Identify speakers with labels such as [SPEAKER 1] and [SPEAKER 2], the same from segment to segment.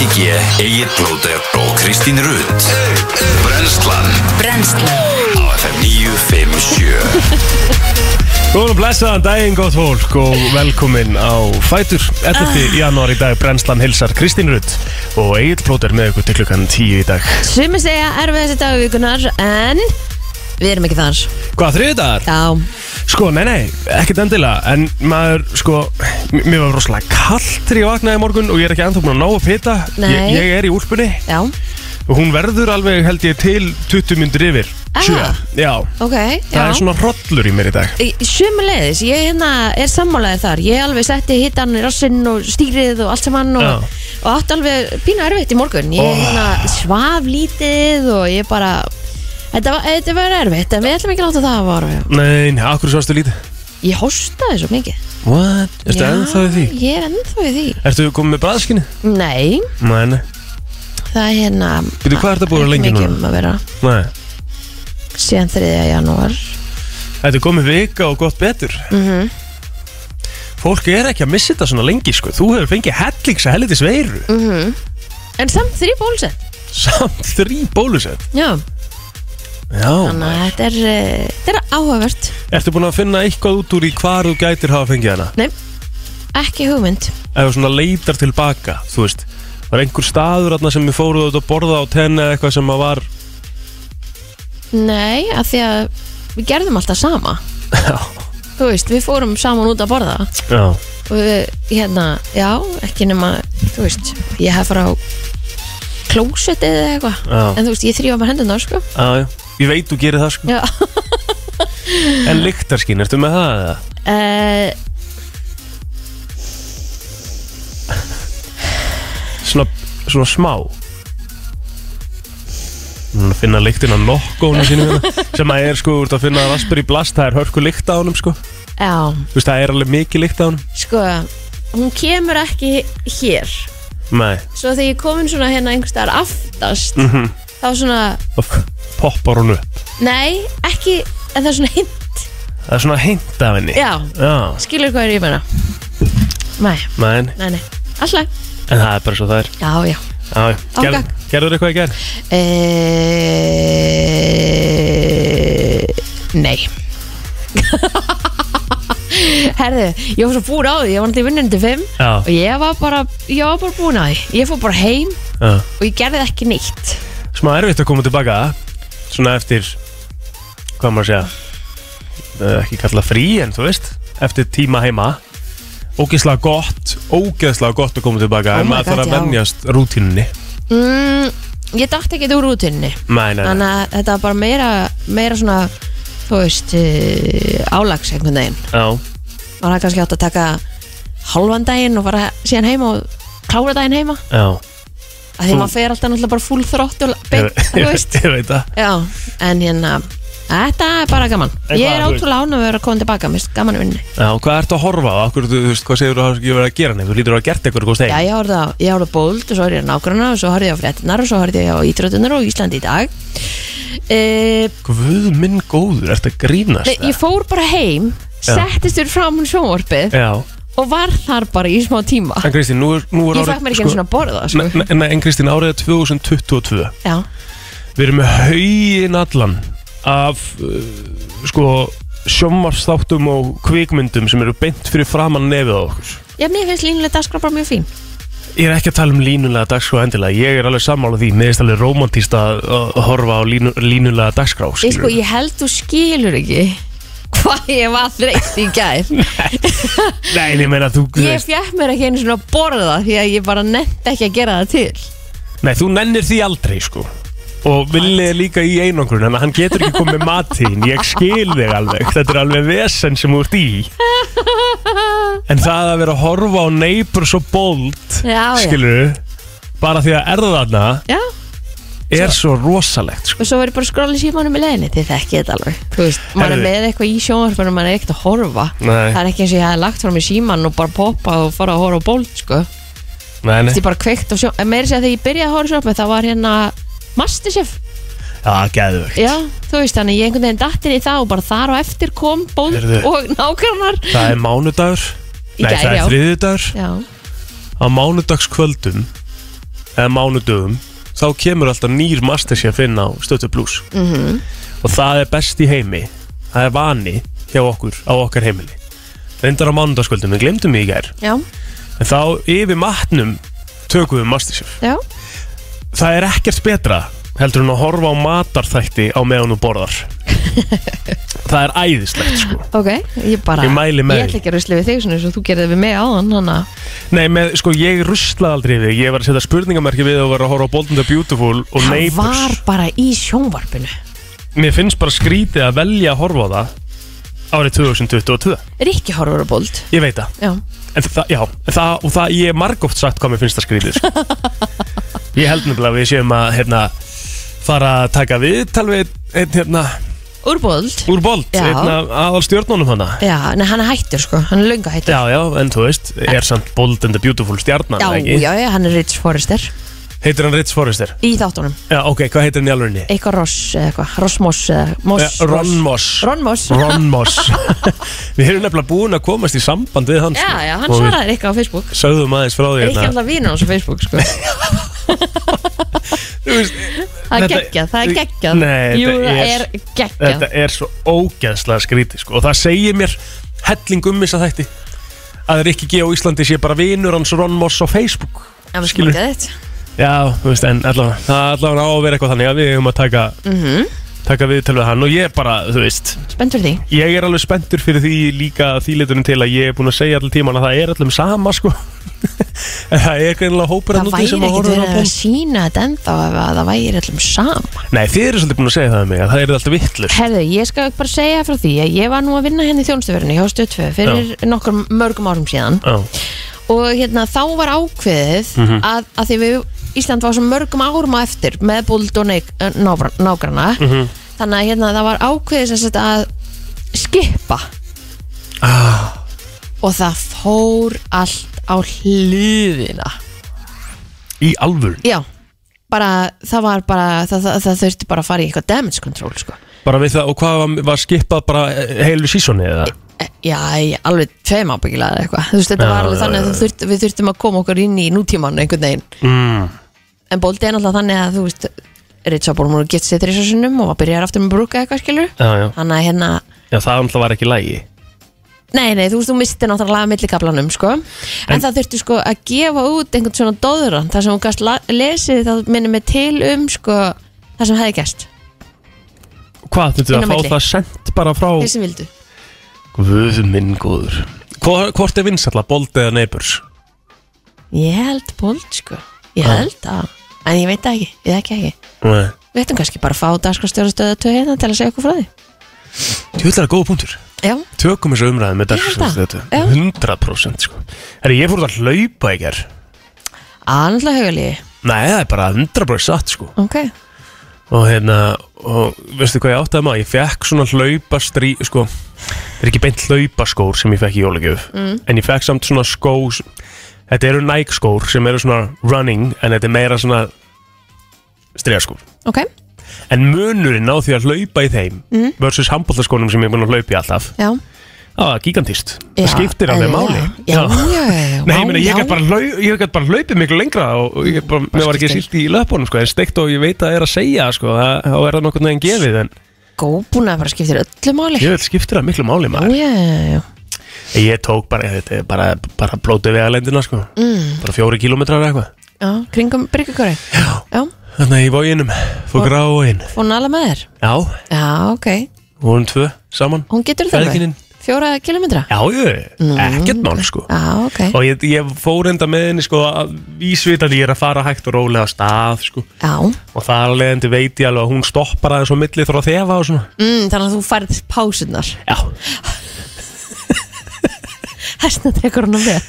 [SPEAKER 1] Egil Blóter og Kristín Rutt Brenslan
[SPEAKER 2] Brennslan
[SPEAKER 1] á FM 957
[SPEAKER 3] Góðan og blessaðan daginn, gott fólk og velkomin á Fætur
[SPEAKER 2] Ah.
[SPEAKER 3] 11. janúar í dag, brennslan hilsar Kristín Rutt og Egil Plóter með ykkur til klukkan 10 í dag
[SPEAKER 2] Sumi segja erfiðast í dagvíkunar En við erum ekki þar
[SPEAKER 3] Hvað, þriði dagar?
[SPEAKER 2] Já,
[SPEAKER 3] Sko, nei, nei, ekkert endilega en maður, sko, m- mér var rosalega kallt þegar ég vaknaði í morgun og ég er ekki ennþá búin að ná að pita
[SPEAKER 2] Nei.
[SPEAKER 3] ég, ég er í úlpunni
[SPEAKER 2] já,
[SPEAKER 3] og hún verður alveg, held ég, til 20 myndir yfir
[SPEAKER 2] Ah.
[SPEAKER 3] sjö. Já,
[SPEAKER 2] ok
[SPEAKER 3] það er
[SPEAKER 2] já.
[SPEAKER 3] svona hrollur í mér í dag
[SPEAKER 2] Sumi leiðis, ég hérna er sammálaðið þar Ég alveg setti hittan í rassinn og stýrið og allt saman
[SPEAKER 3] Já.
[SPEAKER 2] og, og átt alveg pínu erfitt í morgun Ég
[SPEAKER 3] Oh.
[SPEAKER 2] hérna svaf lítið og ég bara Þetta var, þetta var erfitt en við ætlum ekki að láta það að vara
[SPEAKER 3] Nei, nei, akkur svo aðstu lítið
[SPEAKER 2] Ég hóstaði svo mikið
[SPEAKER 3] What? Ertu
[SPEAKER 2] Já,
[SPEAKER 3] ennþá í því?
[SPEAKER 2] Ég er ennþá í því
[SPEAKER 3] Ertu komið með bræðskinni?
[SPEAKER 2] Nei,
[SPEAKER 3] Nei, nei
[SPEAKER 2] það er hérna
[SPEAKER 3] Býtu, hvað ertu búin að
[SPEAKER 2] ekki
[SPEAKER 3] lengi
[SPEAKER 2] mikið
[SPEAKER 3] núna?
[SPEAKER 2] um að vera
[SPEAKER 3] Nei,
[SPEAKER 2] síðan 3. janúar
[SPEAKER 3] þetta er komið vika og gott betur
[SPEAKER 2] mm -hmm.
[SPEAKER 3] Fólk er ekki að missa þetta svona lengi sko Þú hefur fengið hellings að hellitis veiru
[SPEAKER 2] En samt þrý bólsett
[SPEAKER 3] Samt þrý bólusett
[SPEAKER 2] Já,
[SPEAKER 3] Já
[SPEAKER 2] þannig að þetta er, eh, þetta er áhugavert
[SPEAKER 3] Ertu búin að finna eitthvað út úr í hvar þú gætir hafa fengið hana?
[SPEAKER 2] Nei, ekki hugmynd
[SPEAKER 3] Ef þú svona leitar tilbaka, þú veist Var einhver staður þarna sem við fóruð út að borða á tenni eða eitthvað sem að var
[SPEAKER 2] Nei, af því að við gerðum alltaf sama
[SPEAKER 3] Já,
[SPEAKER 2] Þú veist, við fórum saman út að borða
[SPEAKER 3] já,
[SPEAKER 2] Og við, hérna, já, ekki nema Þú veist, ég hef frá klósettið eða eitthvað
[SPEAKER 3] Já.
[SPEAKER 2] En þú veist, ég þrýfa bara hendunar, sko
[SPEAKER 3] já, já Ég veit þú gerir það sko
[SPEAKER 2] Já
[SPEAKER 3] En lyktarskín, ertu með það eða?
[SPEAKER 2] uh,
[SPEAKER 3] Svona, svona smá Núna að finna lyktin af nokkónu sínu hérna, sem að er sko úr að finna raspberry blast það er hörku lykt á honum sko þú
[SPEAKER 2] Já,
[SPEAKER 3] veist það er alveg mikið lykt á honum
[SPEAKER 2] sko Hún kemur ekki hér
[SPEAKER 3] nei
[SPEAKER 2] Svo þegar ég komin svona hérna einhverstaðar aftast
[SPEAKER 3] Mhm.
[SPEAKER 2] Þá svona,
[SPEAKER 3] þá f- poppar hún upp
[SPEAKER 2] nei, ekki En það er svona hint
[SPEAKER 3] það er svona hint af henni
[SPEAKER 2] Já,
[SPEAKER 3] já
[SPEAKER 2] skilur hvað er ég meina Nei,
[SPEAKER 3] men
[SPEAKER 2] nei, nei, alltaf
[SPEAKER 3] en það er bara svo það er
[SPEAKER 2] Já, já
[SPEAKER 3] já já. gerð,
[SPEAKER 2] Ágak.
[SPEAKER 3] gerður eitthvað í gerð
[SPEAKER 2] e... Nei Herðu, ég var svo búin á því Ég var náttúrulega í vinnunni til 5 Og
[SPEAKER 3] já
[SPEAKER 2] ég var bara, ég var bara búin á því Ég fór bara heim
[SPEAKER 3] já
[SPEAKER 2] og ég gerði ekki neitt
[SPEAKER 3] smá erfitt að koma tilbaka svona eftir hvað maður segja eh, ekki kalla frí en þú veist eftir tíma heima ógeðslega gott, ógeðslega gott að koma tilbaka
[SPEAKER 2] Oh
[SPEAKER 3] en
[SPEAKER 2] my
[SPEAKER 3] maður þarf
[SPEAKER 2] God,
[SPEAKER 3] að
[SPEAKER 2] já.
[SPEAKER 3] vennjast rútínunni
[SPEAKER 2] mm, Ég dætti ekki úr rútunni
[SPEAKER 3] nei, nei, nei,
[SPEAKER 2] Þannig að þetta var bara meira, meira svona Þú veist, uh, álags einhvern veginn
[SPEAKER 3] já,
[SPEAKER 2] Var það kannski átt að taka hálfan daginn og fara síðan heima og klára daginn heima
[SPEAKER 3] já
[SPEAKER 2] að því
[SPEAKER 3] Þú-
[SPEAKER 2] maður fer alltaf náttúrulega bara full þrótt og
[SPEAKER 3] ég,
[SPEAKER 2] beint, þú
[SPEAKER 3] ég,
[SPEAKER 2] veist
[SPEAKER 3] veit- ég veit það
[SPEAKER 2] Já, en hérna Þetta er bara gaman
[SPEAKER 3] En hvað,
[SPEAKER 2] Ég er
[SPEAKER 3] þú veist-
[SPEAKER 2] ótrúlega án að vera að koma tilbaka Mér finnst gaman að vinni
[SPEAKER 3] já, hvað ertu að horfa á, Akkur, þú þú veist, hvað segir þú að ég verið að gera nefn þú lítur að hafa gert eitthvað góð
[SPEAKER 2] Já,
[SPEAKER 3] stein
[SPEAKER 2] ég horfði á, ég horfði á bóld og svo horfði ég á nágrana og svo horfði ég á fréttinar og svo horfði ég á ítröðunar og Íslandi í dag e,
[SPEAKER 3] guð minn góður, ertu að grínast
[SPEAKER 2] Nei, ég fór bara heim
[SPEAKER 3] Já. Eh.
[SPEAKER 2] settist fyrir fram hún sjónvarpið
[SPEAKER 3] já,
[SPEAKER 2] og var þar bara í smá tíma
[SPEAKER 3] en Kristín, nú er, nú er
[SPEAKER 2] ég fekk mér ekki einu svona að borða sko.
[SPEAKER 3] Nei, nei, nei, en Kristín, árið er 2022
[SPEAKER 2] já,
[SPEAKER 3] Við erum með haugin allan af uh, sko sjómarsþáttum og kvikmyndum sem eru beint fyrir framann nefið á okkur.
[SPEAKER 2] já, mér finnst línulega dagskrá bara mjög fín
[SPEAKER 3] Ég er ekki að tala um línulega dagskrá endilega, ég er alveg sammála því, mér er alveg romantíst að að horfa á línu, línulega dagskrá,
[SPEAKER 2] ég, sko,
[SPEAKER 3] skilur.
[SPEAKER 2] ég held þú skilur ekki hvað ég var þreytt í gær
[SPEAKER 3] Nei, en ég meina, þú, þú
[SPEAKER 2] ég
[SPEAKER 3] veist,
[SPEAKER 2] fekk mér ekki einu svona að borða því að ég bara nefndi ekki að gera það til
[SPEAKER 3] nei, þú nennir því aldrei, sko. Og Villi er líka í einangrun, þannig að hann getur ekki komið með matín, ég skil þig alveg, þetta er alveg vesen sem þú ert í. En það að vera að horfa á Neighbors og Bolt,
[SPEAKER 2] Ah, já, já.
[SPEAKER 3] skilur, bara því að erðana
[SPEAKER 2] já,
[SPEAKER 3] er svo rosalegt sko.
[SPEAKER 2] og svo var ég bara að skrolla í símanum í leiðinni þið þekki þetta alveg þú veist, maður er
[SPEAKER 3] Herðu.
[SPEAKER 2] með eitthvað í sjónvarpunum maður er ekkert að horfa
[SPEAKER 3] Nei.
[SPEAKER 2] það er ekki eins og ég hef lagt frá mig síman og bara poppað og fara að horfa á bólt sko.
[SPEAKER 3] Nei, nei
[SPEAKER 2] ég bara kveikt og sjón en meira sér að þegar ég byrjaði að horfa sjónvarpunum þá var hérna Masterchef
[SPEAKER 3] Já, gæðvögt
[SPEAKER 2] já, þú veist, þannig ég einhvern veginn dattin í það og bara þar og eftir kom bólt
[SPEAKER 3] Heyrðu.
[SPEAKER 2] og nákvæmnar
[SPEAKER 3] Það er mánudagur
[SPEAKER 2] Í
[SPEAKER 3] Nei,
[SPEAKER 2] gær,
[SPEAKER 3] það
[SPEAKER 2] já.
[SPEAKER 3] er þriðudagur
[SPEAKER 2] já,
[SPEAKER 3] Á mánudagskvöldum eða mánudögum þá kemur alltaf nýr Masterchef inn á Stötu Plus
[SPEAKER 2] Mhm.
[SPEAKER 3] og það er best í heimi það er vani hjá okkur á okkar heimili reyndar á mánudagskvöldum, við glemdum því í gær
[SPEAKER 2] Já,
[SPEAKER 3] en þá yfir matnum tökum við Masterchef
[SPEAKER 2] já,
[SPEAKER 3] það er ekkert betra heldur en að horfa á matarþætti á meðan og borðar það er æðislegt sko
[SPEAKER 2] ok Ég bara,
[SPEAKER 3] Ég mæli með
[SPEAKER 2] Ég ætla ekki að rusli við þig svona eins og þú gerði við mig áðan Þannig að,
[SPEAKER 3] Nei, með, sko, ég ruslaði aldrei við Ég var að setja spurningamerki við og var að horfa á Bold and the Beautiful og
[SPEAKER 2] það
[SPEAKER 3] Neighbours
[SPEAKER 2] var bara í sjónvarpinu
[SPEAKER 3] Mér finnst bara skrítið að velja að horfa á það árið 2022
[SPEAKER 2] Rikki horfur að bóld
[SPEAKER 3] Ég veit það,
[SPEAKER 2] Já,
[SPEAKER 3] en það, já en það, og það, ég er margóft sagt hvað mér finnst það skrítið sko. Ég held nefnilega að við séum að hérna, fara að taka við talveg einn hérna,
[SPEAKER 2] úr bóld
[SPEAKER 3] úr Bold
[SPEAKER 2] Já.
[SPEAKER 3] einn aðal stjórnunum hana
[SPEAKER 2] Já, nei, hann er hættur sko, hann er löngu hættur
[SPEAKER 3] Já, já, en þú veist, er samt Bold and the Beautiful stjarnan,
[SPEAKER 2] Já,
[SPEAKER 3] ekki?
[SPEAKER 2] já, já, hann er Rich Forrester
[SPEAKER 3] Heitir hann Ritz Forrester?
[SPEAKER 2] Í þáttunum,
[SPEAKER 3] Já, ok, hvað heitir hann í alvörinni?
[SPEAKER 2] eitthvað Ross eða eitthvað, Ross Moss eða Moss
[SPEAKER 3] Eh, Ron Moss
[SPEAKER 2] Ron Moss
[SPEAKER 3] Ron Moss Við erum nefnilega búin að komast í samband við hans
[SPEAKER 2] Já, já, hann
[SPEAKER 3] Og Hérna. við
[SPEAKER 2] svaraði hérna- Rikka á Facebook
[SPEAKER 3] Sögðum aðeins frá því hérna.
[SPEAKER 2] Rikki alltaf vinur hans á Facebook sko Það er
[SPEAKER 3] Þetta-
[SPEAKER 2] geggjað, það er geggjað
[SPEAKER 3] Nei,
[SPEAKER 2] Jú,
[SPEAKER 3] þetta
[SPEAKER 2] það
[SPEAKER 3] er-
[SPEAKER 2] er geggjað
[SPEAKER 3] Þetta er svo ógeðslega skrítið sko. Og það segir mér helling um þess að þætti Að Rikki G á Íslandi sé bara vinur hans Ron Moss á Facebook
[SPEAKER 2] En við
[SPEAKER 3] skilur-
[SPEAKER 2] skilum þetta
[SPEAKER 3] Já, þú veist, en allavega Það allavega á að vera eitthvað þannig að við hefum að taka
[SPEAKER 2] Mhm.
[SPEAKER 3] Taka við til við hann Og ég bara, þú veist
[SPEAKER 2] Spennt fyrir því
[SPEAKER 3] Ég er alveg spenntur fyrir því líka þýleitunum til að ég er búin að segja allir tíman að það er allum sama sko En það er greinilega hópur
[SPEAKER 2] Það
[SPEAKER 3] að núti
[SPEAKER 2] væri
[SPEAKER 3] sem að
[SPEAKER 2] ekkert
[SPEAKER 3] horfa á
[SPEAKER 2] verið að
[SPEAKER 3] pól
[SPEAKER 2] sína þetta ennþá ef að það væri allum sama
[SPEAKER 3] Nei, þið eru svolítið búin að segja það um mig að það er alltaf vittlust
[SPEAKER 2] Herðu, ég skal bara segja frá því að ég var nú að vinna henni í þjónstuverðinu hjá Stöð 2 fyrir nokkur mörgum árum síðan
[SPEAKER 3] Já,
[SPEAKER 2] og hérna þá var ákveðið að, að því við Ísland var svo mörgum árum á eftir með búld og neik- eh, nágr- nágranna þannig að hérna það var ákveðið sem sagt að skipa
[SPEAKER 3] ah,
[SPEAKER 2] og það fór allt á hliðina
[SPEAKER 3] í alvöru
[SPEAKER 2] Já, bara það var bara það, það, það þurfti bara að fara í eitthvað damage control sko.
[SPEAKER 3] Bara við það, og hvað var, var skipað bara eh, heilu sísoni eða?
[SPEAKER 2] E, Já, í alveg tveim ábyggilega eða eitthvað Þú veist, þetta
[SPEAKER 3] Já,
[SPEAKER 2] var alveg
[SPEAKER 3] já,
[SPEAKER 2] þannig að
[SPEAKER 3] já,
[SPEAKER 2] þú þurft, við þurftum að koma okkur inn í nútímanu einhvern veginn
[SPEAKER 3] Mm,
[SPEAKER 2] En bóldi er náttúrulega þannig að þú veist Richard Bormur gett sér þrjá sinnum og var byrjar aftur með brúka eitthvað skilur
[SPEAKER 3] já, já,
[SPEAKER 2] Þannig að hérna
[SPEAKER 3] já, það alltaf var ekki lægi
[SPEAKER 2] Nei, nei, þú veist, þú misti náttúrulega millikablanum, sko En,
[SPEAKER 3] En-
[SPEAKER 2] það þurfti sko að gefa út einhvern svona dóðurann Það sem hún gast la- lesið, það minnum mig til um, sko Það sem hefði gæst,
[SPEAKER 3] Hvað þurftu
[SPEAKER 2] Inn á
[SPEAKER 3] að fá
[SPEAKER 2] milli.
[SPEAKER 3] það sendt bara frá
[SPEAKER 2] þeir sem vildu
[SPEAKER 3] Guð minn góður Hvor- Hvort er vinsalla, Bold eða Neighbors?
[SPEAKER 2] Ég held bóld sko Ég
[SPEAKER 3] Já.
[SPEAKER 2] held að En ég veit það ekki, ég ekki ekki
[SPEAKER 3] Nei
[SPEAKER 2] Við ættum kannski bara að fá dagskrastjóra stöða töð hérna til að segja okkur frá því
[SPEAKER 3] Tjóðlega góð punktur
[SPEAKER 2] Já,
[SPEAKER 3] tökum þessu umræðum með
[SPEAKER 2] Ég held það,
[SPEAKER 3] dagsins
[SPEAKER 2] já.
[SPEAKER 3] 100% sko. Herri, ég fór út að hlaupa í ger
[SPEAKER 2] annarlega haugalíði
[SPEAKER 3] Nei, það er bara 100% satt sko
[SPEAKER 2] Ok,
[SPEAKER 3] Og hérna, og veistu hvað ég áttaði maður? Ég fekk svona hlaupa strí, sko Það er ekki beint hlaupaskór sem ég fekk í jólagjöf mm. En ég fekk samt svona skó Þetta eru Nike skór sem eru svona running En þetta er meira svona Striðaskór
[SPEAKER 2] ok,
[SPEAKER 3] En munurinn á því að hlaupa í þeim
[SPEAKER 2] Mm.
[SPEAKER 3] Versus handbóltaskónum sem ég er búin að hlaupa í alltaf
[SPEAKER 2] já
[SPEAKER 3] Það var gigantist
[SPEAKER 2] Já,
[SPEAKER 3] Það Ah, skiptir alveg
[SPEAKER 2] eðlilega.
[SPEAKER 3] máli
[SPEAKER 2] Já, já, já, já
[SPEAKER 3] Nei,
[SPEAKER 2] vá,
[SPEAKER 3] ég meina, ég
[SPEAKER 2] já.
[SPEAKER 3] gæt bara, hlaup, ég gat bara hlaupið miklu lengra og og ég bara, mér var ekki
[SPEAKER 2] skiptir.
[SPEAKER 3] silt í löpunum, sko, en steikt og ég veit að það er að segja, sko, það- þá er það nokkurn veginn gefið, en
[SPEAKER 2] Góbúna bara skiptir öllu máli
[SPEAKER 3] ég
[SPEAKER 2] Já,
[SPEAKER 3] veit skiptir það miklu máli, maður.
[SPEAKER 2] já, já, já
[SPEAKER 3] Ég tók bara, þetta er bara, bara blótið við að lendina, sko,
[SPEAKER 2] Mm.
[SPEAKER 3] bara fjóri kílómetrar eða eitthvað.
[SPEAKER 2] Já, kringum bryggjökari
[SPEAKER 3] Já.
[SPEAKER 2] Já,
[SPEAKER 3] Þannig að ég var í innum, fór grá og inn.
[SPEAKER 2] hún alveg með þér
[SPEAKER 3] Já,
[SPEAKER 2] Já, ok,
[SPEAKER 3] vorum tvö saman.
[SPEAKER 2] hún getur það alveg Mm.
[SPEAKER 3] Feðginin.
[SPEAKER 2] Fjóra kilometra
[SPEAKER 3] Já, ég, ekkert mál, sko.
[SPEAKER 2] Já, ok,
[SPEAKER 3] Og ég, ég fór enda með henni, sko, að vísvitandi ég er að fara hægt og rólega af stað, sko.
[SPEAKER 2] já
[SPEAKER 3] Og þar leðandi veit ég alveg að hún stoppar aðeins á milli þrá að þefa og svona.
[SPEAKER 2] mm, Þannig að þú færð pásunar
[SPEAKER 3] Já,
[SPEAKER 2] Hæstna tekur hún á með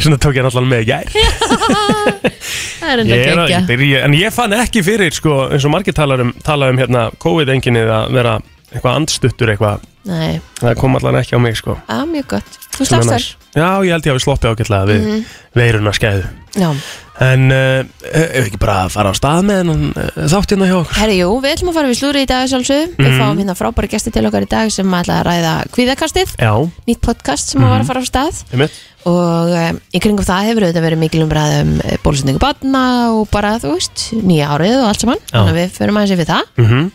[SPEAKER 3] Svona tók ég hann allan með í gær
[SPEAKER 2] Það er enda
[SPEAKER 3] ég er að,
[SPEAKER 2] geggja
[SPEAKER 3] ég byrja, En ég fann ekki fyrir sko, eins og margir talar um, tala um hérna, COVID-enginnið að vera eitthvað andstuttur eitthvað
[SPEAKER 2] Nei,
[SPEAKER 3] Það kom allan ekki á mig sko
[SPEAKER 2] að mjög gott
[SPEAKER 3] Sem
[SPEAKER 2] Þú
[SPEAKER 3] er
[SPEAKER 2] slappst þar
[SPEAKER 3] næs. Já, ég held ég hafi sloppið ágætlega við
[SPEAKER 2] Mhm.
[SPEAKER 3] veiruna skæðu
[SPEAKER 2] Já,
[SPEAKER 3] En uh, ef ekki bara að fara á stað með en, uh, þátt hérna hjá okkur
[SPEAKER 2] herri, jú, við ætlum að fara við slúri í dag sjálfsög
[SPEAKER 3] Mhm.
[SPEAKER 2] Við fáum hérna frábæri gesti til okkar í dag sem ætla að ræða kvíðakastið
[SPEAKER 3] Já, Mhm.
[SPEAKER 2] Nýtt podcast sem að var að fara á stað
[SPEAKER 3] einmitt
[SPEAKER 2] og um, í kringum það hefur auðvitað verið mikil um, umræðum bólusendingu batna og bara þú veist, nýja árið og allt saman
[SPEAKER 3] Já.
[SPEAKER 2] þannig að við förum aðeins yfir það
[SPEAKER 3] Mhm.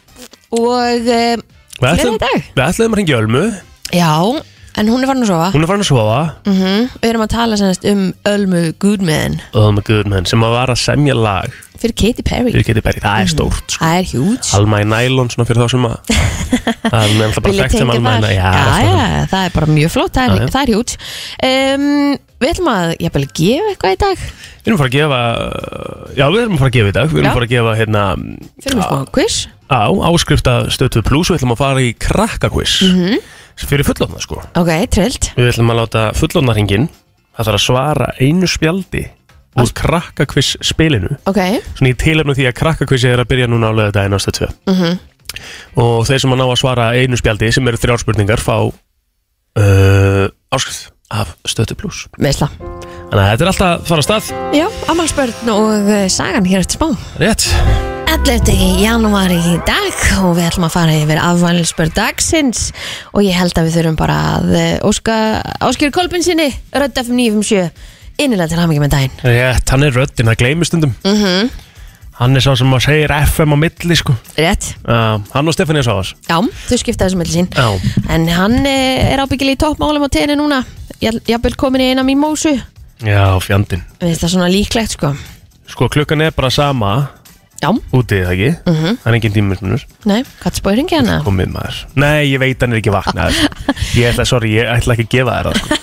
[SPEAKER 2] og um,
[SPEAKER 3] Við
[SPEAKER 2] fleiri
[SPEAKER 3] ætlum,
[SPEAKER 2] í dag
[SPEAKER 3] við ætlum að ringja Ölmu,
[SPEAKER 2] já, en hún er farin að sofa
[SPEAKER 3] hún er farin að sofa
[SPEAKER 2] mm við erum að tala semast um Ölmu Goodman
[SPEAKER 3] og það með Guðmenn sem að var að semja lag
[SPEAKER 2] fyrir Katy Perry
[SPEAKER 3] fyrir Katy Perry,
[SPEAKER 2] Mm.
[SPEAKER 3] það er stórt sko.
[SPEAKER 2] það er huge
[SPEAKER 3] Alma í nælon svona fyrir þá sem að það er nefnilega bara
[SPEAKER 2] Vil ég
[SPEAKER 3] þekkt sem
[SPEAKER 2] tengja
[SPEAKER 3] Alma í
[SPEAKER 2] þar?
[SPEAKER 3] nælon
[SPEAKER 2] Já, já, það er bara mjög flott, það
[SPEAKER 3] Já,
[SPEAKER 2] er,
[SPEAKER 3] já.
[SPEAKER 2] það er hjút um, Við ætlum að, ég vil gefa eitthvað í dag
[SPEAKER 3] Við erum að fara að gefa já, við erum að fara að gefa í dag, við erum
[SPEAKER 2] Já.
[SPEAKER 3] að fara að gefa hérna
[SPEAKER 2] Fyrir mig smá quiz
[SPEAKER 3] á áskrifta stötu pluss og við ætlum að fara í krakkakviss
[SPEAKER 2] Mhm.
[SPEAKER 3] fyrir fullofna sko
[SPEAKER 2] Ok, trillt
[SPEAKER 3] Við ætlum að láta fullofnaringin það þarf að svara einu spjaldi úr
[SPEAKER 2] Allt.
[SPEAKER 3] krakkakviss spilinu
[SPEAKER 2] Ok,
[SPEAKER 3] svona í tilefnu því að krakkakvissi er að byrja núna á lögðardaginn ástu 2 og þeir sem að ná að svara einu spjaldi sem eru þrjár spurningar fá uh, áskrift af stötu pluss
[SPEAKER 2] meðsla
[SPEAKER 3] þannig að þetta er alltaf að fara af stað
[SPEAKER 2] Já, afmálspörn og eh, sagan hér eftir smá
[SPEAKER 3] rétt
[SPEAKER 2] 11. janúar í dag og við ætlum að fara yfir afmælisbörn dagsins og ég held að við þurfum bara að eh, óska Áskir Kolbin sinni, Rödd FM 957 innilega til hamingi með daginn
[SPEAKER 3] rétt, hann er röddinn, það gleymist stundum hann er sá sem að segir FM á milli sko
[SPEAKER 2] Rétt,
[SPEAKER 3] uh, hann og Stefán Jásávars
[SPEAKER 2] já, þau skipta þessu melli sín
[SPEAKER 3] Já.
[SPEAKER 2] En hann eh, er ábyggilega í toppmálum á tenni núna Jafn- Jafnvel komin í eina mimósu Mér
[SPEAKER 3] já, fjandinn
[SPEAKER 2] finnst það svona líklegt sko
[SPEAKER 3] sko klukkan er bara sama
[SPEAKER 2] Já,
[SPEAKER 3] úti það ekki það er engin sko, tímismunur
[SPEAKER 2] nei, hvað spóið hringi hana?
[SPEAKER 3] komið maður nei, ég veit hann er ekki vaknaður ég ætla, sorry, ég ætla ekki að gefa þér það sko.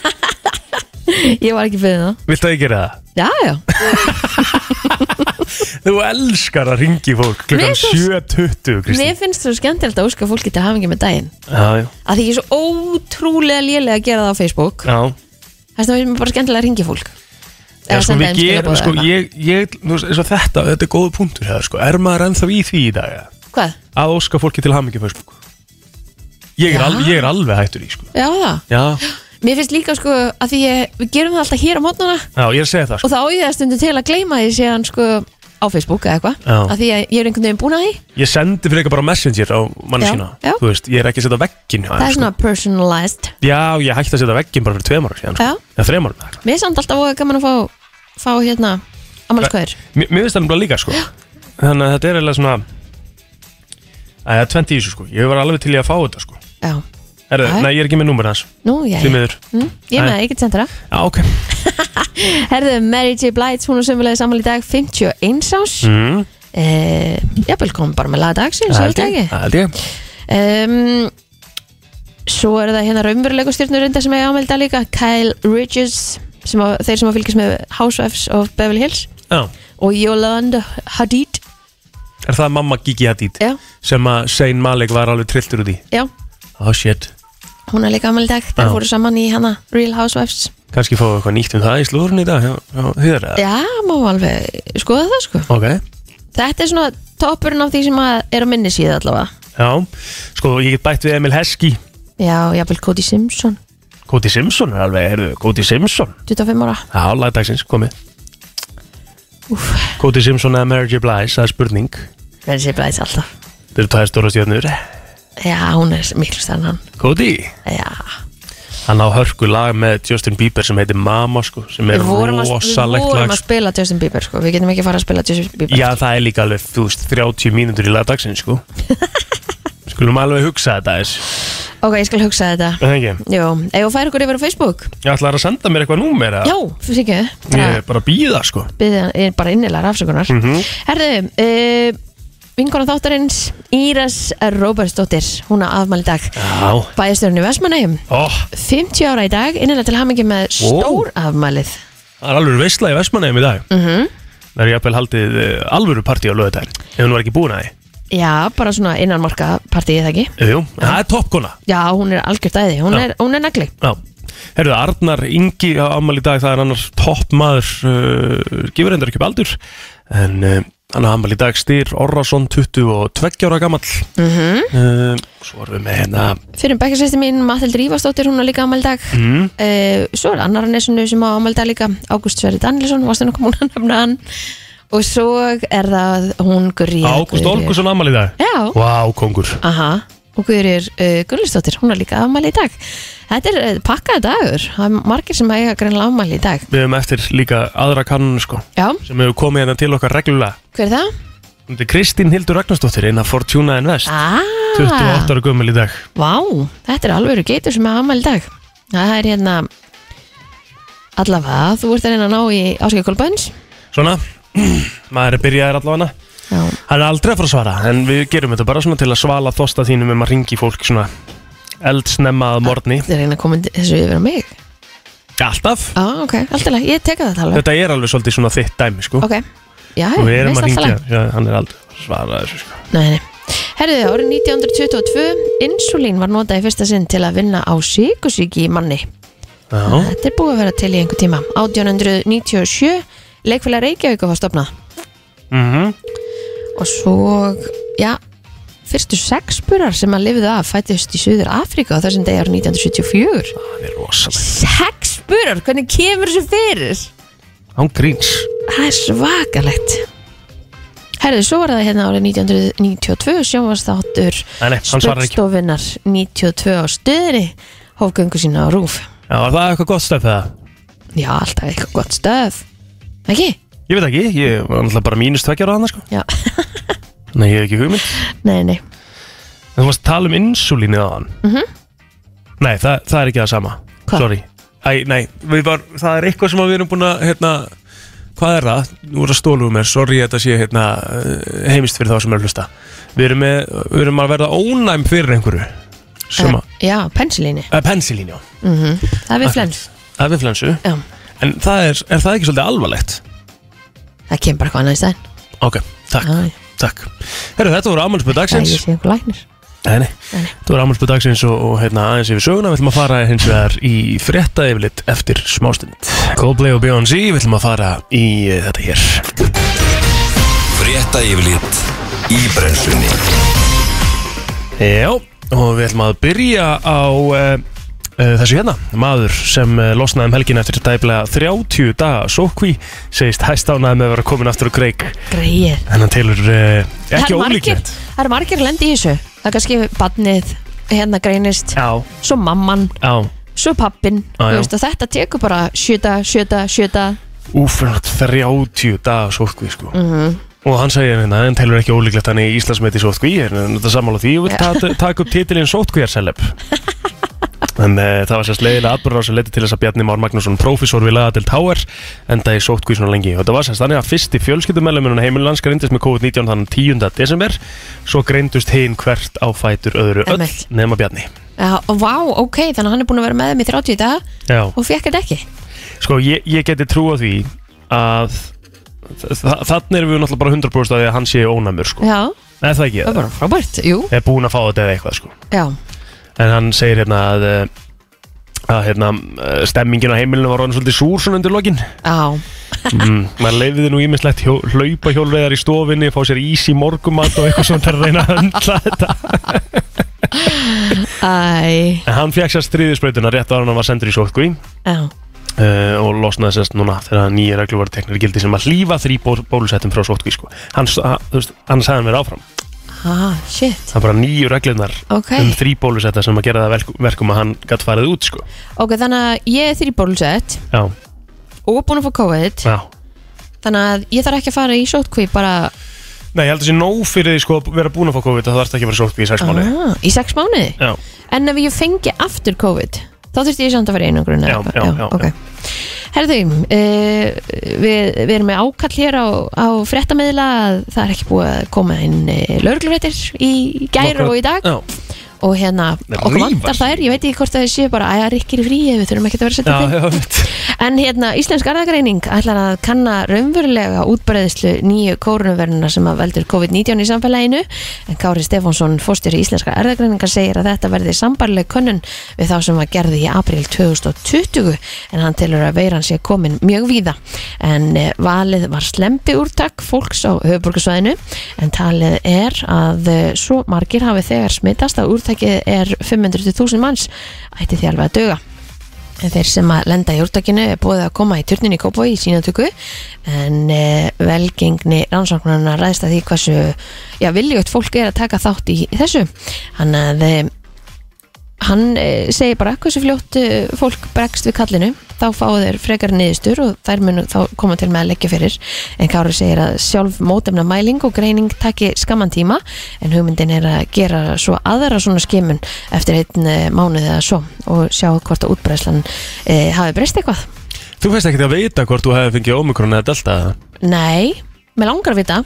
[SPEAKER 2] Ég var ekki fyrir það
[SPEAKER 3] viltu að ég gera það?
[SPEAKER 2] Já, já,
[SPEAKER 3] Þú elskar að ringi fólk klukkan
[SPEAKER 2] Mér finnst-
[SPEAKER 3] 7.20 Kristín
[SPEAKER 2] mér finnst þú skemmtilegt að óska fólki til hafingi með daginn
[SPEAKER 3] Já, já,
[SPEAKER 2] að því ég er svo ótrúlega lélega að gera það á Facebook
[SPEAKER 3] já
[SPEAKER 2] þess að við erum bara skemmtilega að ringja fólk
[SPEAKER 3] Já,
[SPEAKER 2] Eða
[SPEAKER 3] sko,
[SPEAKER 2] senda
[SPEAKER 3] við
[SPEAKER 2] þeim
[SPEAKER 3] gerum,
[SPEAKER 2] skilaboð
[SPEAKER 3] sko,
[SPEAKER 2] eða eitthvað.
[SPEAKER 3] ég, ég, þú veist, eins og þetta, þetta er góð punktur, hefða, sko, er maður ennþá í því í dag, ja?
[SPEAKER 2] Hvað?
[SPEAKER 3] að óska fólki til hamingi Facebook? Ég er,
[SPEAKER 2] Já.
[SPEAKER 3] alveg, ég er alveg hættur í, sko.
[SPEAKER 2] Já, það
[SPEAKER 3] Já,
[SPEAKER 2] Mér finnst líka sko að því ég, við gerum það alltaf hér á mótnana
[SPEAKER 3] já, ég er að segja það,
[SPEAKER 2] og
[SPEAKER 3] sko.
[SPEAKER 2] þá á ég það stundum til að gleyma því séðan sko á Facebook eða eitthvað
[SPEAKER 3] Já.
[SPEAKER 2] að því að ég er einhvern veginn búin að því
[SPEAKER 3] Ég sendi fyrir eitthvað bara messenger á manni
[SPEAKER 2] Já,
[SPEAKER 3] sína,
[SPEAKER 2] já.
[SPEAKER 3] þú veist, ég er ekki að setja veggin hjá
[SPEAKER 2] Það
[SPEAKER 3] þeim,
[SPEAKER 2] er svona personalized
[SPEAKER 3] sko. Já, ég hætti að setja veggin bara fyrir tveim ára síðan,
[SPEAKER 2] Já.
[SPEAKER 3] sko. Já, þreim ára,
[SPEAKER 2] Mér er samt alltaf voða gaman að fá, fá hérna amalskvæður
[SPEAKER 3] Mér mér finnst það nefnilega líka sko Þannig að þetta er eiginlega svona Æ, Það er tvent í þessu sko Ég var alveg til ég að fá þetta sko
[SPEAKER 2] Já,
[SPEAKER 3] Herðu,
[SPEAKER 2] Æ.
[SPEAKER 3] Nei, ég er ekki með númer hans
[SPEAKER 2] nú, já,
[SPEAKER 3] Því miður
[SPEAKER 2] Mm, Ég er með,
[SPEAKER 3] Nei.
[SPEAKER 2] það, ég get sendt þér það
[SPEAKER 3] Já, ok
[SPEAKER 2] Herðu, Mary J. Blight, hún er sömulegði saman í dag 51 árs
[SPEAKER 3] mm,
[SPEAKER 2] Eh, Jafnvel kom bara með
[SPEAKER 3] það
[SPEAKER 2] lagdagsins, ég
[SPEAKER 3] held
[SPEAKER 2] veit ekki
[SPEAKER 3] ég, það held ég
[SPEAKER 2] um, Svo eru það hérna raunveruleiku stjórnur enda sem ég ámelda líka Kyle Ridges sem að, þeir sem að fylgjast með Housewives of Beverly Hills
[SPEAKER 3] Já,
[SPEAKER 2] og Yolanda Hadid
[SPEAKER 3] er það mamma Gigi Hadid
[SPEAKER 2] Já,
[SPEAKER 3] Sem að Sein Malik var alveg trilltur út í
[SPEAKER 2] já,
[SPEAKER 3] Oh shit
[SPEAKER 2] hún er líka ámelda þeir
[SPEAKER 3] Já.
[SPEAKER 2] fóru saman í hana Real Housewives
[SPEAKER 3] Kanski fáum við eitthvað nýtt um það í slúðurinn í dag Já, já þið er það
[SPEAKER 2] Já, má alveg skoða það sko
[SPEAKER 3] Ok
[SPEAKER 2] Þetta er svona toppurinn af því sem að er á minni síða allavega
[SPEAKER 3] Já, sko ég get bætt við Emil Heskey
[SPEAKER 2] Já, jafnvel Cody Simpson
[SPEAKER 3] Cody Simpson er alveg, heyrðu, Cody Simpson
[SPEAKER 2] 25 ára
[SPEAKER 3] Já, lagdagsins, komið
[SPEAKER 2] Úf,
[SPEAKER 3] Cody Simpson eða Mary J. Blige, það er spurning
[SPEAKER 2] verður sér blæðis alltaf
[SPEAKER 3] Þetta eru tvær stóra stjórnur
[SPEAKER 2] Já, hún er miklu stærn en hann
[SPEAKER 3] Cody
[SPEAKER 2] Já
[SPEAKER 3] Hann á hörku lag með Justin Bieber sem heitir Mama sko, sem er
[SPEAKER 2] Við vorum, að, við
[SPEAKER 3] rosalegt
[SPEAKER 2] vorum
[SPEAKER 3] lag
[SPEAKER 2] að
[SPEAKER 3] sko.
[SPEAKER 2] spila Justin Bieber sko. Við getum ekki fara að spila Justin Bieber
[SPEAKER 3] Já, það er líka alveg, þú veist, 30 mínútur í lagdagsins sko Skulum alveg hugsa þetta þess
[SPEAKER 2] Ok, ég skal hugsa þetta
[SPEAKER 3] Það ekki,
[SPEAKER 2] Jó, ef þú færi ykkur yfir á Facebook
[SPEAKER 3] ég ætlar að senda mér eitthvað númer eða?
[SPEAKER 2] Já, fyrir ekki
[SPEAKER 3] Ég
[SPEAKER 2] Bara,
[SPEAKER 3] er bara að býða sko
[SPEAKER 2] yeah. ég er bara innilega rafsökunar mm
[SPEAKER 3] Mhm.
[SPEAKER 2] -hmm. Herðu, uh, vinkona þáttarins Íras Róbertsdóttir Hún á afmæli í dag
[SPEAKER 3] Já,
[SPEAKER 2] Bæjastörn í Vestmannegjum
[SPEAKER 3] ó,
[SPEAKER 2] 50 ára í dag, innilega til hamingi með stór afmælið
[SPEAKER 3] það er alveg veistla í Vestmanneum í dag mm -hmm. Það er jafnvel haldið eh, alvöru partí á lögutæri Ef hún var ekki búin að því
[SPEAKER 2] Já, bara svona innanmarka partíið það ekki
[SPEAKER 3] Jú, Jú, það er toppkona
[SPEAKER 2] Já, hún er algjört æði, hún,
[SPEAKER 3] Já.
[SPEAKER 2] er, hún er nagli
[SPEAKER 3] Já, herruðu, Arnar Ingi á ammali í dag, það er annars topp maður, uh, gefur hendur ekki upp aldur, en uh, hann á ammali í dag Styr Orrason, 22 ára gamall. Mm svo erum við með hérna,
[SPEAKER 2] Fyrir um bekkjarsæsti mín, Mathildur Ívarsdóttir, hún á líka ámaldag mm.
[SPEAKER 3] Mhm.
[SPEAKER 2] Svo er annar að nesunu sem á ámaldag líka Ágúst Sverri Danielsson, varstu nokkuð múin að nefna hann Og svo er það hún Gurri
[SPEAKER 3] Ágúst Olgusson ammali í dag.
[SPEAKER 2] Já,
[SPEAKER 3] Vá, kongur.
[SPEAKER 2] aha og Guðurir uh, Gullustóttir, hún er líka afmæli í dag þetta er uh, pakkaði dagur það er margir sem eiga greinlega afmæli í dag
[SPEAKER 3] Við höfum eftir líka aðra kannun sko
[SPEAKER 2] já,
[SPEAKER 3] sem hefur komið hérna til okkar reglulega
[SPEAKER 2] hver er það?
[SPEAKER 3] Þetta er Kristín Hildur Ragnarsdóttir inn að Fortuna Invest
[SPEAKER 2] Ah,
[SPEAKER 3] 28 ára gömul í dag
[SPEAKER 2] vá, þetta er alveg geitur sem er afmæli í dag það er hérna allavega, þú ert að reyna að ná í áskjökulböns
[SPEAKER 3] Svona, maður er byrjaðir allavega
[SPEAKER 2] já,
[SPEAKER 3] Hann er aldrei að fara að svara en við gerum þetta bara svona til að svala þosta þínum um að ringi fólk svona eldsnemma að morgni
[SPEAKER 2] þetta er reyna að koma þessu yfir á mig
[SPEAKER 3] Alltaf
[SPEAKER 2] já, ok, allt í lagi, ég teka þetta alveg
[SPEAKER 3] Þetta er alveg svolítið svona þitt dæmi sko
[SPEAKER 2] ok, já,
[SPEAKER 3] Og við erum
[SPEAKER 2] veist
[SPEAKER 3] að
[SPEAKER 2] allt í lagi.
[SPEAKER 3] ringja Já, hann er aldrei að svara þessu sko
[SPEAKER 2] Nei, nei. Herðu, árið 1922 insúlín var notað í fyrsta sinn til að vinna á sykusíki í manni.
[SPEAKER 3] Já,
[SPEAKER 2] Þetta er búið að vera til í einhver tíma. 1897 leikfélag Reykjavík var stopnað
[SPEAKER 3] mhm
[SPEAKER 2] og svo, já, fyrstu sexburar sem að lifðu af fættist í Suður Afríka á þessum degi árið 1974.
[SPEAKER 3] Það er rosalega
[SPEAKER 2] Sexburar, hvernig kemur þessu fyrir?
[SPEAKER 3] Án gríns
[SPEAKER 2] Það er svakalegt. Herðu, svo var það hérna árið 1992 sjónvastáttur
[SPEAKER 3] Nei, nei, hann svarar ekki
[SPEAKER 2] Spöldstofinnar 92 á stöðri hófgöngu sína á rúf
[SPEAKER 3] Já, var það eitthvað gott stöf það?
[SPEAKER 2] Já, alltaf eitthvað gott stöð Ekki?
[SPEAKER 3] Ég veit ekki, ég var náttúrulega bara mínus tveggjar á hann sko
[SPEAKER 2] Já,
[SPEAKER 3] Nei, ég hef ekki hugmynd
[SPEAKER 2] nei, nei
[SPEAKER 3] En þú varst að tala um insulínið á hann mm -hmm. Nei, það, það er ekki það sama
[SPEAKER 2] Mhm. Hvað?
[SPEAKER 3] Sorry Æ, nei, við var, það er eitthvað sem við erum búin að, hérna Hvað er það? Nú er það stóluð mér, sorry þetta sé, hérna, eh, heimist fyrir þá sem er að hlusta Við erum, með, við erum að verða ónæm fyrir einhverju Sem að,
[SPEAKER 2] Eh, Já, pensilíni,
[SPEAKER 3] að pensilín, já
[SPEAKER 2] það er við flens
[SPEAKER 3] Það er influensu
[SPEAKER 2] Já,
[SPEAKER 3] En það er, er það ekki svolítið alvarlegt?
[SPEAKER 2] það kemur bara eitthvað annað í stæðin
[SPEAKER 3] Ok, takk,
[SPEAKER 2] Já, já.
[SPEAKER 3] takk Herru, þetta voru ámælspöð
[SPEAKER 2] Það er
[SPEAKER 3] dagsins
[SPEAKER 2] ég sé einhver læknir
[SPEAKER 3] Nei, nei,
[SPEAKER 2] Nei, nei.
[SPEAKER 3] þetta voru ámælspöð dagsins og, og hérna, aðeins yfir söguna Við ætlum að fara hins vegar í frétta yfirlit eftir smástund Coldplay og Beyoncé, við ætlum að fara í eh, þetta hér
[SPEAKER 1] Frétta yfirlit í brennslunni
[SPEAKER 3] Já, og við ætlum að byrja á uh, uh, þessu hérna Maður sem uh, losnaði um helgin eftir dæblega 30 daga sókví Segist hæst ánæði með að vera komin aftur á kreik
[SPEAKER 2] Greið
[SPEAKER 3] En hann telur uh,
[SPEAKER 2] Það
[SPEAKER 3] ekki
[SPEAKER 2] eru margir,
[SPEAKER 3] ólíklegt
[SPEAKER 2] það eru margir lendi í þessu Það er kannski badnið, hérna greinist
[SPEAKER 3] Já,
[SPEAKER 2] Svo mamman,
[SPEAKER 3] já
[SPEAKER 2] svo pappin
[SPEAKER 3] Já, já.
[SPEAKER 2] Þetta tekur bara sjöta, sjöta, sjöta
[SPEAKER 3] Úf, hann átt 30 daga sótkví sko. og hann segir hérna hann telur ekki ólíklegt að hann er í Íslandsmeiti sótkví en hann er þetta sammála því og vil ta taka upp titilinn sótkvíarseleb en e, það var sérst leiðilega atbúrðar sem leiti til þess að Bjarni Már Magnússon prófessor við laða til Táer enda í sótkví svona lengi og þetta var sérst þannig að fyrsti fjölskyldumellum heimilans greindist með COVID-19 þann 10. desember svo greindust hinn hvert á fætur öðru öll
[SPEAKER 2] Einmitt.
[SPEAKER 3] nema Bjarni
[SPEAKER 2] Já, og vá, ok, þannig að hann er búin að vera með þeim í 30 dag
[SPEAKER 3] Já.
[SPEAKER 2] og fekk þetta ekki
[SPEAKER 3] Sko, ég, ég geti trú á því að þa- þa- þannig erum við náttúrulega bara 100% að því að hann sé ónæmur, sko.
[SPEAKER 2] Já,
[SPEAKER 3] Nei, það ekki
[SPEAKER 2] það er
[SPEAKER 3] það.
[SPEAKER 2] bara frábært, jú
[SPEAKER 3] Er búin að fá þetta eða eitthvað, sko.
[SPEAKER 2] Já,
[SPEAKER 3] En hann segir hérna að, eh, að hérna, eh, stemmingin á heimilinu var orðin svolítið súr svona undir lokin.
[SPEAKER 2] já, Mhm.
[SPEAKER 3] Mm, maður leiðið nú ímislegt hjó, hlaupa hjólveðar í stofinni, fá sér ís í morgumat og eitthvað svona til að reyna að höndla þetta.
[SPEAKER 2] æ,
[SPEAKER 3] En hann fekk sér stríðisbreytuna rétt ára hann var sendur í sótkví.
[SPEAKER 2] já
[SPEAKER 3] uh, og losnaði sérst núna þegar nýja reglur voru teknir í gildi sem að hlýfa þrý ból, bólusettum frá sótkví sko. hann, s- að- þú veist, hann sagði hann verið áfram
[SPEAKER 2] Ah, shit,
[SPEAKER 3] það er bara nýju reglurnar
[SPEAKER 2] ok
[SPEAKER 3] um þrý bólusetta sem að gera það verk, verkum að hann gætt farið út sko.
[SPEAKER 2] Ok, þannig að ég er þrý bólusett
[SPEAKER 3] já,
[SPEAKER 2] og búin að fá COVID
[SPEAKER 3] já.
[SPEAKER 2] Þannig að ég þarf ekki að fara í sótkví bara
[SPEAKER 3] Nei, ég held að sé nóg fyrir því sko, að vera búin að fá COVID það þarf ekki að vera sótkví í sex mánu
[SPEAKER 2] ah, í sex mánuði
[SPEAKER 3] já,
[SPEAKER 2] En ef ég fengi aftur COVID þá þurfti ég samt að fara í einangrun
[SPEAKER 3] Já,
[SPEAKER 2] eða eitthvað.
[SPEAKER 3] já, já,
[SPEAKER 2] ok. Herðu, uh, við, við erum með ákall hér á, á fréttamiðla að það er ekki búið að koma inn uh, lögreglufréttir í gær og í dag
[SPEAKER 3] já.
[SPEAKER 2] og hérna,
[SPEAKER 3] Nei,
[SPEAKER 2] okkur
[SPEAKER 3] rífast.
[SPEAKER 2] vantar þær ég veit ekki hvort það séu bara, æja, rikkir í fríi við þurfum ekki að vera að
[SPEAKER 3] Já,
[SPEAKER 2] setja
[SPEAKER 3] já, veit.
[SPEAKER 2] þeim en hérna, Íslensk Arðagreining ætlar að kanna raunverulega útbreiðslu nýju kórunverðina sem að veldur COVID-19 í samfélaginu en Kári Stefánsson, fórstjóri Íslenska Arðagreiningar segir að þetta verði sambarleg könnun við þá sem að gerði í april 2020 en hann telur að veiran sé komin mjög víða en eh, valið var slempi úrtak fólks á höfuborgarsvæðinu en talið er að eh, svo margir hafi þegar smittast að úrtakið er 500.000 manns ætti því alveg að döga En Eh, þeir sem að lenda í úrtakinu er búið að koma í turnin í Kópói í sínatöku en e, velgengni rannsóknarna ræðist að því hversu já, viljögt fólk er að taka þátt í þessu hann að e, hann e, segir bara hversu fljótt e, fólk bregst við kallinu þá fá þeir frekar niðurstur og þær munu þá koma til með að leggja fyrir en Kári segir að sjálf mótemna mæling og greining taki skamman tíma en hugmyndin er að gera svo aðra svona skimun eftir einn eh, mánuð eða svo og sjá hvort að útbreyslan e, hafi breyst eitthvað.
[SPEAKER 3] Þú veist ekkert að vita hvort þú hefði fengið ómikrón eða delta
[SPEAKER 2] Nei, með langar að vita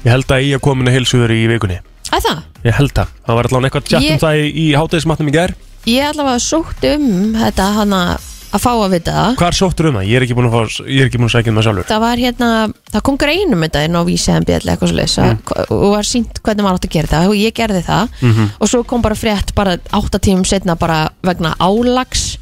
[SPEAKER 3] Ég held að ég er komin að heilsuður í vikunni
[SPEAKER 2] að það,
[SPEAKER 3] Ég held það, það var allavega eitthvað tjátt um
[SPEAKER 2] Ég-
[SPEAKER 3] það í, í hátegismatnum í gær
[SPEAKER 2] ég allavega sótt um þetta hana að fá að vita það
[SPEAKER 3] Hvar sóttur um það? Ég er ekki búin að, fá, ég er ekki búin að sækja um það sjálfur
[SPEAKER 2] það var hérna, það kom greinum þetta inn á vísi en bjall eitthvað svo leys
[SPEAKER 3] Mm.
[SPEAKER 2] og var sínt hvernig maður átt að gera það og ég gerði það
[SPEAKER 3] Mhm.
[SPEAKER 2] og svo kom bara frétt bara áttatímum setna bara vegna álags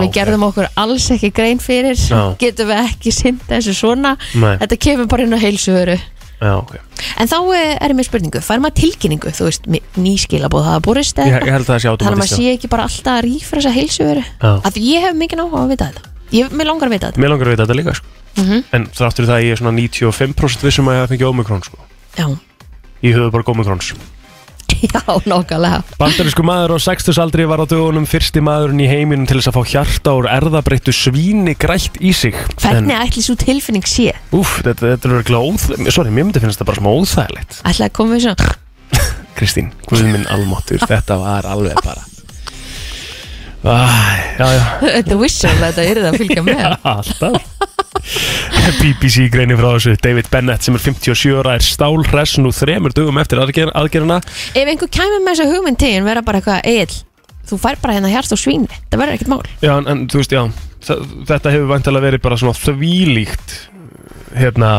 [SPEAKER 3] Á,
[SPEAKER 2] við
[SPEAKER 3] Ah, ok.
[SPEAKER 2] gerðum okkur alls ekki grein fyrir
[SPEAKER 3] Já.
[SPEAKER 2] getum við ekki sint þessu svona
[SPEAKER 3] Nei.
[SPEAKER 2] þetta kemur bara inn á heilsuveru
[SPEAKER 3] Já, ok
[SPEAKER 2] en þá eh, er ég með spurningu, fær maður tilkynningu þú veist, mi- ný skilabóð hafa borist eða
[SPEAKER 3] Ég,
[SPEAKER 2] eitthvað?
[SPEAKER 3] ég held að það sé
[SPEAKER 2] Þannig um að maður
[SPEAKER 3] automatist
[SPEAKER 2] sé ekki bara alltaf að rífra þessa heilsuveru
[SPEAKER 3] Já.
[SPEAKER 2] Af því ég hef mikið náhuga að vita þetta Ég, mér langar að vita þetta
[SPEAKER 3] Mér langar að vita þetta líka sko.
[SPEAKER 2] Mhm.
[SPEAKER 3] En þáttur það að ég er svona 95% vissum að ég hef fengið ómikrón sko.
[SPEAKER 2] Já,
[SPEAKER 3] Ég höfðu bara ómikrons
[SPEAKER 2] já, nokkulega
[SPEAKER 3] Bandarísku maður á 60 aldri var á dögunum fyrsti maðurinn í heiminum til þess að fá hjarta úr erðabreittu svíni grætt í sig
[SPEAKER 2] Hvernig ætli svo tilfinning sé?
[SPEAKER 3] En, úf, þetta, þetta er verið óð Sorry, mér myndi finnst þetta bara smá óþægilegt
[SPEAKER 2] Ætla að koma við svona
[SPEAKER 3] Kristín, guð minn almáttur Þetta var alveg bara Æ, já, já
[SPEAKER 2] Þetta whistle, þetta er það að fylgja með
[SPEAKER 3] Alltaf BBC greinir frá þessu David Bennett sem er 57 ára er stálhress nú þremur dögum eftir aðger- aðgerðina
[SPEAKER 2] Ef einhver kæmi með þessa hugmynd til en vera bara eitthvað Egil, þú fær bara hérna hjarst og svíni Það verður ekkert mál
[SPEAKER 3] Já, en, en þú veist, já þa- Þetta hefur vantilega verið bara svona þvílíkt Hérna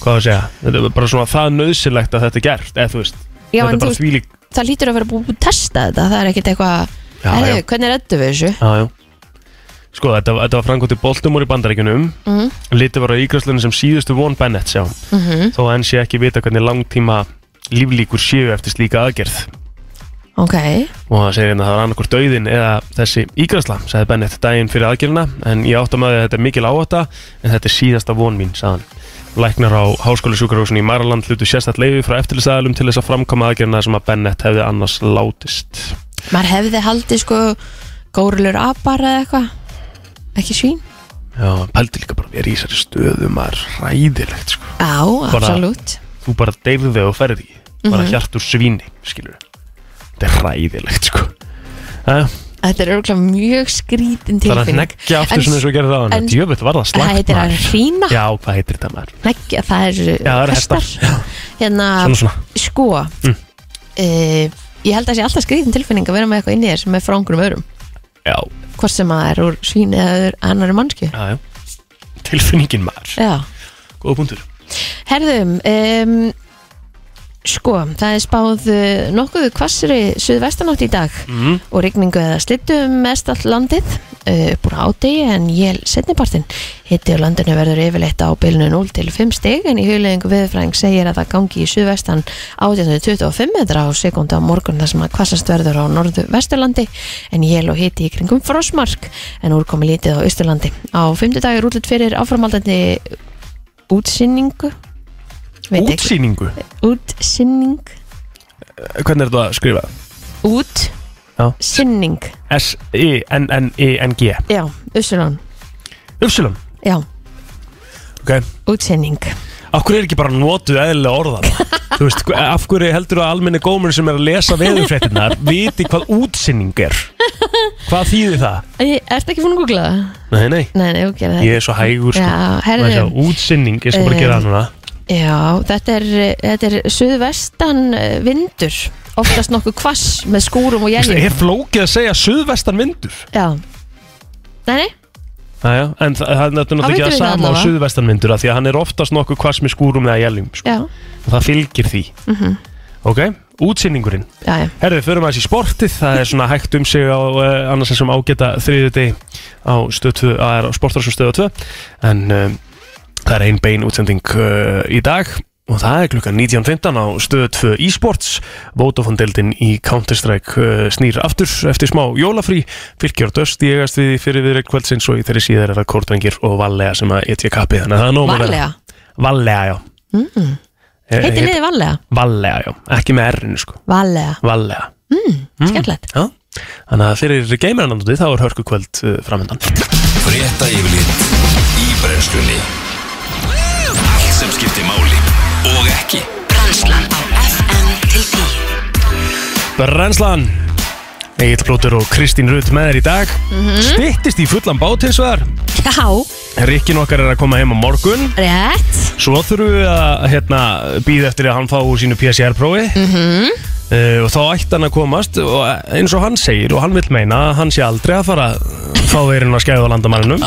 [SPEAKER 3] Hvað á að segja Þetta er bara svona það nöðsilegt að þetta er gert Eða þú veist
[SPEAKER 2] Já,
[SPEAKER 3] Þetta
[SPEAKER 2] en
[SPEAKER 3] er
[SPEAKER 2] þú
[SPEAKER 3] bara
[SPEAKER 2] veist,
[SPEAKER 3] þvílíkt
[SPEAKER 2] það lítur að vera búið að testa þetta Það er ekkert eitthvað,
[SPEAKER 3] Já,
[SPEAKER 2] herðu,
[SPEAKER 3] já.
[SPEAKER 2] hvernig rættu við þessu?
[SPEAKER 3] Já, já Sko, þetta, þetta var framkvæmt í Baltimore í bandaríkunum
[SPEAKER 2] Mhm.
[SPEAKER 3] Litið var á ígræslunum sem síðustu von Bennett sjá
[SPEAKER 2] Mhm.
[SPEAKER 3] Þó að enn sé ekki vita hvernig langtíma líflíkur séu eftir slíka aðgerð
[SPEAKER 2] Ok,
[SPEAKER 3] og það segir hérna að það var annarkur döiðin eða þessi ígræsla, sagði Bennett daginn fyrir aðgerðina en ég átta með að þetta er mikil áhætta en þetta er síðasta von mín, sagði hann Læknar á háskólusjúkarhúsin í Maraland hlutu sérstætt leiði frá eftirlisæðalum til þess að framkoma aðgerðina sem að Bennett hefði annars látist
[SPEAKER 2] maður hefði haldið sko Górulur apar eða eitthvað Ekki svín?
[SPEAKER 3] Já, pældi líka bara verið í þessari stöðu maður ræðilegt sko
[SPEAKER 2] Já, absolutt
[SPEAKER 3] Þú bara deyrði og ferði bara mm
[SPEAKER 2] Mhm.
[SPEAKER 3] -hmm. hjart úr svíni, skilur Þetta er ræðilegt sko Eh, Æ,
[SPEAKER 2] Þetta er örgulega mjög skrítin
[SPEAKER 3] Það er að
[SPEAKER 2] tilfinning
[SPEAKER 3] neggja aftur
[SPEAKER 2] En-
[SPEAKER 3] svona eins og gerði það
[SPEAKER 2] en-
[SPEAKER 3] hann Djöfitt var það
[SPEAKER 2] Það
[SPEAKER 3] slagt
[SPEAKER 2] heitir að hrína
[SPEAKER 3] Já, hvað heitir þetta maður?
[SPEAKER 2] Neggja, það er
[SPEAKER 3] Já, það eru hestar.
[SPEAKER 2] Hérna,
[SPEAKER 3] Svona svona
[SPEAKER 2] sko eh, Ég held að það sé alltaf skrítin tilfinning að vera með eitthvað inn í þér sem er frá einhverjum öðrum
[SPEAKER 3] Já,
[SPEAKER 2] Hvort sem að það er úr svín eða öður annari mannsku
[SPEAKER 3] já, já Tilfinningin maður
[SPEAKER 2] Já,
[SPEAKER 3] Góða punktur
[SPEAKER 2] herðum um, Sko, það er spáð eh, nokkuð hvassri suðvestanátt í dag
[SPEAKER 3] mm.
[SPEAKER 2] og rigningu eða slittu um mest allt landið eh, upp úr ádegi en jél setnipartin. Hitti á landinu verður yfirleitt á bylnu 0 til 5 stig en í hugleðingu viðfræðing segir að það gangi í suðvestan 18-25 metra á sekundu á morgun þar sem að hvassast verður á norðu vesturlandi en jél og hitti í kringum frosmark en úrkomi lítið á austurlandi. Á 5. dag er útlut fyrir áframaldandi útsinningu Veit ekki.
[SPEAKER 3] Útsýningu
[SPEAKER 2] útsinning
[SPEAKER 3] Hvernig er þetta að skrifa? Já.
[SPEAKER 2] útsinning
[SPEAKER 3] S-I-N-N-I-N-G
[SPEAKER 2] já, Össurlón,
[SPEAKER 3] Upsilon
[SPEAKER 2] já
[SPEAKER 3] Ok
[SPEAKER 2] útsinning
[SPEAKER 3] Af hverju er ekki bara notuð eðlilega orðan? þú veist, hva- af hverju heldur að almenni gómur sem er að lesa veðurfréttinnar viti hvað útsinning er? Hvað þýðir það?
[SPEAKER 2] Æ, Ertu ekki búin að googla það?
[SPEAKER 3] Nei, nei,
[SPEAKER 2] Nei, nei, ok, það
[SPEAKER 3] ég er svo hægur sko.
[SPEAKER 2] Eh, Já,
[SPEAKER 3] Maður sjá,
[SPEAKER 2] herðu,
[SPEAKER 3] Útsinning, ég skal bara
[SPEAKER 2] Eh,
[SPEAKER 3] gera það núna
[SPEAKER 2] já, þetta er, eh, þetta er suðvestan eh, vindur Oftast nokkuð kvass með skúrum og
[SPEAKER 3] Þú veist,
[SPEAKER 2] jæljum
[SPEAKER 3] Er flókið að segja suðvestan vindur?
[SPEAKER 2] Já Nei, nei,
[SPEAKER 3] Jæja, en þa- það er náttúrulega
[SPEAKER 2] vitum
[SPEAKER 3] ekki
[SPEAKER 2] við
[SPEAKER 3] að
[SPEAKER 2] það
[SPEAKER 3] sama á
[SPEAKER 2] allavega.
[SPEAKER 3] suðvestanvindur af því að hann er oftast nokkuð hvers með skúrum eða jæljum sko.
[SPEAKER 2] já,
[SPEAKER 3] og það fylgir því ok, útsinningurinn
[SPEAKER 2] já, já
[SPEAKER 3] herðu, förum aðeins í sportið, það er svona hægt um sig á uh, annars þessum ágæta þriðið deg á, Stöð 2, eh, á sportarsum stöðu 2 en um, það er ein bein útsending uh, í dag Og það er klukkan 19.15 á stöðu 2 e-sports. Vótafondildin í Counter-Strike uh, snýr aftur eftir smá jólafrí. Fylgjör döst í eigast við í fyrir viðreik kvöldsins og í þeirri síðar er það Kortvengir og Vallega sem að etja kappi. Þannig að það er nóg um að vera.
[SPEAKER 2] Vallega
[SPEAKER 3] Vallega, já. Mm.
[SPEAKER 2] Heitir liðið Vallega?
[SPEAKER 3] Vallega, já. Ekki með R-inu, sko.
[SPEAKER 2] Vallega,
[SPEAKER 3] Vallega. Mm.
[SPEAKER 2] skemmtilegt
[SPEAKER 3] Já. Þannig að fyrir geimirannandi þá er hörku kvöld uh, framöndan.
[SPEAKER 1] Frétta yfirlit í brennslunni Allt sem skiptir máli og ekki
[SPEAKER 4] Brænslan á FM til 10
[SPEAKER 3] Brennslan Egil Blótur og Kristín Rutt með þér í dag Styttist í fullan bát hins vegar
[SPEAKER 2] Já,
[SPEAKER 3] Rikkin okkar er að koma heim á morgun
[SPEAKER 2] rétt
[SPEAKER 3] Svo þurfum við að hérna, býða eftir að hann fá úr sínu PCR-prófi -hmm.
[SPEAKER 2] Mhm.
[SPEAKER 3] uh, Og þá ætti hann að komast og eins og hann segir og hann vil meina að hann sé aldrei að fara að fá veirinn að skæða á landamanninum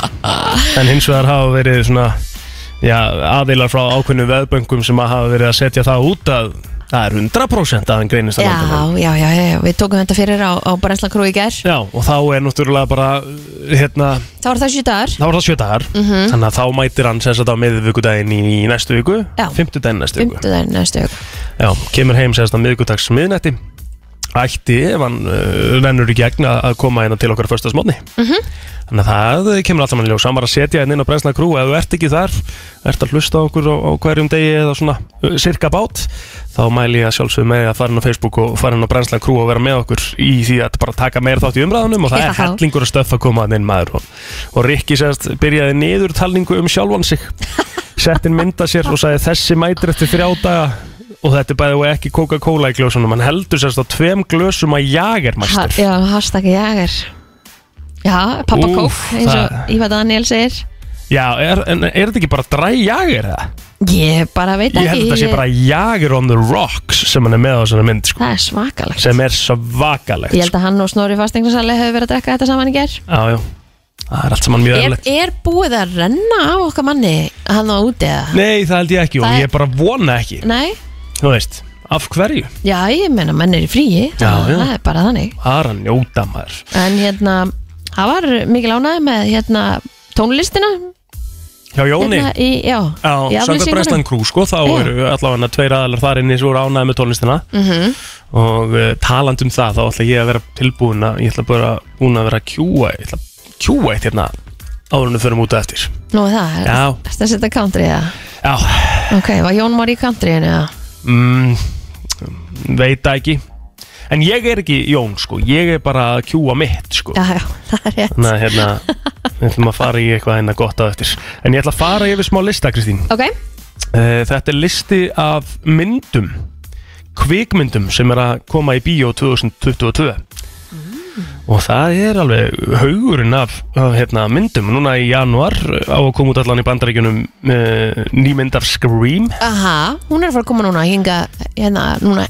[SPEAKER 3] En hins vegar hafa verið svona já, aðilar frá ákveðnum veðböngum sem að hafa verið að setja það út að það er 100% að hann greinist að
[SPEAKER 2] Já,
[SPEAKER 3] landamanninum
[SPEAKER 2] já, já, já, já, við tókum þetta fyrir á, á Brænslan Krú í gær
[SPEAKER 3] Já, og þá er náttúrulega bara, hérna,
[SPEAKER 2] Það var það sjö dagar
[SPEAKER 3] þá er það sjö dagar
[SPEAKER 2] Mhm.
[SPEAKER 3] Þannig að þá mætir hann sem sagt á miðvikudaginn í, í næstu viku
[SPEAKER 2] Já.
[SPEAKER 3] Fimmtudaginn næstu viku
[SPEAKER 2] Fymtudaginn næstu viku.
[SPEAKER 3] Já, kemur heim sem sagt á miðvikudags miðnætti Ætti, ef hann uh, rennur í gegn að að koma hérna til okkar föstasmótni mm Þannig að það eh, kemur allt saman í ljós Hann var að setja hérna inn á brensna krú Ef þú ert ekki þar, ert að hlusta á okkur á, á hverjum degi eða svona uh, sirka bát Þá mæli ég að sjálfsögum með að fara inn á Facebook og fara inn á brensna krú og vera með okkur í því að bara taka meira þátt í umræðunum og það er
[SPEAKER 2] Já.
[SPEAKER 3] hellingur að stöffa að koma hann inn maður og, og Rikki sérst byrjaði niðurtalningu um sjálfan sig sett inn mynda sér og sagði þessi mætir eftir þrjá daga og þetta er bæðið og ekki Coca-Cola í glösunum hann heldur sérst á tveim glösum að
[SPEAKER 2] Ha,
[SPEAKER 3] jagermæstur
[SPEAKER 2] já, hashtag jager Já, pappa
[SPEAKER 3] Úff,
[SPEAKER 2] kók eins og
[SPEAKER 3] það-
[SPEAKER 2] Ívar Daniel segir
[SPEAKER 3] Já, er, en er þetta ekki bara dræ jager það?
[SPEAKER 2] Ég bara veit
[SPEAKER 3] Ég
[SPEAKER 2] ekki
[SPEAKER 3] held að þetta sé bara jager on the rocks sem hann er með á svona mynd sko,
[SPEAKER 2] Það er svakalegt
[SPEAKER 3] sem er svakalegt
[SPEAKER 2] Ég held að hann og Snorri Fastingarsali hefur verið að drekka þetta saman í ger
[SPEAKER 3] sko. Já, já, það er allt saman mjög
[SPEAKER 2] er,
[SPEAKER 3] erlegt
[SPEAKER 2] er búið að renna á okkar manni hann á úti eða?
[SPEAKER 3] Nei, það held ég ekki og
[SPEAKER 2] Það er-
[SPEAKER 3] ég bara vona ekki
[SPEAKER 2] Nei?
[SPEAKER 3] Þú veist, af hverju?
[SPEAKER 2] Já, ég meina menn er í fríi
[SPEAKER 3] Já, já.
[SPEAKER 2] Það er bara þannig
[SPEAKER 3] Það er að njóta maður
[SPEAKER 2] En hérna, það var mikil ánægð með hérna tónlistina
[SPEAKER 3] Hjá Jóni
[SPEAKER 2] hérna, í, Já, í
[SPEAKER 3] Já, samkvæmt
[SPEAKER 2] aflýsingunum.
[SPEAKER 3] Brensland Crew sko, þá
[SPEAKER 2] Já.
[SPEAKER 3] eru allavega tveir aðalar þar inni sem voru ánæði með tónlistina
[SPEAKER 2] Mhm.
[SPEAKER 3] og uh, taland um það, þá ætla ég að vera tilbúin að, ég ætla bara búin að vera að kjúa, ég ætla að kjúa eitt hérna árunum fyrir mútið eftir
[SPEAKER 2] Nú það, er
[SPEAKER 3] Já.
[SPEAKER 2] þetta að setja country eða?
[SPEAKER 3] Já,
[SPEAKER 2] Ok, var Jón Már í countryinu eða?
[SPEAKER 3] mm, veit það ekki En ég er ekki Jón sko, ég er bara að kjúa mitt sko
[SPEAKER 2] Já, já, það er rétt
[SPEAKER 3] Þannig að hérna, við ætlum að fara í eitthvað hérna gott á eftir En ég ætla að fara yfir smá lista Kristín
[SPEAKER 2] Ok,
[SPEAKER 3] Eh, Þetta er listi af myndum kvikmyndum sem er að koma í bíó 2022 og það er alveg haugurinn af, af hérna, myndum núna í januar eh, á að koma út allan í bandaríkjunum uh, nýmynd af Scream
[SPEAKER 2] aha, hún er að fara að koma núna hinga, hérna, núna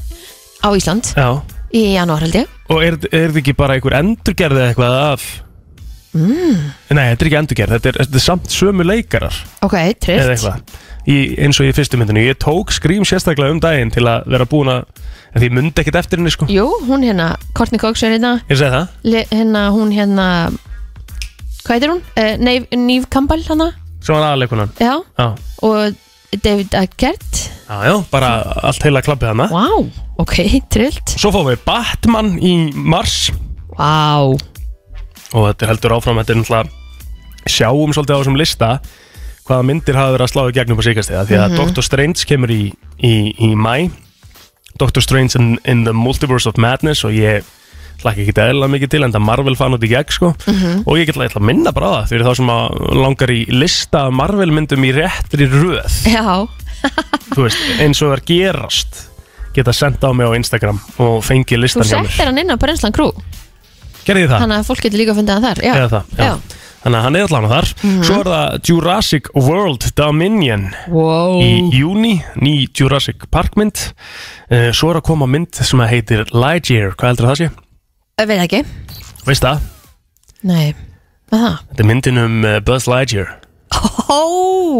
[SPEAKER 2] á Ísland
[SPEAKER 3] Já.
[SPEAKER 2] í janúar held ég
[SPEAKER 3] og er, er þetta ekki bara einhver endurgerð eða eitthvað af mm. nei, þetta er ekki endurgerð þetta er, þetta er samt sömu leikarar
[SPEAKER 2] Ok,
[SPEAKER 3] eða
[SPEAKER 2] trillt
[SPEAKER 3] eitthvað í, eins og í fyrstu myndinu, ég tók Scream sérstaklega um daginn til að vera búin að en því ég myndi ekkert eftir henni sko
[SPEAKER 2] Jú, hún hérna, Courtney Cox er hérna
[SPEAKER 3] Ég segi það
[SPEAKER 2] le- hérna, hún hérna hvað heitir hún? Uh, Neve, Neve Campbell hana,
[SPEAKER 3] sem var aðaleikunan
[SPEAKER 2] já
[SPEAKER 3] Já,
[SPEAKER 2] og David Eckert
[SPEAKER 3] já, já bara allt heila klappið hana
[SPEAKER 2] Vá, ok, trillt
[SPEAKER 3] Svo fáum við Batman í mars
[SPEAKER 2] Vá,
[SPEAKER 3] og þetta er heldur áfram þetta er náttúrulega sjáum svolítið á þessum lista hvaða myndir hafa verið að slá í gegnum á síkastíða því að Doctor Strange kemur í, í, í mæ Doctor Strange in, in the Multiverse of Madness og ég hlakka ekki eðla mikið til en það Marvel fan út í gegn sko og ég ætla, ég ætla að minna bara á það fyrir þá sem að langar í lista af Marvel myndum í réttri röð
[SPEAKER 2] já,
[SPEAKER 3] þú veist, eins og það er gerast geta senda á mig á Instagram og fengi
[SPEAKER 2] þú
[SPEAKER 3] listan hjá mér
[SPEAKER 2] settir hann inn á Brenslan Crew
[SPEAKER 3] gerði ég það,
[SPEAKER 2] þannig að fólk getur líka að funda hann þar Já,
[SPEAKER 3] eða það já.
[SPEAKER 2] já. Mhm.
[SPEAKER 3] þannig að hann er allan þar svo er það Jurassic World Dominion
[SPEAKER 2] Wow.
[SPEAKER 3] í júni, ný Jurassic Park mynd Eh, svo er að koma mynd sem að heitir Lightyear, hvað heldur það sé?
[SPEAKER 2] Ég veit ekki,
[SPEAKER 3] veist það,
[SPEAKER 2] nei Með það?
[SPEAKER 3] þetta er myndin um eh, Buzz Lightyear
[SPEAKER 2] Ó,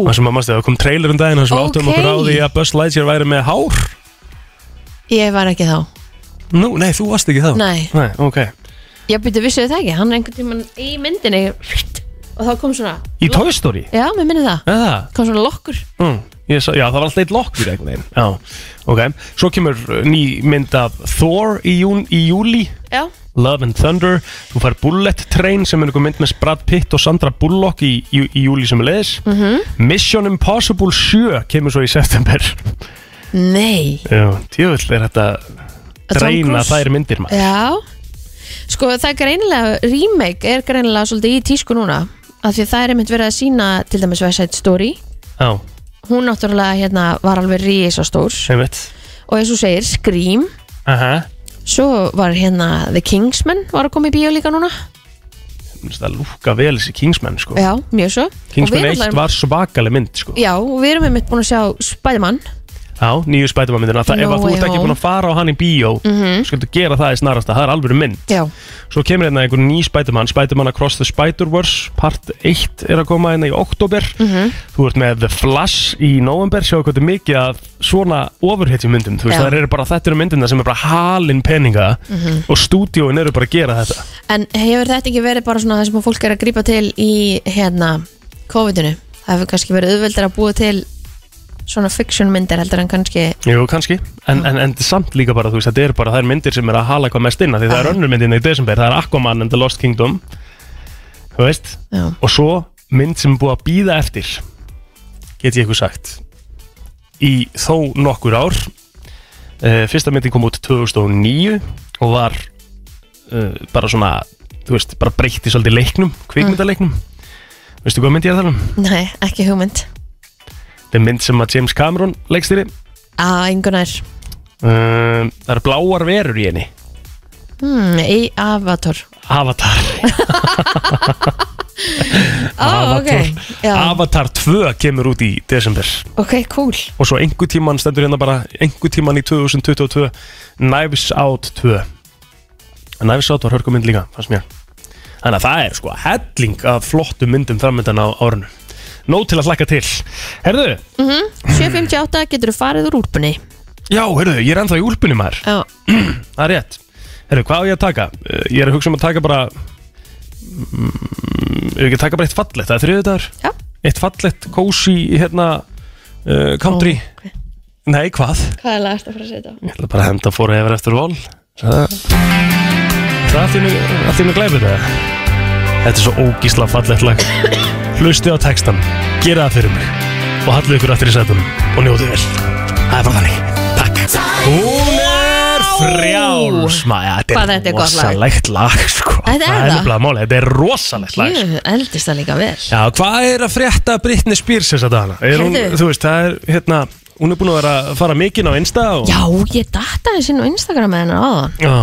[SPEAKER 3] það sem að mannstu, það kom trailer um daginn þar sem okay. áttum
[SPEAKER 2] Ok.
[SPEAKER 3] okkur á því að Buzz Lightyear væri með hár
[SPEAKER 2] ég var ekki þá
[SPEAKER 3] Nú, nei, þú varst ekki þá
[SPEAKER 2] Nei.
[SPEAKER 3] nei ok
[SPEAKER 2] Ég byrju vissu það ekki, hann er einhvern tímann í myndinni og þá kom svona
[SPEAKER 3] í Toy Story,
[SPEAKER 2] Já, mér minni það,
[SPEAKER 3] eða það
[SPEAKER 2] kom svona lokkur
[SPEAKER 3] Mm, Ég sá, já, það var alltaf eitt lokkur einhvern veginn Já, ok Svo kemur uh, ný mynd af Thor í, jún, í júli
[SPEAKER 2] Já,
[SPEAKER 3] Love and Thunder Þú fær Bullet Train sem er einhver mynd með Brad Pitt og Sandra Bullock í, í, í júli sem er leiðis
[SPEAKER 2] Mhm.
[SPEAKER 3] -hmm. Mission Impossible 7 kemur svo í september
[SPEAKER 2] nei
[SPEAKER 3] Já, tjóðvill er þetta
[SPEAKER 2] Tom
[SPEAKER 3] Dreina
[SPEAKER 2] Cruise?
[SPEAKER 3] þær myndir maður
[SPEAKER 2] Já Sko það er greinilega, remake er greinilega svolítið í tísku núna af því að það er einmitt verið að sína til dæmis West Side Story
[SPEAKER 3] Já,
[SPEAKER 2] hún náttúrulega hérna var alveg risastór
[SPEAKER 3] sem veit
[SPEAKER 2] og eins og þú segir Scream
[SPEAKER 3] Aha
[SPEAKER 2] svo var hérna The Kingsman var að koma í bíó líka núna
[SPEAKER 3] Það lúka vel þessi Kingsman sko
[SPEAKER 2] Já, mjög svo
[SPEAKER 3] Kingsman 1
[SPEAKER 2] náttúrulega-
[SPEAKER 3] var svakaleg mynd sko
[SPEAKER 2] Já, og við erum einmitt búin að sjá Spiderman
[SPEAKER 3] Já, nýju Spiderman myndina Það ef
[SPEAKER 2] No
[SPEAKER 3] að þú
[SPEAKER 2] Way
[SPEAKER 3] ert ekki
[SPEAKER 2] Home.
[SPEAKER 3] búin að fara á hann í bíó mm -hmm. Skuldu gera það í snarasta, það er alveg mynd
[SPEAKER 2] Já,
[SPEAKER 3] Svo kemur hérna einhver ný Spiderman Spiderman Across the Spider-Verse Part 1 er að koma hérna í oktober Þú ert með The Flash í november Sjáðu hvað þetta er mikið að svona ofurhetjum myndum Þú veist,
[SPEAKER 2] Já.
[SPEAKER 3] það eru bara þetta eru myndina sem er bara halin peninga Og stúdíóin eru bara að gera þetta
[SPEAKER 2] en hefur þetta ekki verið bara svona það sem að fólk er að grípa til í hérna COVID-inu það hefur kannski verið auðveldir að búa til svona fiction myndir heldur en kannski
[SPEAKER 3] Jú, kannski, en, en, en samt líka bara, þú veist, þetta eru bara þær myndir sem er að hala hvað mest inn af Því það er önnur myndin í desember, það er Aquaman and the Lost Kingdom Þú veist,
[SPEAKER 2] Já.
[SPEAKER 3] og svo mynd sem er búið að býða eftir Get ég eitthvað sagt Í þó nokkur ár uh, Fyrsta myndin kom út 2009 Og var uh, bara svona, þú veist, bara breytti svolítið leiknum, kvikmyndaleiknum Veistu hvað mynd ég er að tala um?
[SPEAKER 2] Nei, ekki hugmynd
[SPEAKER 3] Þetta er mynd sem að James Cameron leikstýri
[SPEAKER 2] Að einhvernær
[SPEAKER 3] Uh, það eru bláar verur í henni
[SPEAKER 2] hmm, Í Avatar
[SPEAKER 3] Avatar
[SPEAKER 2] Ó, ok Já,
[SPEAKER 3] Avatar 2 kemur út í desember
[SPEAKER 2] ok, cool
[SPEAKER 3] og svo einhver tíman stendur hérna bara einhver tíman í 2022 Knives Out 2 En Knives Out var hörkumynd líka fannst mér þannig að það er sko helling af flottum myndum framöndan á árinu nóg til að hlakka til herðu,
[SPEAKER 2] 7.58 getur þú farið úr úrpunni
[SPEAKER 3] já herðu, ég er ennþá í úlpunni maður
[SPEAKER 2] Já,
[SPEAKER 3] það er rétt herðu, hvað á ég að taka? Uh, ég er að hugsa um að taka bara mm, ef ég ekki að taka bara eitt fallegt það er þriðudagur
[SPEAKER 2] já
[SPEAKER 3] eitt fallett, kósi hérna, uh, country
[SPEAKER 2] Ok.
[SPEAKER 3] Nei, hvað?
[SPEAKER 2] Hvað er lagast að fara að setja?
[SPEAKER 3] Ég ætla bara að henda fóra yfir eftir vol Það Það er allt í einu- allt í mig glæfið það Þetta er svo ógísla fallett lag Hlusti á textan, gera það fyrir mig og hallu ykkur aftur í sætunum og njótið vel Það er bara þannig, takk Hún er frjáls Maja,
[SPEAKER 2] Hvað
[SPEAKER 3] þetta
[SPEAKER 2] þetta
[SPEAKER 3] er
[SPEAKER 2] er gott lag.
[SPEAKER 3] rosalegt lag sko.
[SPEAKER 2] Þetta er það?
[SPEAKER 3] nefnilega málið, þetta er rosalegt lag sko.
[SPEAKER 2] Jú, eldist það líka vel
[SPEAKER 3] Já, hvað er að frétta Britney Spears þess að dana? Er hún,
[SPEAKER 2] Heyrðu.
[SPEAKER 3] þú veist, það er, hérna, hún er búin að vera að fara mikinn á Insta og...
[SPEAKER 2] Já, ég dattaði sinn á Instagram með hennar áðan
[SPEAKER 3] Já,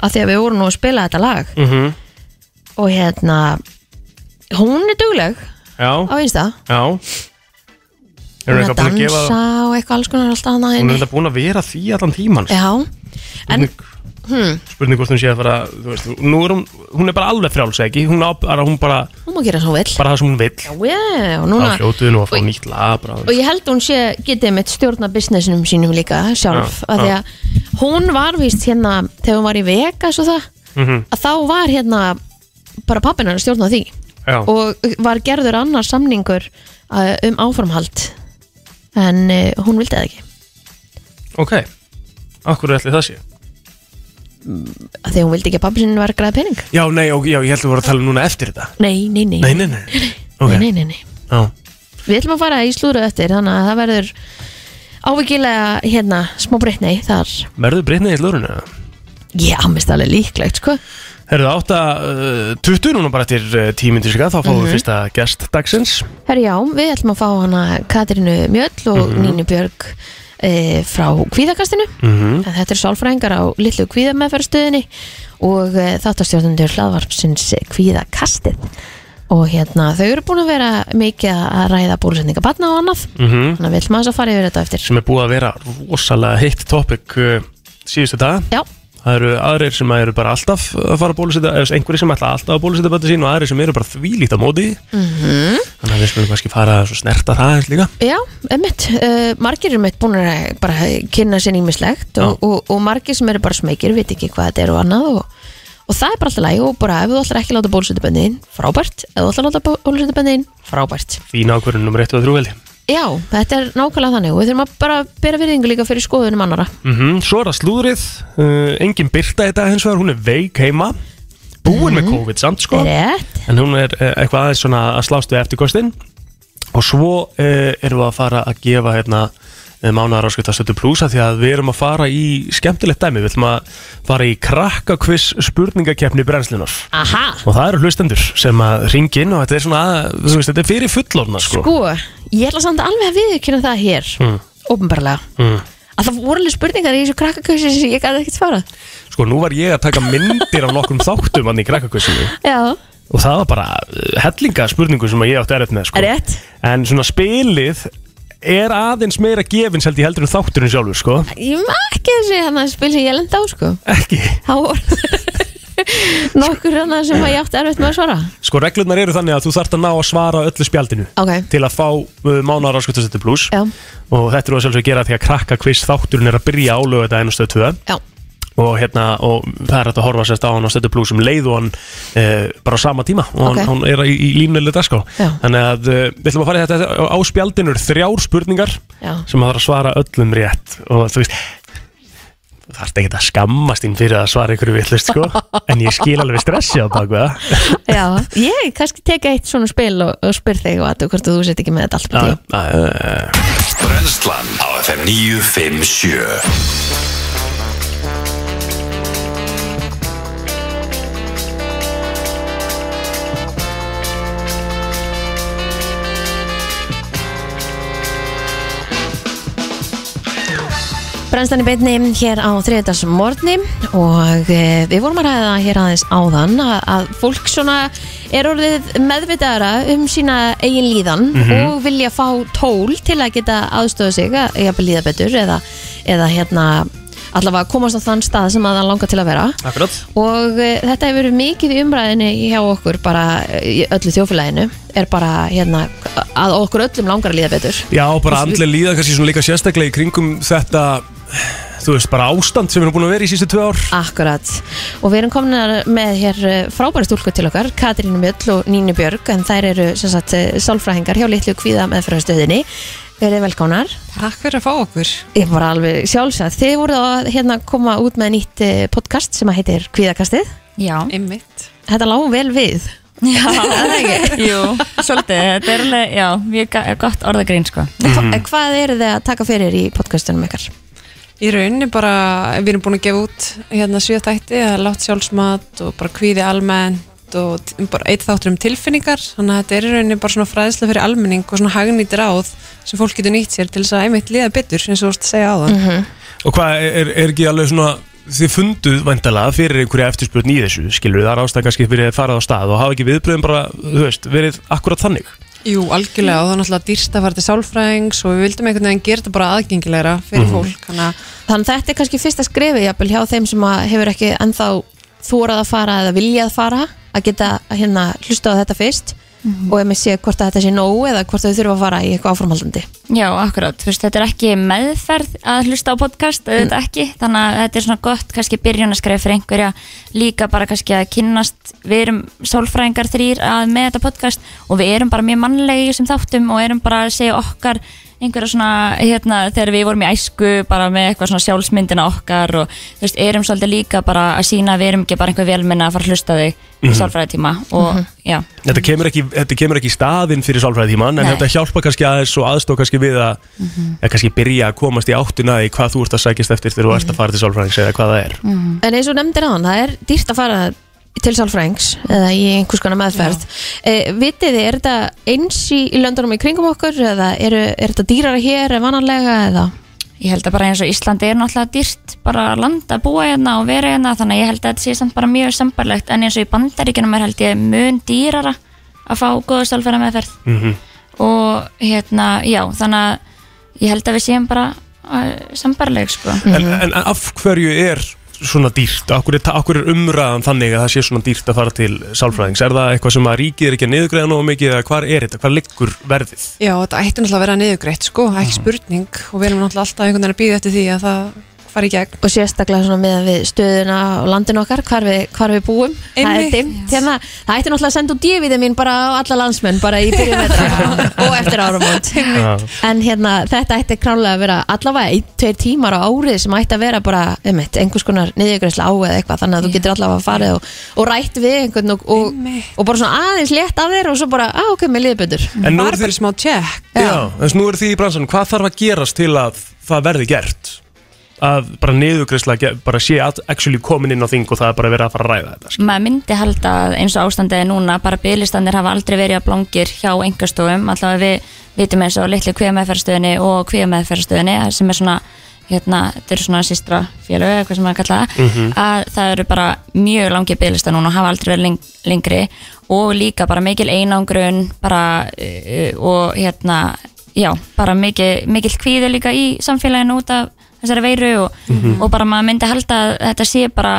[SPEAKER 2] af því að við vorum nú að spila þetta lag
[SPEAKER 3] mhm,
[SPEAKER 2] og hérna hún er dugleg
[SPEAKER 3] já,
[SPEAKER 2] á Insta
[SPEAKER 3] já. Er hún
[SPEAKER 2] Hún er
[SPEAKER 3] eitthvað búin að gefa,
[SPEAKER 2] dansa og eitthvað alls konar alltaf annað
[SPEAKER 3] hún er
[SPEAKER 2] henni
[SPEAKER 3] eitthvað búin að vera því allan tíman. sko.
[SPEAKER 2] Já, en Hmm.
[SPEAKER 3] Spurning, spurning hvort hún sé að fara, þú veist, nú er hún, hún er bara alveg frjáls, ekki? Hún, á, bara- hún bara,
[SPEAKER 2] hún má gera svo vel
[SPEAKER 3] bara það sem hún vill.
[SPEAKER 2] Já, og
[SPEAKER 3] Það
[SPEAKER 2] núna
[SPEAKER 3] hljótuðu nú að fá nýtt lag, bara,
[SPEAKER 2] og ég held hún sé getið mitt stjórna businessinum sínum líka sjálf
[SPEAKER 3] Já,
[SPEAKER 2] af því að hún var víst hérna þegar hún var í Vegas og það
[SPEAKER 3] Mhm.
[SPEAKER 2] að þá var hérna bara pappin hann stjórna því
[SPEAKER 3] já.
[SPEAKER 2] og var gerður annar samningur uh, um áformhald en uh, hún vildi það ekki
[SPEAKER 3] Ok, akkur er allir það sé?
[SPEAKER 2] af því að hún vildi ekki að pappi sinni var að græða pening
[SPEAKER 3] Já, nei, og, já, ég held að við vorum að tala um núna eftir þetta.
[SPEAKER 2] nei, nei, nei,
[SPEAKER 3] Nei, nei, nei. Ok,
[SPEAKER 2] nei, nei, nei, nei.
[SPEAKER 3] já.
[SPEAKER 2] við ætlum að fara í slúruð eftir þannig að það verður ávikilega hérna smá breytni þar
[SPEAKER 3] Verður Britney í lórinu? eða?
[SPEAKER 2] ég ammist alveg líklegt sko
[SPEAKER 3] Herðu átta uh, 20 núna bara til uh, tímyndir sig þá fáum við fyrsta gest dagsins
[SPEAKER 2] Herri já, við ætlum að fá hana Katrínu Mjöll og Nínu Björg e, frá Kvíðakastinu en þetta er sálfræðingar á litlu Kvíðameðferðstöðinni og e, þáttastjórnundur hlaðvarpsins Kvíðakastið og hérna þau eru búin að vera mikið að ræða búlusetninga batna og annað
[SPEAKER 3] -hmm.
[SPEAKER 2] þannig að við ætlum aðeins að fara yfir þetta eftir
[SPEAKER 3] sem er búið að vera rosalega heitt topic uh, síðustu dag
[SPEAKER 2] Já,
[SPEAKER 3] Það eru aðrir sem eru bara alltaf að fara að bólusetja eða einhverjir sem ætla alltaf að bólusetja bæta sín og aðrir sem eru bara þvílít á móti -hmm. Þannig að við skulum kannski fara að svo snerta það eins líka
[SPEAKER 2] já, emmitt e, margir eru mitt búin að bara kynna sér ímislegt og, og, og margir sem eru bara smekir, veit ekki hvað þetta er og annað og Og það er bara alltaf læg og bara ef þú ætlar ekki að láta bólusetja bönnið inn, frábært. Ef þú ætlar að láta bólusetja bönnið inn, frábært.
[SPEAKER 3] Þín ákvörðun nummer 1 og 3 veldi
[SPEAKER 2] Já, þetta er nákvæmlega þannig og við þurfum að bara bera virðingu líka fyrir skoðunum annara
[SPEAKER 3] mm Svo er það slúðrið uh, Engin byrta þetta hins vegar, hún er veik heima Búin með COVID samt sko
[SPEAKER 2] Rétt
[SPEAKER 3] En hún er uh, eitthvað aðeins svona að slást við eftirkostin Og svo uh, erum við að fara að gefa hérna mánuðar áskiptastötu plusa því að við erum að fara í skemmtilegt dæmi, við ætlum að fara í krakkakviss spurningakeppni brennslunar
[SPEAKER 2] Aha,
[SPEAKER 3] og það eru hlustendur sem að ringi inn og þetta er svona, að- þú veist, þetta er fyrir fullorna sko. Hmm.
[SPEAKER 2] sko, ég ætla samt alveg að viðkynna það hér mm.
[SPEAKER 3] Mm.
[SPEAKER 2] að það voru alveg spurningar í þessu krakkakjössi sem ég gæti ekkert svarað
[SPEAKER 3] sko, nú var ég að taka myndir af nokkrum þáttum hann í krakkakvissinu
[SPEAKER 2] Já,
[SPEAKER 3] og það var bara uh, hellinga spurningu sem að ég átti erfitt með sko.
[SPEAKER 2] rétt
[SPEAKER 3] en svona spilið er aðeins meira gefins held ég heldur en þátturinn sjálfur sko.
[SPEAKER 2] Ég maður ekki þessi hann að spil sem ég lenda á sko
[SPEAKER 3] ekki,
[SPEAKER 2] Þá voru nokkur hann sem að ég átti erfitt með að svara
[SPEAKER 3] sko reglurnar eru þannig að þú þarft að ná að svara öllu spjaldinu
[SPEAKER 2] Ok,
[SPEAKER 3] til að fá uh, mánuðar áskiptastötu pluss
[SPEAKER 2] já,
[SPEAKER 3] og þetta eru að sjálfsög gera því að krakkakviss þátturinn er að byrja álögu þetta einu stöð 2
[SPEAKER 2] já,
[SPEAKER 3] og hérna og það er hægt að horfa sérst á hann á stötu blúsum leið og hann e, bara á sama tíma og hann,
[SPEAKER 2] Ok.
[SPEAKER 3] hann er í, í línulegu dagskrá
[SPEAKER 2] Já.
[SPEAKER 3] þannig að e, við ætlum að fara í þetta á, á spjaldinu eru þrjár spurningar
[SPEAKER 2] já
[SPEAKER 3] sem maður þarf að svara öllum rétt og þú veist það er ekkert að skammast þín fyrir að svara ykkur villust sko en ég skil alveg stressi á baku það
[SPEAKER 2] Já, ég kannski teka eitt svona spil og, og spyr þig og að hvort að þú sett ekki með þetta allt með
[SPEAKER 3] Já,
[SPEAKER 2] því
[SPEAKER 3] já, já, já.
[SPEAKER 1] Brennslan á FM 957
[SPEAKER 2] Brennstan í beinni hér á þriðdags morgni og e, við vorum að ræða hér aðeins áðan að, að fólk svona er orðið meðvitaðara um sína eigin líðan og vilja fá tól til að geta aðstöða sig að jafnvel líða betur eða, eða hérna allavega komast á þann stað sem að það langar til að vera
[SPEAKER 3] Akkurat
[SPEAKER 2] og e, þetta hefur verið mikið í umræðinni hjá okkur bara e, í öllu þjófélaginu er bara hérna að okkur öllum langar að líða betur
[SPEAKER 3] Já, bara andlega líða kannski svona líka sérstaklega í kringum þetta þú veist, bara ástand sem við erum búin að vera í sístu tvö ár
[SPEAKER 2] Akkurat og við erum komin með hér eh, frábæri stúlku til okkar Katrínu Mjöll og Nínu Björg en þær eru sem sagt eh, sálfræðingar hjá litlu kvíða meðfyrarstöðinni Verið velkónar
[SPEAKER 5] Takk fyrir að fá okkur.
[SPEAKER 2] Ég var alveg sjálfsagt Þið voruð að hérna koma út með nýtt eh, podcast sem að heitir Kvíðakastið
[SPEAKER 6] Já,
[SPEAKER 5] Einmitt.
[SPEAKER 2] Þetta lágum vel við
[SPEAKER 6] já Jú, svolítið, þetta er alveg, já, mjög ga- gott orðagrein sko
[SPEAKER 5] Mhm.
[SPEAKER 2] mm -hmm. Hvað eru þið að taka fyrir í podcastunum ykkar?
[SPEAKER 5] Í rauninni bara, við erum búin að gefa út hérna sjö þætti, það er látt sjálfsmat og bara kvíði almennt og t- bara eitt þáttur um tilfinningar þannig að þetta er í rauninni bara svona fræðsla fyrir almenning og svona hagnýtt ráð sem fólk getur nýtt sér til þess að einmitt liða betur eins og þú vorst að segja á það.
[SPEAKER 3] Mhm. Og hvað er, er ekki alveg svona Þið funduð væntalega fyrir einhverja eftirspurn í þessu Skilur það er ástæð kannski fyrir að fara á stað Og hafa ekki viðbröðum bara, þú veist, verið akkurat þannig
[SPEAKER 5] Jú, algjörlega og það er náttúrulega dýrst að fara til sálfræðings og við vildum einhvern veginn gera þetta bara aðgengilegra fyrir
[SPEAKER 3] Mhm.
[SPEAKER 5] fólk þannig að
[SPEAKER 2] Þannig þetta er kannski fyrsta skrefið jafnvel hjá þeim sem að hefur ekki ennþá þórað að fara eða viljað fara að geta hérna hlusta á þetta fyrst og ef mér sé hvort að þetta sé nóg eða hvort þau þurfa að fara í eitthvað áframhaldandi
[SPEAKER 6] Já, akkurát, þú veist, þetta er ekki meðferð að hlusta á podcast, auðvitað ekki þannig að þetta er svona gott, kannski byrjunaskref fyrir einhverja, líka bara kannski að kynnast, við erum sálfræðingar þrýr að með þetta podcast og við erum bara mjög mannlegi í þessum þáttum og erum bara að segja okkar einhverja svona, hérna, þegar við vorum í æsku bara með eitthvað svona sjálfsmyndina okkar og þú veist, erum svolítið líka bara að sína að við erum ekki bara einhver velmenna að fara að hlusta á þig í sálfræðitíma og já,
[SPEAKER 3] Þetta kemur ekki, þetta kemur ekki í staðinn fyrir sálfræðitíman En
[SPEAKER 6] Nei.
[SPEAKER 3] þetta hjálpa kannski aðeins og aðstóð kannski við að mm Kannski byrja að komast í áttina í hvað þú ert að sækjast eftir Þegar þú ert að fara til sálfræðings eða hvað það er
[SPEAKER 2] En eins og nefndir aðan, það er dýrt að fara til sálfrængs eða í einhvers konar meðferð e, Vitið þið, er þetta eins í, í löndunum í kringum okkur eða eru, er þetta dýrara hér en vannanlega eða
[SPEAKER 6] Ég held að bara eins og Íslandi er náttúrulega dýrt bara að landa, búa hérna og vera hérna þannig að ég held að þetta sé samt bara mjög sambarlegt en eins og í bandaríkjunum er held ég mun dýrara að fá góða stálfæra meðferð og hérna, já, þannig að ég held að við séum bara uh, sambarleg sko.
[SPEAKER 3] en, en af hverju er svona dýrt? Akkur er, akkur er umræðan þannig að það sé svona dýrt að fara til sálfræðings? Er það eitthvað sem að ríkið er ekki að niðurgræða nógu mikið eða hvar er þetta? Hvar liggur verðið? Mhm.
[SPEAKER 5] já, þetta ætti náttúrulega að vera niðurgreitt sko, ekki spurning og við erum náttúrulega alltaf einhvern veginn að býða eftir því að það fara í gegn
[SPEAKER 2] og sérstaklega svona með við stöðuna og landin okkar, hvar við, hvar við búum það er
[SPEAKER 5] Einmitt.
[SPEAKER 2] dimmt hérna það ætti náttúrulega að senda út dífiði mín bara á alla landsmenn bara í byrjun vetra og eftir áramót en hérna þetta ætti klálega að vera allavega ein, tveir tímar á árið sem ætti að vera bara um eitt, einhvers konar niðurgræsla á eða eitthvað þannig að þú getur allavega að fara og, og rætt við einhvern og, og,
[SPEAKER 5] Einmitt.
[SPEAKER 2] og bara svona aðeins létt af þér og svo bara, á ok, mér liði betur
[SPEAKER 3] En nú
[SPEAKER 5] bara
[SPEAKER 3] er
[SPEAKER 5] bara
[SPEAKER 3] þið,
[SPEAKER 5] smá tjekk
[SPEAKER 3] já, en nú er þið í bransanum, hvað þarf að gerast til að það verði gert? Að bara niðurgrisla, bara sé að actually komin inn á þing og það er bara verið að fara að ræða þetta sko.
[SPEAKER 6] maður myndi halda að eins og ástandið er núna bara byggðlistandir hafa aldrei verið að blangir hjá engastofum, allavega við vitum eins og litlu kvíðameðferðstöðinni og kvíðameðferðstöðinni sem er svona hérna, þetta eru svona sýstra félög eða hvað sem maður kalla það, að það eru bara mjög langi byggðlista núna og hafa aldrei verið leng lengri og líka bara mikil einangrun bara uh, uh, og hérna, já, bara mikil, mikil kvíði líka í samfélaginu út af þessari veiru og, og bara maður myndi halda að þetta sé bara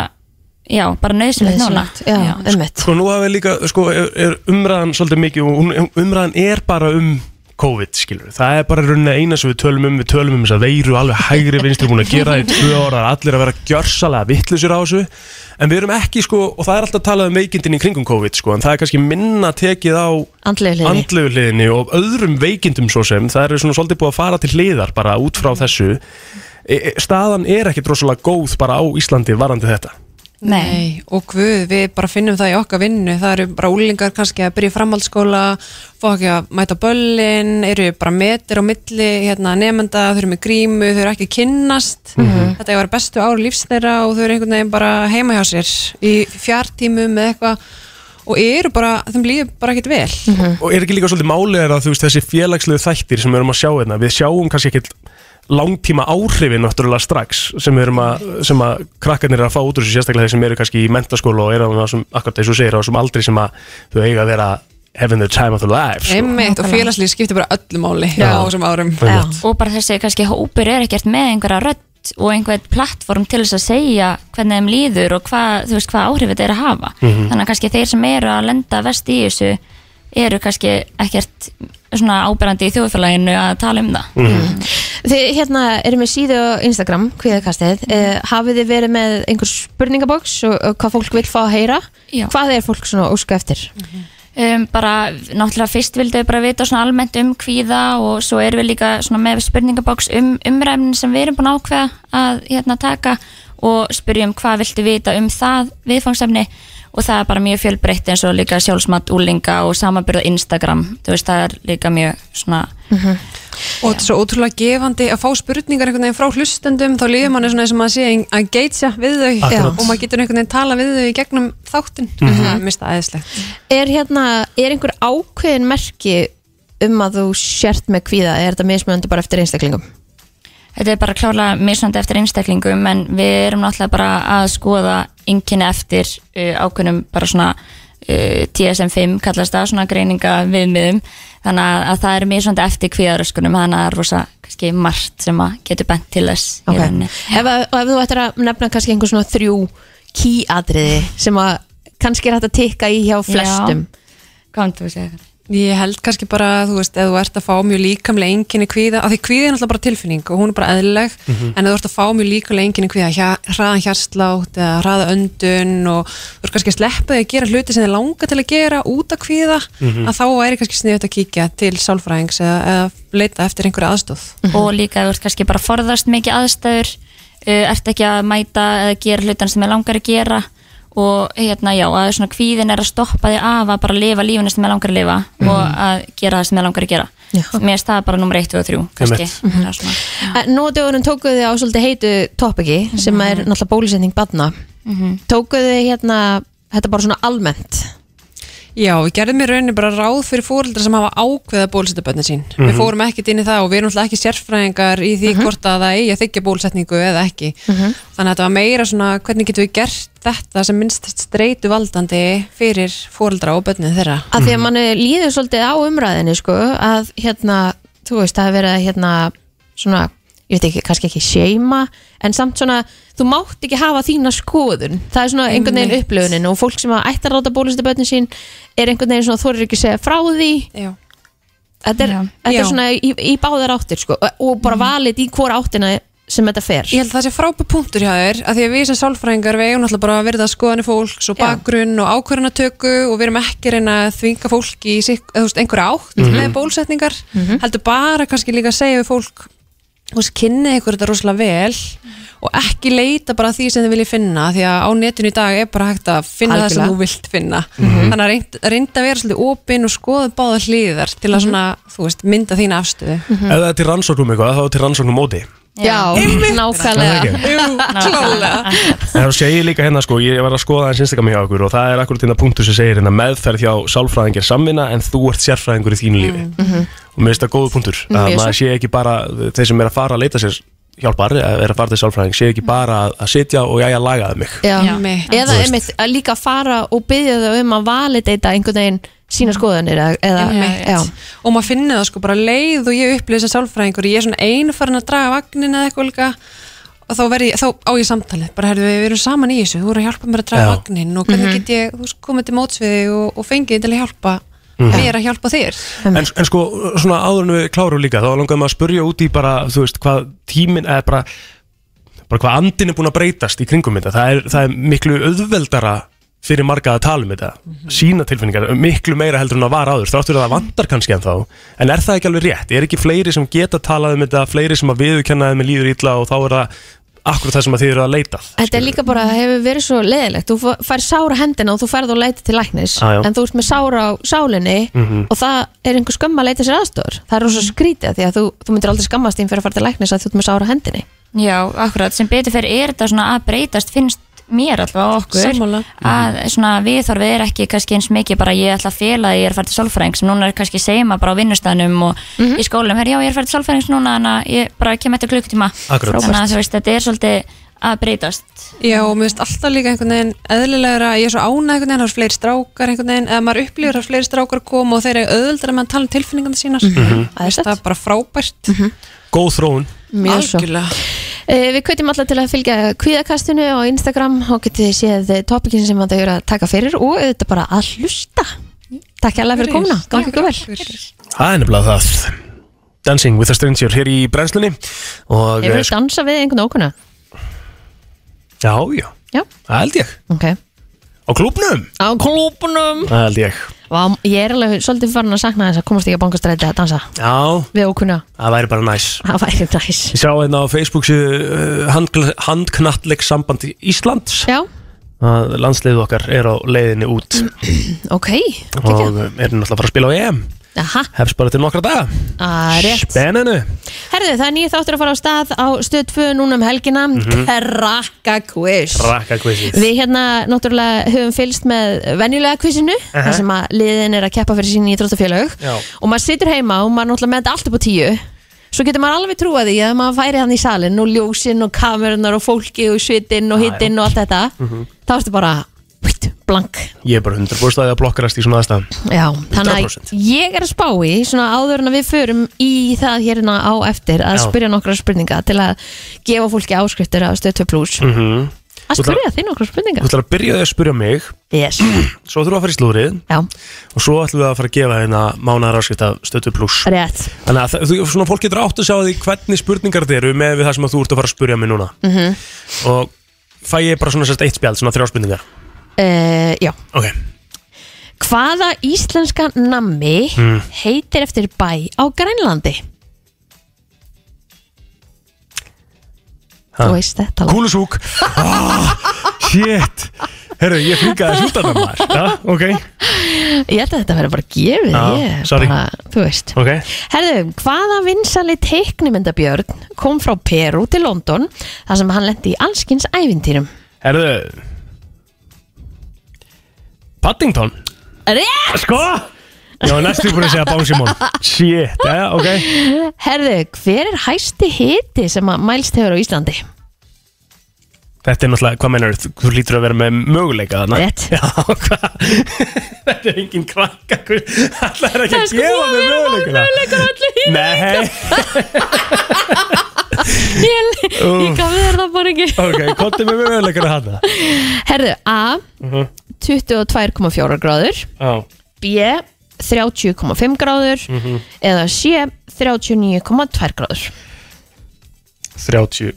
[SPEAKER 6] já, bara nöðsynlegt núna
[SPEAKER 2] já, um
[SPEAKER 3] Sko nú hafið líka, sko, er, er umræðan svolítið mikið og hún- umræðan er bara um COVID, skilur Það er bara rauninni eina sem við tölum um, við tölum um þess að veiru alveg hægri vinstri búin að gera það í tvö ára, allir að vera gjörsalega vittlusir á þessu, en við erum ekki, sko, og það er alltaf talað um veikindin í kringum COVID, sko, en það er kannski minna tekið á
[SPEAKER 2] andlegu hliði
[SPEAKER 3] andlegu hliðinni og öðrum veikindum svo sem, það eru svona svolítið búið að fara til hliðar bara út frá þessu. E, e, staðan er ekki drossalega góð bara á Íslandi varandi þetta.
[SPEAKER 6] Nei.
[SPEAKER 5] Nei, og guð, við bara finnum það í okkar vinnu það eru bara úlingar kannski að byrja í framhaldsskóla fá ekki að mæta böllin eru bara metir á milli hérna, nefnda, þau eru með grímu, þau eru ekki að kynnast þetta er bestu ár lífs þeirra og þau eru einhvern veginn bara heima hjá sér í fjartímum eða eitthvað og eru bara, þeim líður bara ekkert vel
[SPEAKER 3] og er ekki líka svolítið málegar að þú veist þessi félagslegu þættir sem við erum að sjá hérna við sjáum kannski ekkert langtíma áhrifin náttúrulega strax sem við erum að, sem að krakkarnir er að fá út úr þessu sérstaklega þeir sem eru kannski í mentaskóla og eru á þessum, akkurat eins og þú segir, á þessum aldri sem að þau eiga að vera having the time of their lives sko.
[SPEAKER 5] einmitt og félagslíð skiptir bara öllu máli á þessum árum
[SPEAKER 2] Já.
[SPEAKER 6] og bara þessi kannski hópur er ekkert með einhverja rödd og einhvern plattform til þess að segja hvernig þeim líður og hvað, þú veist, hvað áhrif þetta er að hafa þannig að kannski þeir sem eru að lenda vest í þessu eru kannski ekkert svona ábyrrandi í þjóðfélaginu að tala um það
[SPEAKER 2] Þið hérna eru með síðu á Instagram, kviðakastið eh, hafið þið verið með einhver spurningaboks og, og hvað fólk vil fá að heyra
[SPEAKER 6] Já.
[SPEAKER 2] hvað er fólk svona að óska eftir
[SPEAKER 6] um, bara náttúrulega fyrst vildu við bara vita svona almennt um kvíða og svo erum við líka svona með spurningaboks um umræfnin sem við erum búin að ákveða að hérna taka og spyrjum hvað viltu vita um það viðfangsefni og það er bara mjög fjölbreytt eins og líka sjálfsmat úlinga og samanbyrða Instagram, þú veist það er líka mjög svona
[SPEAKER 5] og þetta er svo ótrúlega gefandi að fá spurningar einhvern veginn frá hlustendum þá líður manni svona eins og maður sé að geitja við þau
[SPEAKER 3] Akkurat.
[SPEAKER 5] og maður getur einhvern veginn tala við þau í gegnum þáttin mm -hmm. það er mista aðeinslegt
[SPEAKER 2] er hérna, er einhver ákveðin merki um að þú sért með kvíða er þetta mismöndi bara eftir einstaklingum
[SPEAKER 6] Þetta er bara klárlega misnandi eftir einstaklingum en við erum náttúrulega bara að skoða einkenni eftir uh, ákveðnum bara svona uh, TSM-5 kallast það, svona greininga viðmiðum þannig að, að það er misnandi eftir kvíðaröskunum þannig að það er rosa kannski margt sem að getur bent til þess í
[SPEAKER 2] Ok.
[SPEAKER 6] rauninni.
[SPEAKER 2] ef, að- og ef þú ættir að nefna kannski einhver svona þrjú kýadriði sem að kannski er hægt að tikka í hjá flestum
[SPEAKER 6] Hvað þú segja það?
[SPEAKER 5] ég held kannski bara, þú veist, ef þú ert að fá mjög líkamlega enginni kvíða, af því kvíði er náttúrulega bara tilfinning og hún er bara eðlileg en ef þú ert að fá mjög líkamlega enginni kvíða hjá- hraðan hjarslátt eða hraða öndun og þú ert kannski að sleppa því að gera hluti sem þið langa til að gera út af kvíða að þá væri kannski sniðut að kíkja til sálfræðings eða, eða leita eftir einhverja aðstóð
[SPEAKER 6] og líka þú ert kannski bara að forðast mikið aðstæður uh, ert ekki að mæta eða gera hlutan sem er langar að gera og hérna já, að svona kvíðin er að stoppa þig af að bara lifa lífinu sem er langar að lifa og að gera það sem er langar að gera
[SPEAKER 2] Já.
[SPEAKER 6] mér er það bara nummer 1 og 3 kannski
[SPEAKER 3] Einmitt.
[SPEAKER 6] mm -hmm.
[SPEAKER 2] En Nú á dögunum tókuðu þið á svolítið heitu topiki sem er
[SPEAKER 5] Mhm.
[SPEAKER 2] náttúrulega bólusetning badna Tókuðu þið hérna þetta bara svona almennt
[SPEAKER 5] Já, við gerðum í rauninni bara ráð fyrir fóreldra sem hafa ákveða bólusettaböndin sín. Við fórum ekkert inn í það og við erum alltaf ekki sérfræðingar í því hvort að það eigi að þykja bólusetningu eða ekki. Þannig að þetta var meira svona hvernig getum við gert þetta sem minnst streytu valdandi fyrir fóreldra og bönnið þeirra.
[SPEAKER 2] að því að manni líður svolítið á umræðinni sko, að hérna, þú veist, það hefur verið að, hérna, svona ég veit ekki, kannski ekki seima en samt svona, þú mátt ekki hafa þína skoðun það er svona einhvern veginn
[SPEAKER 5] Einmitt.
[SPEAKER 2] upplöfunin og fólk sem að ættar ráta bólustu börnin sín er einhvern veginn svona, þú eru ekki að segja frá því
[SPEAKER 5] Já.
[SPEAKER 2] þetta er,
[SPEAKER 6] Já.
[SPEAKER 2] þetta er
[SPEAKER 5] Já. Mhm.
[SPEAKER 2] svona í, í báðar áttir sko, og- og bara valið í hvora áttina sem þetta fer
[SPEAKER 5] Ég held að það sé frábæð punktur hjá þér að því að við sem sálfræðingar við eigum náttúrulega bara að verða skoðanir fólks og
[SPEAKER 2] Já.
[SPEAKER 5] bakgrunn og ákvörðanatöku og við erum ekki að reyna að þvinga fólk í sig, eða, þú veist, einhverja átt með bólusetningar
[SPEAKER 2] Mhm.
[SPEAKER 5] heldur bara kannski líka að segja við fólk þú veist, kynni ykkur þetta rosalega vel og ekki leita bara að því sem þið viljið finna því að á netinu í dag er bara hægt að finna það sem
[SPEAKER 2] Algjörlega.
[SPEAKER 5] þú vilt finna þannig að reynd, reynd að vera svolítið opinn og skoða báða hliðar til
[SPEAKER 2] Mhm.
[SPEAKER 5] að svona, þú veist, mynda þína afstöðu
[SPEAKER 3] Ef það er til rannsóknum eitthvað, þá er til rannsóknum móti
[SPEAKER 2] Já, nákvæmlega
[SPEAKER 3] Er það ekki?
[SPEAKER 5] klálega
[SPEAKER 3] En það segir líka hérna sko, ég var að skoða hans Instagram hjá okkur og það er akkurat þetta punktur sem segir hérna meðferð hjá sálfræðingir samvinna en þú ert sérfræðingur í þínu lífi og mér finnst það góð punktur að
[SPEAKER 2] Mjög
[SPEAKER 3] maður sé ekki bara, þeir sem er að fara að leita sér hjálpar, eða er að fara til sálfræðing sé ekki bara að, að sitja og jæja lagaði mig
[SPEAKER 2] Já.
[SPEAKER 5] Já. Einmitt.
[SPEAKER 2] Eða
[SPEAKER 3] Þú veist.
[SPEAKER 2] einmitt að líka fara og byggja þau um að validata einhvern veginn sína skoðanir eða, eða
[SPEAKER 5] Einmitt.
[SPEAKER 2] já,
[SPEAKER 5] og maður finnir það sko bara leið og ég upplýði sem sálfræðingur ég er svona einu farin að draga vagnin eða eitthvað líka og þá, veri, þá á ég samtalið bara herðu við erum saman í þessu, þú eru að hjálpa mér að draga
[SPEAKER 3] Já.
[SPEAKER 5] vagnin og
[SPEAKER 2] Mhm.
[SPEAKER 5] hvernig get ég þú veist, komið til móts við þig og, og fengið þig til að hjálpa mér að hjálpa þér
[SPEAKER 3] en, en sko, svona áður en við klárum líka þá langaðum að spurja út í bara, þú veist, hvað tíminn eða bara, bara hvað andin er búin að breytast í kringum þetta það er, það er miklu auðveldara fyrir marga að tala um þetta sína tilfinningar, miklu meira heldur en að var áður þráttur að það vandar kannski en þá en er það ekki alveg rétt, er ekki fleiri sem geta talað um þetta, fleiri sem að viðurkennaði með líður illa og þá er það akkurat það sem að þið eru að leitað
[SPEAKER 2] Þetta er líka bara, það hefur verið svo leðilegt Þú fær sára hendina og þú færð og leita til læknis
[SPEAKER 3] Ah, Já, Mhm. já.
[SPEAKER 2] En þú ert með sára á sálinni Og það er einhver skömm að leita sér aðstofur Það er rosa skrítið því að þú, þú myndir aldrei skammast þín fyrir að fara til læknis að þú ert með sára á hendinni
[SPEAKER 6] Já, akkurat, sem betur fyrir er þetta svona að breytast finnst mér alltaf á okkur
[SPEAKER 5] Sammála.
[SPEAKER 6] að
[SPEAKER 7] Mhm.
[SPEAKER 6] svona viðþorfið er ekki kannski eins mikið bara ég ætla að fela að ég er fært til sálfræðings sem núna er kannski segjum bara á vinnustanum og
[SPEAKER 7] Mhm.
[SPEAKER 6] í skólum, herr já ég er fært til sálfræðings núna en að ég bara kem eftir klukkutíma
[SPEAKER 3] Akkurat.
[SPEAKER 6] þannig að þú veist þetta er svolítið að breytast
[SPEAKER 5] Já, og mér finnst alltaf líka einhvern veginn eðlilegra, ég er svo ánað einhvern veginn, það er fleiri strákar einhvern veginn, eða maður upplýður að fleiri strákar koma og þeir eru auðvöldar að maður tala um tilfinningandi sínar mm
[SPEAKER 2] Æðislegt.
[SPEAKER 5] það er bara frábært
[SPEAKER 3] góð þróun
[SPEAKER 2] Mhm. Mjög svo
[SPEAKER 5] Algjörlega.
[SPEAKER 2] Eh, Við kveitum alla til að fylgja kvíðakastinu á Instagram og getið séð eh, topikin sem þetta eru að taka fyrir og auðvitað bara að hlusta Takk hérlega fyrir komuna, gangi ykkur vel
[SPEAKER 3] það er nefnilega það Dancing with a Stranger hér í brennslunni og
[SPEAKER 2] Hefur
[SPEAKER 3] eh,
[SPEAKER 2] við dansað við einhvern ókunna?
[SPEAKER 3] já, já,
[SPEAKER 2] Já,
[SPEAKER 3] það held ég
[SPEAKER 2] ok
[SPEAKER 3] á klúbnum
[SPEAKER 2] Á klúpunum
[SPEAKER 3] Það held ég
[SPEAKER 2] Vá, ég er alveg svolítið farin að sakna þess að komast ekki að bankastræti að dansa
[SPEAKER 3] Já,
[SPEAKER 2] við ókunna,
[SPEAKER 3] það væri bara næs
[SPEAKER 2] það væri næs
[SPEAKER 3] Ég sá hérna á Facebook síðu uh, handknattleik samband Íslands
[SPEAKER 2] Já,
[SPEAKER 3] að landsliðið okkar er á leiðinni út
[SPEAKER 2] ok,
[SPEAKER 3] og
[SPEAKER 2] ekki
[SPEAKER 3] uh, er náttúrulega að fara að spila á EM
[SPEAKER 2] Aha,
[SPEAKER 3] hefst bara til nokkra daga
[SPEAKER 2] að rétt
[SPEAKER 3] Spenninu
[SPEAKER 2] Herðu, það er nýja þáttur að fara á stað á stöð 2 núna um helgina Krakka quiz
[SPEAKER 3] Rakka kvissið
[SPEAKER 2] Við hérna náttúrulega höfum fylst með venjulega kvissinu, þar sem að liðin er að keppa fyrir sín í dróttafélög
[SPEAKER 3] Já.
[SPEAKER 2] og maður situr heima og maður náttúrulega með þetta allt upp á tíu svo getur maður alveg trúa því að maður færi hann í salin og ljósin og kamerunar og fólki og svitinn og hittinn og allt þetta
[SPEAKER 3] Mhm.
[SPEAKER 2] þá ertu bara hvitt, blank
[SPEAKER 3] Ég er bara 100% að það blokkarast í svona aðstæðum
[SPEAKER 2] Já, þannig að
[SPEAKER 3] 100%.
[SPEAKER 2] ég er að spá í svona áður en að við förum í það hérna á eftir að
[SPEAKER 3] Já.
[SPEAKER 2] spyrja nokkra spurninga til að gefa fólki áskriftir af stöð 2 plus
[SPEAKER 3] mm -hmm.
[SPEAKER 2] að
[SPEAKER 3] Þú ætlar-
[SPEAKER 2] spyrja þið nokkra
[SPEAKER 3] Þú
[SPEAKER 2] spurninga
[SPEAKER 3] ætlar að byrja því að spyrja mig
[SPEAKER 2] Yes,
[SPEAKER 3] Svo þurfum við að fara í slúrið
[SPEAKER 2] já,
[SPEAKER 3] Og svo ætlum við að fara að gefa hérna mánaðar áskipta stötu pluss
[SPEAKER 2] rétt
[SPEAKER 3] Þannig að það- þú, svona fólk getur átt að sjá því hvernig spurningar þetta eru með við það sem að þú ert að fara að spurja mig núna -hmm. og fæ ég bara svona sérst eitt spjald, svona þrjá spurningar
[SPEAKER 2] uh, Já,
[SPEAKER 3] Ok,
[SPEAKER 2] hvaða íslenska nammi
[SPEAKER 3] Hmm.
[SPEAKER 2] heitir eftir bæ á Grænlandi?
[SPEAKER 3] Ha.
[SPEAKER 2] Þú veist þetta alveg.
[SPEAKER 3] kúlusúk oh, Shit Herru, ég flinkaði slúta það maður Já, ok,
[SPEAKER 2] Ég held að þetta verður bara gefið
[SPEAKER 3] Já,
[SPEAKER 2] ég er
[SPEAKER 3] sorry.
[SPEAKER 2] bara, Þú veist
[SPEAKER 3] ok
[SPEAKER 2] Herðu, hvaða vinsali teiknimyndabjörn kom frá Peru til London þar sem hann lendi í allskins ævintýrum?
[SPEAKER 3] Herru Paddington
[SPEAKER 2] Rétt!
[SPEAKER 3] Sko Já, næstu búin að segja Bánsimón Shit, já, ok
[SPEAKER 2] Herðu, hver er hæsti hiti sem að mælst hefur á Íslandi?
[SPEAKER 3] Þetta er náttúrulega, hvað meinar þú? Þú lítur að vera með möguleika þarna
[SPEAKER 2] Rétt.
[SPEAKER 3] Já, hvað? Þetta er engin krakka Það er ekki að
[SPEAKER 2] sko
[SPEAKER 3] gefa með möguleikana
[SPEAKER 2] öllu
[SPEAKER 3] Nei,
[SPEAKER 2] Ég, ég gaf þér það bara ekki
[SPEAKER 3] ok, konti með möguleikana hana
[SPEAKER 2] Herðu, A 22,4 gráður
[SPEAKER 3] Já,
[SPEAKER 2] B Mhm. 30,5 gráður eða C 39,2 gráður
[SPEAKER 3] 30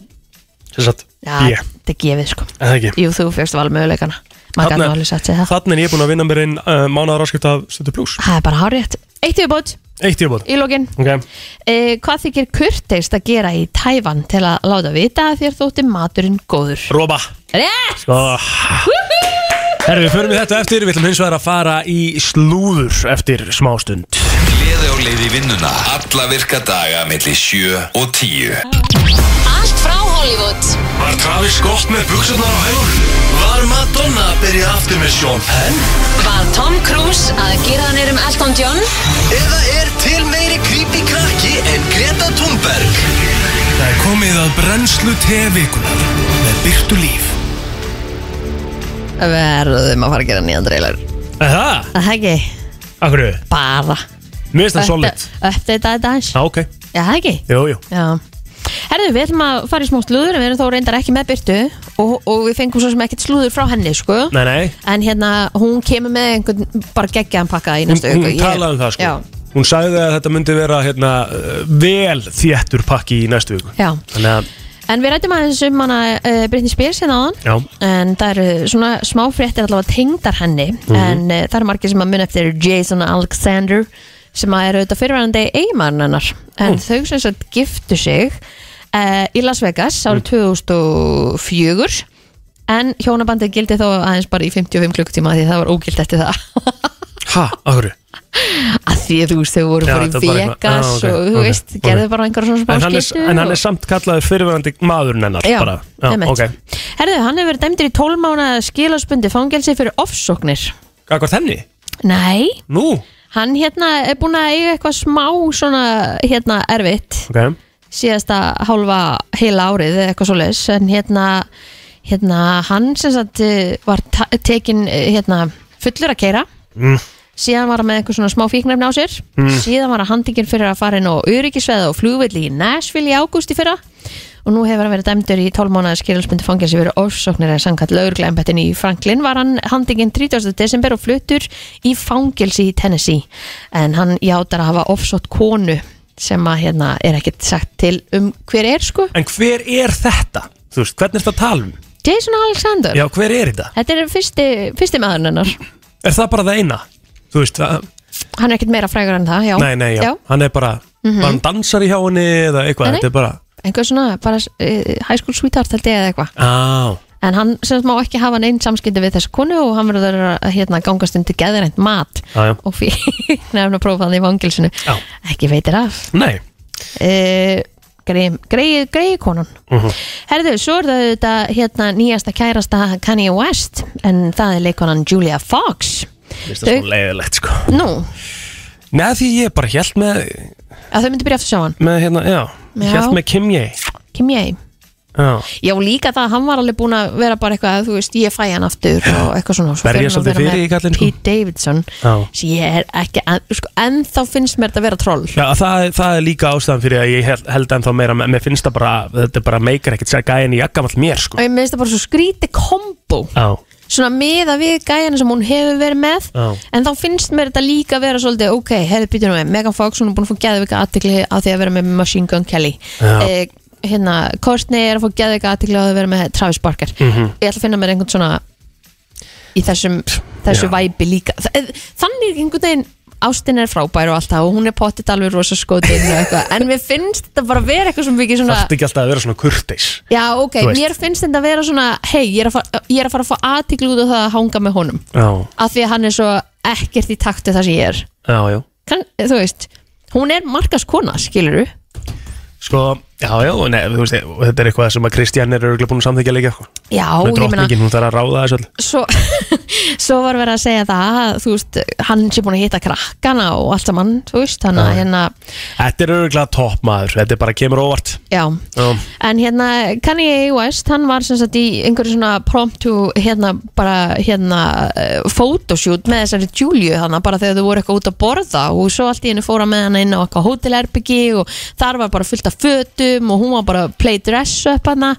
[SPEAKER 3] sem sagt,
[SPEAKER 2] Já,
[SPEAKER 3] B,
[SPEAKER 2] þetta er gefið sko
[SPEAKER 3] eða ekki
[SPEAKER 2] Jú, þú fyrst valmöguleikana Maður
[SPEAKER 3] Þarna-
[SPEAKER 2] gæti nú alveg sett sér það
[SPEAKER 3] Þannig er ég búin að vinna mér inn uh, mánaðar áskipta af stötu pluss
[SPEAKER 2] Það er bara hárétt Eitt yfirbót
[SPEAKER 3] Eitt ég búin
[SPEAKER 2] í lokin
[SPEAKER 3] Ok,
[SPEAKER 2] e, Hvað þykir kurteist að gera í Tævan til að láta vita að þér þótti maturinn góður?
[SPEAKER 3] Róba
[SPEAKER 2] Rétt!
[SPEAKER 3] Sko Herru, við förum við þetta á eftir Við ætlum hins vegar að fara í slúður eftir smástund
[SPEAKER 1] Gleði á leið í vinnuna Alla virka daga melli 7 og 10
[SPEAKER 4] Allt frá Hollywood
[SPEAKER 1] Var Travis Scott með buksunar á hægur? Var Madonna að byrja aftur með Sean Penn?
[SPEAKER 4] Var Tom Cruise að gera hann erum Elton John?
[SPEAKER 1] Eða er til meiri creepy krakki en Greta Thunberg? Það er komið að brennslu tevikuna með byrtu líf.
[SPEAKER 2] Verðum að fara að gera nýjan trailer
[SPEAKER 3] Það,
[SPEAKER 2] Það ekki,
[SPEAKER 3] akkur við
[SPEAKER 2] bara
[SPEAKER 3] Mér finnst það solid
[SPEAKER 2] Öftið þetta aðeins
[SPEAKER 3] Já, ok,
[SPEAKER 2] Já, það ekki
[SPEAKER 3] jú, jú
[SPEAKER 2] Já Herðu, við ætlum að fara í smá slúður en við erum þó reyndar ekki með Byrtu og, og við fengum svo sem ekkert slúður frá henni sko.
[SPEAKER 3] Nei, nei,
[SPEAKER 2] en hérna, hún kemur með einhvern bara geggjaðan pakka í
[SPEAKER 3] hún,
[SPEAKER 2] næstu
[SPEAKER 3] hún
[SPEAKER 2] auku
[SPEAKER 3] talaði um það sko
[SPEAKER 2] Já,
[SPEAKER 3] Hún sagði að þetta myndi vera hérna, uh, vel þéttur pakki í næstu viku
[SPEAKER 2] já
[SPEAKER 3] Þannig að,
[SPEAKER 2] En við rættum aðeins um hana uh, Britney Spears hérna áðan
[SPEAKER 3] já,
[SPEAKER 2] en það eru svona smá fréttir allavega tengdar henni
[SPEAKER 3] Mhm.
[SPEAKER 2] en uh, það eru margir sem að mun eftir Jason Alexander sem að eru auðvitað fyrirværandi eigimann hennar en
[SPEAKER 3] Mm.
[SPEAKER 2] þau sem sagt giftu sig uh, í Las Vegas
[SPEAKER 3] Mm.
[SPEAKER 2] árið 2004 en hjónabandið gildi þó aðeins bara í 55 klukkutíma af því það var ógilt eftir það
[SPEAKER 3] ha, akkur
[SPEAKER 2] að því að þú veist þau voru
[SPEAKER 3] Já,
[SPEAKER 2] fór í
[SPEAKER 3] þetta var bara eitthvað-
[SPEAKER 2] Vegas
[SPEAKER 3] Ah, ok,
[SPEAKER 2] og þú
[SPEAKER 3] ok,
[SPEAKER 2] veist,
[SPEAKER 3] ok.
[SPEAKER 2] gerðu bara einhverja svona
[SPEAKER 3] en hann,
[SPEAKER 2] smá
[SPEAKER 3] er,
[SPEAKER 2] skiptu
[SPEAKER 3] en hann
[SPEAKER 2] og-
[SPEAKER 3] er samt kallaði fyrirverandi maðurinn hennar
[SPEAKER 2] Já,
[SPEAKER 3] bara. já
[SPEAKER 2] einmitt.
[SPEAKER 3] ok
[SPEAKER 2] Herðu, hann hefur verið dæmdur í 12 mánaða skilarsbundi fangelsi fyrir ofsóknir
[SPEAKER 3] Akkur þenni?
[SPEAKER 2] Nei,
[SPEAKER 3] Nú,
[SPEAKER 2] Hann hérna er búin að eiga eitthvað smá svona hérna erfitt
[SPEAKER 3] ok
[SPEAKER 2] síðasta hálfa heila árið eða eitthvað svoleiðis en hérna, hérna hann sem sagt eh, var ta- tekinn eh, hérna fullur að keira
[SPEAKER 3] Mm.
[SPEAKER 2] síðan var hann með eitthvað svona smá fíknefni á sér
[SPEAKER 3] Hmm.
[SPEAKER 2] síðan var hann handikinn fyrir að fara inn á öryggisveða og flugvilli í Nashville í ágúst í fyrra og nú hefur hann verið dæmdur í 12 mánuða skiljarsmyndi fangelsi fyrir ofsóknir en samkvæmt lauruglaembetin í Franklin var hann handikinn 30. desember og fluttur í fangelsi í Tennessee en hann játar að hafa ofsótt konu sem að hérna er ekkert sagt til um hver er sko
[SPEAKER 3] En hver er þetta? Þú veist, hvernig er þetta talum?
[SPEAKER 2] Jason Alexander
[SPEAKER 3] Já, hver er þetta?
[SPEAKER 2] þetta er fyrsti, fyrsti maðurinn hennar
[SPEAKER 3] Er það bara það eina? Þú veist, það,
[SPEAKER 2] hann er ekkert meira frægur en það já. Mhm.
[SPEAKER 3] nei, nei, já, hann er bara mm -hmm. hann dansar í hjá henni eða eitthvað,
[SPEAKER 2] Nei, nei.
[SPEAKER 3] þetta er bara
[SPEAKER 2] einhver svona bara, uh, high school sweetheart held ég eða eitthvað
[SPEAKER 3] Á,
[SPEAKER 2] en hann sem sagt má ekki hafa neinn samskipti við þessa konu og hann verður að hérna, gangast undir geðreint mat
[SPEAKER 3] á, já,
[SPEAKER 2] og fyrir nefn að prófa það í vangilsinu
[SPEAKER 3] Já.
[SPEAKER 2] ekki veitir af
[SPEAKER 3] nei
[SPEAKER 2] uh, greiði konan
[SPEAKER 3] Mhm.
[SPEAKER 2] herðu, svo er það þetta hérna, nýjasta kærasta Kanye West en það er leikonan Julia Fox
[SPEAKER 3] Vist það
[SPEAKER 2] það
[SPEAKER 3] svo
[SPEAKER 2] Þau- svo
[SPEAKER 3] leiðilegt, sko
[SPEAKER 2] nú,
[SPEAKER 3] Nei, því ég bara hjælt með,
[SPEAKER 2] að þau myndi byrja aftur að sjá hann
[SPEAKER 3] með hérna, já, já.
[SPEAKER 2] Já.
[SPEAKER 3] hjælt með Kim Ye
[SPEAKER 2] Kim Ye
[SPEAKER 3] Já,
[SPEAKER 2] Já, líka það, hann var alveg búin að vera bara eitthvað, þú veist, ég fæ hann aftur og eitthvað svona.
[SPEAKER 3] Berja
[SPEAKER 2] Svo fer hann að
[SPEAKER 3] svolítið
[SPEAKER 2] vera
[SPEAKER 3] fyrir
[SPEAKER 2] með
[SPEAKER 3] í kallinn, sko.
[SPEAKER 2] Pete Davidson,
[SPEAKER 3] Já.
[SPEAKER 2] sem ég er ekki, en, sko, en þá finnst mér þetta að vera troll.
[SPEAKER 3] já það, það er líka ástæðan fyrir að ég held, held ennþá meira, mér finnst það bara þetta bara meikar ekkert sér gæðin í jakkamall mér, sko
[SPEAKER 2] Og ég meðist það bara svo skríti kombo,
[SPEAKER 3] Já,
[SPEAKER 2] svona miða við gæjana sem hún hefur verið með,
[SPEAKER 3] Já.
[SPEAKER 2] en þá finnst mér þetta líka vera svolítið, ok, hefði býtið nú með, Megan Fox, hún er búin að fá geðvika aðtikli á því að vera með Machine Gun Kelly.
[SPEAKER 3] Já.
[SPEAKER 2] Eh, hérna, Kourtney er að fá geðvika aðtikli á því að vera með Travis Barker.
[SPEAKER 3] Mhm.
[SPEAKER 2] Ég ætla að finna mér einhvern svona í þessum, þessu
[SPEAKER 3] Já.
[SPEAKER 2] væpi líka Þa- eh, þannig einhvern veginn Ástin er frábær og allt það og hún er pottitt alveg rosa skotin og eitthvað en mér finnst þetta bara vera eitthvað sem við ekki
[SPEAKER 3] það
[SPEAKER 2] svona
[SPEAKER 3] ætti ekki alltaf að vera svona kurteis
[SPEAKER 2] já ok,
[SPEAKER 3] Þú veist.
[SPEAKER 2] mér finnst þetta vera svona hei, ég, er að fara- ég er að fara að fá aðtiklu út af það að hanga með honum
[SPEAKER 3] Já,
[SPEAKER 2] af því að hann er svo ekkert í taktu það sem ég er
[SPEAKER 3] já, já
[SPEAKER 2] kan, þú veist, hún er markaskona skilur þú?
[SPEAKER 3] Sko, já, já, og nei, þú veist, og þetta er eitthvað sem að Kristján er örgulega búin að samþykja líka sko. Hún er
[SPEAKER 2] Já, ég meina
[SPEAKER 3] drottningin, hún þarf að ráða þessu öll
[SPEAKER 2] svo, svo var verið að segja það að, þú veist, hann sé búin að hitta krakkana og allt saman, þú veist, þannig að
[SPEAKER 3] Já.
[SPEAKER 2] hérna,
[SPEAKER 3] Þetta er örgulega topp maður, þetta er bara kemur óvart
[SPEAKER 2] já
[SPEAKER 3] Já,
[SPEAKER 2] En hérna Kanye West, hann var sem sagt í einhverju svona promptu hérna bara hérna eh, photoshoot með þessari Juliu þannig bara þegar þau voru eitthvað út að borða og svo allt í henni fóra með hann inn á eitthvað hótelherbyggi og þar var bara fullt af fötum og hún var bara að play dress up hana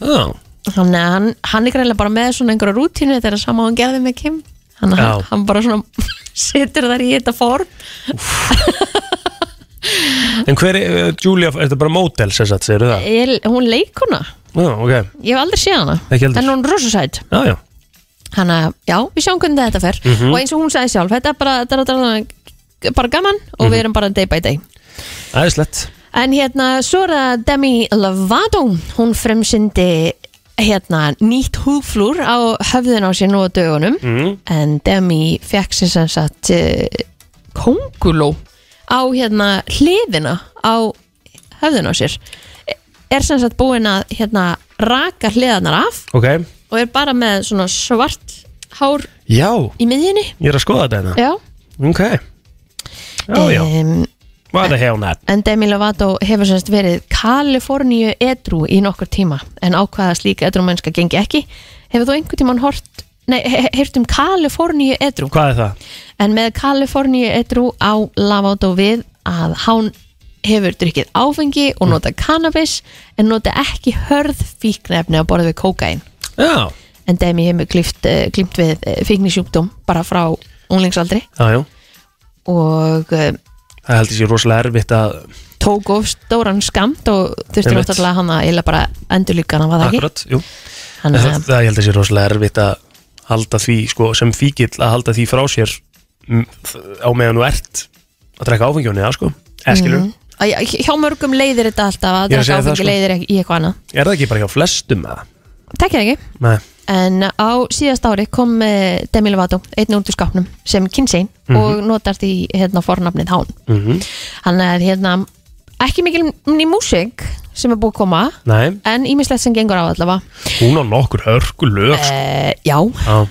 [SPEAKER 3] já,
[SPEAKER 2] þannig að hann, hann er greinlega bara með svona einhverju rútínu þetta er það sama og hann gerði með Kim þannig
[SPEAKER 3] Já.
[SPEAKER 2] að hann, hann bara svona setur þar í þetta form
[SPEAKER 3] En hver, er- eh, Julia, er þetta bara mótel sem sagt, segir það?
[SPEAKER 2] ég, hún leikuna,
[SPEAKER 3] Já, ok,
[SPEAKER 2] ég hef aldrei séð hana
[SPEAKER 3] Ekki heldur.
[SPEAKER 2] en hún er rosa sætt
[SPEAKER 3] já, já
[SPEAKER 2] hann að, já, við sjáum hvernig þetta fer og eins og hún sagði sjálf, þetta er bara, þetta er bara, bara gaman og við erum bara day by day
[SPEAKER 3] Æðislegt
[SPEAKER 2] En hérna, svo er það Demi Lovato, hún fremsyndi hérna nýtt húflúr á höfðun á sér nú á dögunum en Demi fekk sér sem sagt eh, kónguló á hérna hliðina á höfðun á sér er sem sagt búin að hérna raka hliðarnar af
[SPEAKER 3] Ok,
[SPEAKER 2] og er bara með svona svart hár
[SPEAKER 3] já,
[SPEAKER 2] í miðjunni
[SPEAKER 3] ég er að skoða þetta hérna
[SPEAKER 2] Já, Eh.
[SPEAKER 3] Ok Já, já,
[SPEAKER 2] Em,
[SPEAKER 3] hvað er hjána?
[SPEAKER 2] En Demi Lovato hefur semst verið Kaliforníu edru í nokkur tíma en ákvaða slík edru mennska gengi ekki hefur þú einhvern tíman hort nei, he heyrt um Kaliforníu edru
[SPEAKER 3] Hvað er það?
[SPEAKER 2] en með Kaliforníu edru á Lovato við að hán hefur drukkið áfengi
[SPEAKER 3] Hm.
[SPEAKER 2] og nota cannabis en nota ekki hörð fíknefni á borðið við kókain
[SPEAKER 3] Já,
[SPEAKER 2] en Demi hefur glímt, glímt við eh, fíknisjúkdóm bara frá unglingsaldri
[SPEAKER 3] já, já
[SPEAKER 2] og eh,
[SPEAKER 3] Það heldur sér rosalega erfitt að
[SPEAKER 2] tók of stóran skamt og þurfti
[SPEAKER 3] Einmitt.
[SPEAKER 2] náttúrulega hann að eila bara endurlíka hann var það ekki
[SPEAKER 3] Akkurat, jú
[SPEAKER 2] hann,
[SPEAKER 3] Það,
[SPEAKER 2] að,
[SPEAKER 3] það heldur sér rosalega erfitt að halda því, sko, sem fíkil að halda því frá sér mm, þ- á meðan þú ert að drekka áfengjónið, sko Eskilur,
[SPEAKER 2] að, hjá mörgum leiðir þetta alltaf
[SPEAKER 3] Ég er
[SPEAKER 2] að
[SPEAKER 3] að
[SPEAKER 2] drekka
[SPEAKER 3] segja það,
[SPEAKER 2] áfengi
[SPEAKER 3] sko.
[SPEAKER 2] leiðir ekki í eitthvað annað
[SPEAKER 3] er það ekki bara hjá flestum eða?
[SPEAKER 2] Takk er ekki
[SPEAKER 3] Nei,
[SPEAKER 2] en á síðast ári kom eh, Demi Lovato einn út úr skápnum sem kynsein
[SPEAKER 3] Mhm.
[SPEAKER 2] og notar því hérna fornafnið hán
[SPEAKER 3] mm
[SPEAKER 2] hann er hérna ekki mikil ný músík sem er búið að koma
[SPEAKER 3] nei,
[SPEAKER 2] en ímislegt sem gengur á allavega
[SPEAKER 3] hún á nokkur hörgulög, sko
[SPEAKER 2] e, já,
[SPEAKER 3] Já,
[SPEAKER 2] og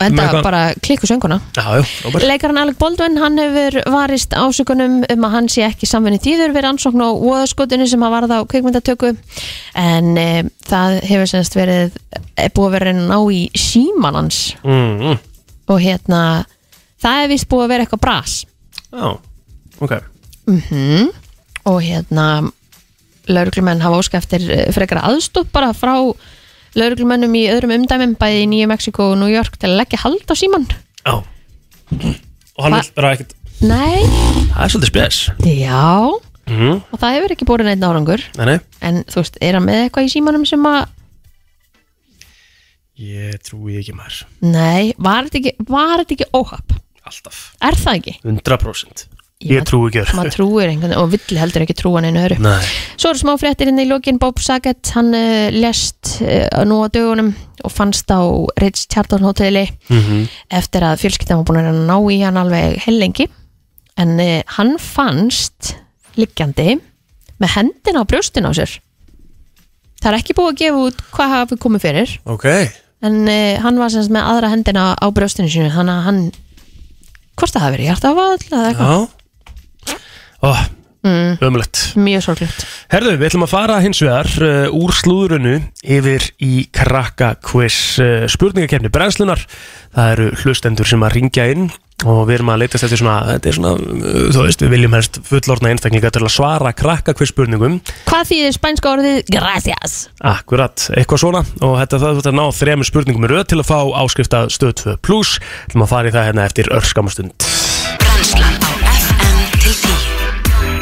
[SPEAKER 2] þetta
[SPEAKER 3] Með hvað-
[SPEAKER 2] bara klikku sönguna
[SPEAKER 3] Eh. já, já, Robert
[SPEAKER 2] Leikarinn Alec Baldwin, hann hefur varist ásökunum um að hann sé ekki samvinni tíður við rannsókn á voðaskotinu sem hann varð á kveikmyndatöku en e, það hefur semst verið e, búið að vera að ná í símanans
[SPEAKER 3] mm, mm,
[SPEAKER 2] og hérna það er vist búið að vera eitthvað bras
[SPEAKER 3] Já, ok
[SPEAKER 2] og hérna lauruglumenn hafa óskæftir frekara aðstótt bara frá lauruglumennum í öðrum umdæmum bæði í Nýju Mexiko og New York til að leggja hald á síman
[SPEAKER 3] Já Og hann
[SPEAKER 2] Hva-
[SPEAKER 3] vil bara ekkert
[SPEAKER 2] Nei,
[SPEAKER 3] Það er svolítið spes
[SPEAKER 2] já
[SPEAKER 3] mm.
[SPEAKER 2] og það hefur ekki búið neitt árangur
[SPEAKER 3] Nei, nei
[SPEAKER 2] En þú veist, er hann með eitthvað í símanum sem að
[SPEAKER 3] Ég trúi ekki maður
[SPEAKER 2] Nei, var þetta ekki, var þetta ekki óhap?
[SPEAKER 3] Alltaf
[SPEAKER 2] Er það ekki?
[SPEAKER 3] 100%
[SPEAKER 2] Ég
[SPEAKER 3] Ég trúi ekki
[SPEAKER 2] Maður
[SPEAKER 3] þér
[SPEAKER 2] trúir einhvern og vill heldur ekki trúa neinu öru
[SPEAKER 3] Nei
[SPEAKER 2] Svo eru smá fréttir inn í lokin Bob Saget, hann uh, lest uh, nú á dögunum og fannst á Ritz Charlton Hotelli
[SPEAKER 3] mm
[SPEAKER 2] eftir að fjölskyldan var búin að reyna að ná í hann alveg hellingi en uh, hann fannst liggjandi með hendina á brjóstin á sér Það er ekki búið að gefa út hvað hafi komið fyrir
[SPEAKER 3] Ok
[SPEAKER 2] en uh, hann var semst með aðra hendina á brjóstinu sínu þannig að hann hvort það hafi verið hjartafall eða eitthvað
[SPEAKER 3] Já Ó, mm. ömulegt
[SPEAKER 2] mjög sorglegt
[SPEAKER 3] Herðu, við ætlum að fara hins vegar uh, úr slúðrunu yfir í krakka quiz uh, spurningakefni brennslunar. Það eru hlustendur sem að ringja inn og við erum að leitast eftir svona, þetta er svona, uh, þú veist, við viljum helst fullorna einstaklinga til að svara krakka quiz spurningum.
[SPEAKER 2] hvað þýðir spænska orðið gracias
[SPEAKER 3] Akkurat, eitthvað svona og þetta það þú ert að ná þremur spurningum í röð til að fá áskrift að stöð 2 plus ætlum að fara í það hérna eftir örskamastund
[SPEAKER 8] Brennslan á FM til 10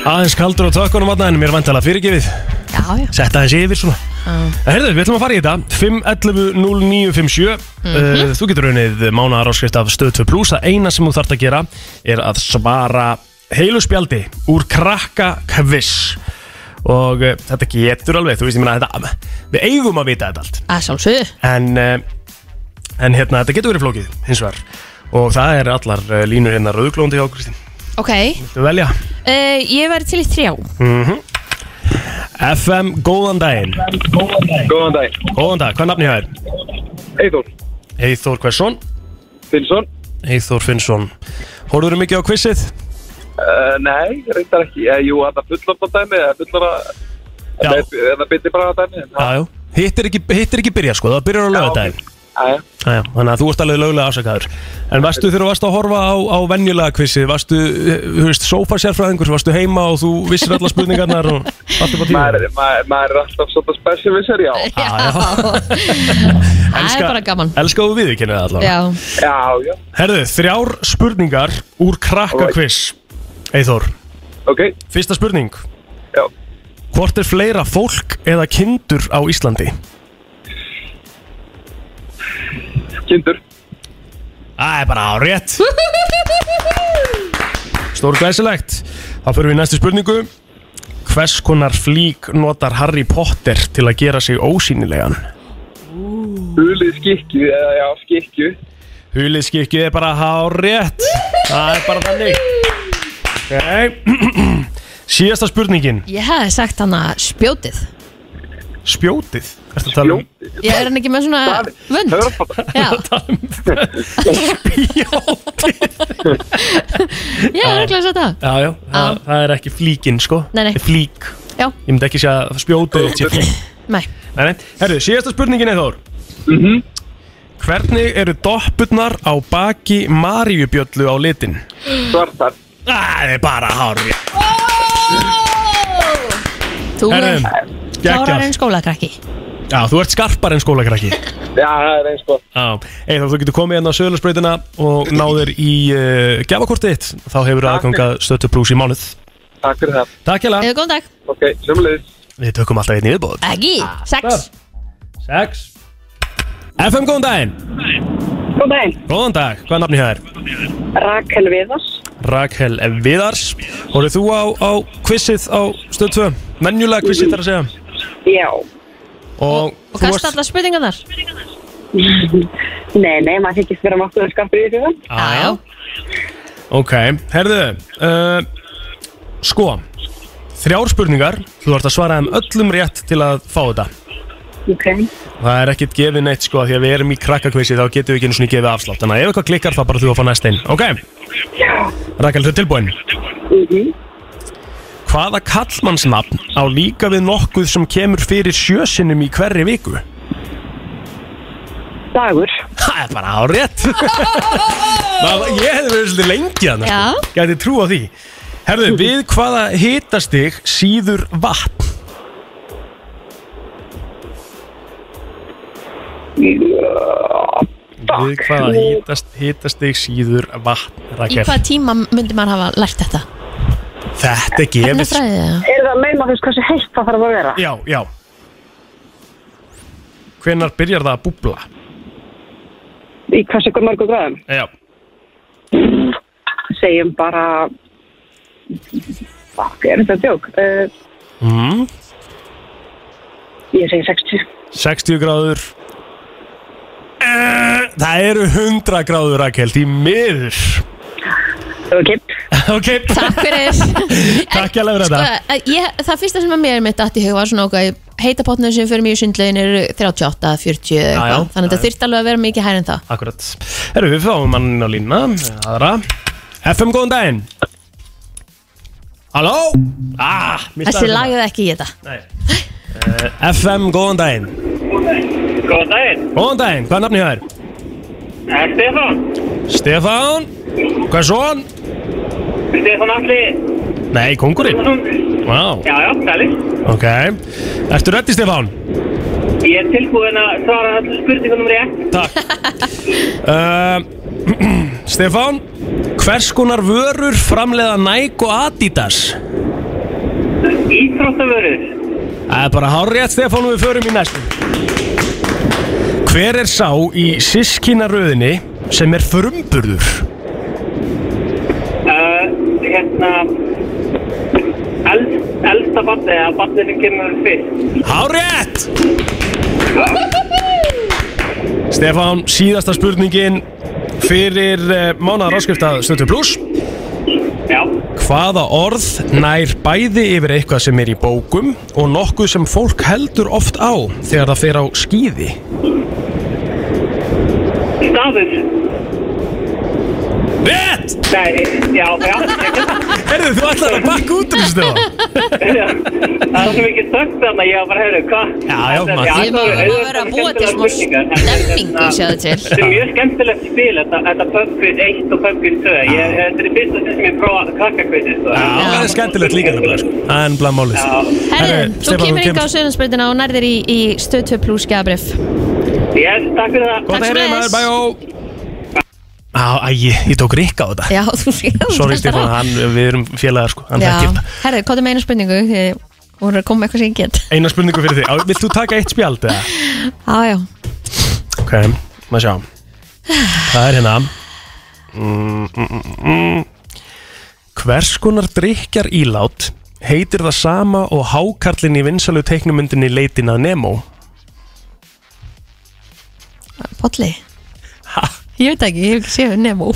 [SPEAKER 3] Aðeins kaldur á tökkunum aðna en mér er vantala fyrirgefið
[SPEAKER 2] já já
[SPEAKER 3] Setta aðeins yfir svona En Herðu, við ætlum að fara í þetta 5.11.09.57 uh, Þú getur unnið mánaðar áskrift af stöð 2 plus Það eina sem þú þart að gera er að svara heilu spjaldi úr krakka kviss og uh, þetta getur alveg, þú veist ég meina þetta við eigum að vita þetta allt
[SPEAKER 2] að sjálfsögðu
[SPEAKER 3] en, eh, en hérna, þetta getur verið flókið hins vegar og það er allar eh, línur hérna rauðglóndi hjá Kristín
[SPEAKER 2] ok
[SPEAKER 3] Þú velja
[SPEAKER 2] uh, ég væri til í þrjá
[SPEAKER 3] FM, góðan daginn
[SPEAKER 9] Góðan dag,
[SPEAKER 3] Góðan dag, hvað er nafni hjá þér?
[SPEAKER 9] Eithór
[SPEAKER 3] Eithór Hversson
[SPEAKER 9] Finnsson
[SPEAKER 3] Eithór Finnsson Hóruður mikið á quizið?
[SPEAKER 9] uh, Nei, reyndar ekki uh, Jú, þetta fullorðan dæmi eða eh, fullorða eh,
[SPEAKER 3] Já.
[SPEAKER 9] eða bytti bara dæmi en það-
[SPEAKER 3] Já, já Hitt er ekki, hitt er ekki byrja sko, það byrjar á lögadaginn
[SPEAKER 9] Jæja.
[SPEAKER 3] Jæja, Þannig að þú ert alveg lögulega afsakaður En varstu þegar þú varst að horfa á, á venjulega quizið Varstu, eh, þú veist, sófasérfræðingur Varstu heima og þú vissir alla spurningarnar og um- varstu bara tíma
[SPEAKER 9] Maður er- maður- maður er alltaf svolítið specialisir, já
[SPEAKER 2] það er bara gaman
[SPEAKER 3] Ah, Elskaðu við ekki neða allavega
[SPEAKER 2] já
[SPEAKER 9] Já, já
[SPEAKER 3] Herðu, þrjár spurningar úr krakkakviss Eithor,
[SPEAKER 9] ok,
[SPEAKER 3] Fyrsta spurning
[SPEAKER 9] já
[SPEAKER 3] Hvort er fleira fólk eða kindur á Íslandi?
[SPEAKER 9] Kindur,
[SPEAKER 3] Það er bara árétt Stór glæsilegt Þá fyrir við í næstu spurningu Hvers konar flík notar Harry Potter til að gera sig ósýnilegan?
[SPEAKER 9] hulið skikju eða já, skikju
[SPEAKER 3] Hulið skikkið er bara hárétt Það er bara þannig okay. Síðasta spurningin
[SPEAKER 2] Ég hefði sagt hann að spjótið
[SPEAKER 3] Spjótið Ertu að tala um
[SPEAKER 2] Ég er hann ekki með svona vönd
[SPEAKER 9] Hörfátt,
[SPEAKER 2] Já,
[SPEAKER 3] um spjótið?
[SPEAKER 2] ég er ekki að setja
[SPEAKER 3] Já, já, það, það er ekki flíkin sko
[SPEAKER 2] Nei, nei.
[SPEAKER 3] Það er flík
[SPEAKER 2] Já.
[SPEAKER 3] Ég myndi ekki segja að spjótið sé flík
[SPEAKER 2] Nei,
[SPEAKER 3] Nei, nei. Herru, síðasta spurningin er þór Hvernig eru doppurnar á baki Maríubjöllu á litin?
[SPEAKER 9] svartar
[SPEAKER 3] Það er bara hári
[SPEAKER 2] þú er
[SPEAKER 3] Herru, geggjað
[SPEAKER 2] klárarinn
[SPEAKER 9] sko.
[SPEAKER 2] skólakrakki
[SPEAKER 3] Já, þú ert skarpar en skólakrakki
[SPEAKER 9] Já, það er eins gott
[SPEAKER 3] Já, eða þú getur komið hérna á sögulegsbreytina og náður í uh, gefakortið þitt þá hefur
[SPEAKER 9] Takk fyrir.
[SPEAKER 3] aðgangað stöttu brús í mánuð
[SPEAKER 9] Takk fyrir það
[SPEAKER 3] Takk hella,
[SPEAKER 2] Eða Eh, góðan dag,
[SPEAKER 9] Ok, sömulegis
[SPEAKER 3] við tökum alltaf einn yfirbóð
[SPEAKER 2] ekki, sex
[SPEAKER 3] Sex FM, góðan daginn
[SPEAKER 10] Góð daginn,
[SPEAKER 3] Góðan dag, hvað er nafni hér?
[SPEAKER 10] Rakel Viðars.
[SPEAKER 3] Rakel Viðars Hóruð þú á, á quizið á stöð 2 Menjulega quizið þar að segja
[SPEAKER 10] Já.
[SPEAKER 3] Og,
[SPEAKER 2] Og
[SPEAKER 3] þú
[SPEAKER 2] kasta allar spurningarnar
[SPEAKER 10] Nei, nei, maður þykist vera máttuður skapur í þessu sko. það.
[SPEAKER 3] Já, já. Ok, herðu uh, Sko Þrjár spurningar, þú ert að svara þeim öllum rétt til að fá þetta
[SPEAKER 10] Ok.
[SPEAKER 3] Það er ekkert gefið neitt sko Því að við erum í krakkakvissi þá getum við ekki einu svona gefið afslátt Þannig að ef eitthvað klikkar þá bara þú að fá næst einn Ok, Rakel þau tilbúin
[SPEAKER 10] Mhm.
[SPEAKER 3] Hvaða kallmannsnafn á líka við nokkuð sem kemur fyrir sjösinum í hverri viku?
[SPEAKER 10] Dagur.
[SPEAKER 3] Það er bara árétt Maður- Ég hefði verið svolítið lengi sko. þannig
[SPEAKER 2] Já.
[SPEAKER 3] Gæti trú á því Herðu, við hvaða hitastig síður vatn? Við hvaða hitast, hitastig síður vatn,
[SPEAKER 2] Í
[SPEAKER 3] Rakel?
[SPEAKER 2] hvaða tíma myndi maður hafa lært þetta?
[SPEAKER 3] Þetta er gefið sko.
[SPEAKER 2] Efnafræði, eða?
[SPEAKER 10] Er það meina þess hversu heitt það þarf að vera?
[SPEAKER 3] Já, já Hvenær byrjar það að búbla?
[SPEAKER 10] Í hversu ykkur mörgu gráðum?
[SPEAKER 3] Já,
[SPEAKER 10] Segjum bara... Fuck, er þetta djók? Uh,
[SPEAKER 3] mm.
[SPEAKER 10] ég segi 60.
[SPEAKER 3] 60 gráður Eh, Það eru 100 gráður, Rakel, því miður
[SPEAKER 10] Ok.
[SPEAKER 3] Ok,
[SPEAKER 2] Takk fyrir
[SPEAKER 3] takk alveg fyrir
[SPEAKER 2] Sko,
[SPEAKER 3] þetta
[SPEAKER 2] að ég, það fyrsta sem að mér mitt dætt í hug var svona okkar heitapotnum sem fyrir mig í sundlegin eru 38, 40
[SPEAKER 3] Já, já.
[SPEAKER 2] eitthvað þannig að þetta þyrft alveg að vera mikið hær en það
[SPEAKER 3] Akkurat Herru, við fáum mann á lína aðra. FM, góðan daginn Halló ah, mistaði
[SPEAKER 2] þessi
[SPEAKER 3] þetta.
[SPEAKER 2] lagið ekki í þetta
[SPEAKER 3] Nei. Eh, FM, góðan daginn
[SPEAKER 11] Góðan daginn,
[SPEAKER 3] Góðan daginn, hvað er nafnið það er?
[SPEAKER 11] það er Stefán,
[SPEAKER 3] Stefán Hvað er svon?
[SPEAKER 11] Stefán Alli,
[SPEAKER 3] Nei, kongurinn Vá,
[SPEAKER 11] já já, tali,
[SPEAKER 3] ok Ertu reddi, Stefán?
[SPEAKER 11] ég er tilbúin að svara allir spurningunum rétt,
[SPEAKER 3] Takk uh, Stefán Hvers konar vörur framleiða Nike og Adidas?
[SPEAKER 11] íþróttavörur,
[SPEAKER 3] Það er bara hárétt Stefán og við förum í næstu Hver er sá í sískinaröðinni sem er frumburður?
[SPEAKER 11] uh, hérna, elst, elsta barni, eða barni sem kemur fyrst,
[SPEAKER 3] Hárétt! Stefán, síðasta spurningin fyrir uh, mánaðar áskrifta Stötu Plus
[SPEAKER 11] já,
[SPEAKER 3] Hvaða orð nær bæði yfir eitthvað sem er í bókum og nokkuð sem fólk heldur oft á þegar það fer á skíði?
[SPEAKER 11] stafur,
[SPEAKER 3] Rétt!
[SPEAKER 11] nei, já, já,
[SPEAKER 3] Herðu, þú ætlar að bakka út um þessu Stefán?
[SPEAKER 11] það er svo mikið þögt þannig að ég var bara, heyrðu, hvað?
[SPEAKER 3] Já, já,
[SPEAKER 11] Þetta er-
[SPEAKER 3] maður-
[SPEAKER 2] Ég má-
[SPEAKER 11] þetta
[SPEAKER 2] maður
[SPEAKER 11] eru
[SPEAKER 2] verður að búa til
[SPEAKER 11] skemmtilegar
[SPEAKER 2] smá
[SPEAKER 11] spurningar, en þetta er
[SPEAKER 2] stemmingu,
[SPEAKER 11] hérna-
[SPEAKER 2] sjáðu til
[SPEAKER 11] Þetta er mjög skemmtilegt spil, þetta, þetta pubquiz 1 og pubquiz 2. Ég, þetta er í fyrsta sinn sem ég prófa krakkakvizið, sko.
[SPEAKER 3] Já, það er skemmtilegt líka nefnilega sko. Það er nefnilega málið.
[SPEAKER 11] Já.
[SPEAKER 2] Herðu,
[SPEAKER 3] Herðu,
[SPEAKER 2] þú
[SPEAKER 3] Stefán,
[SPEAKER 2] kemur yngi á söðansbreytina og nærðir í, í stöð 2 plus gæðabrif
[SPEAKER 11] Yes, takk fyrir það.
[SPEAKER 3] Gótt að heyra í
[SPEAKER 2] Takk
[SPEAKER 3] maður,
[SPEAKER 2] svoleiðis.
[SPEAKER 3] bæjó! Á, æ, ég, ég tók rikka á þetta
[SPEAKER 2] Já, þú sé
[SPEAKER 3] Sorry Stefán, hann, við erum félagar sko Hann þekkir þetta.
[SPEAKER 2] Herri, hvað er með eina spurningu? Ég voru að koma með eitthvað sem ég get
[SPEAKER 3] Eina spurningu fyrir þig, Á, vilt þú taka eitt spjald eða?
[SPEAKER 2] Já, já
[SPEAKER 3] Ok, maður sjá Það er hérna mm, mm, mm, mm. Hvers konar drikjar ílát heitir það sama og hákarlinn í vinsalu teiknumyndinni leitin að Nemo?
[SPEAKER 2] Polli Ég veit ekki, ég hef ekki séð Nemo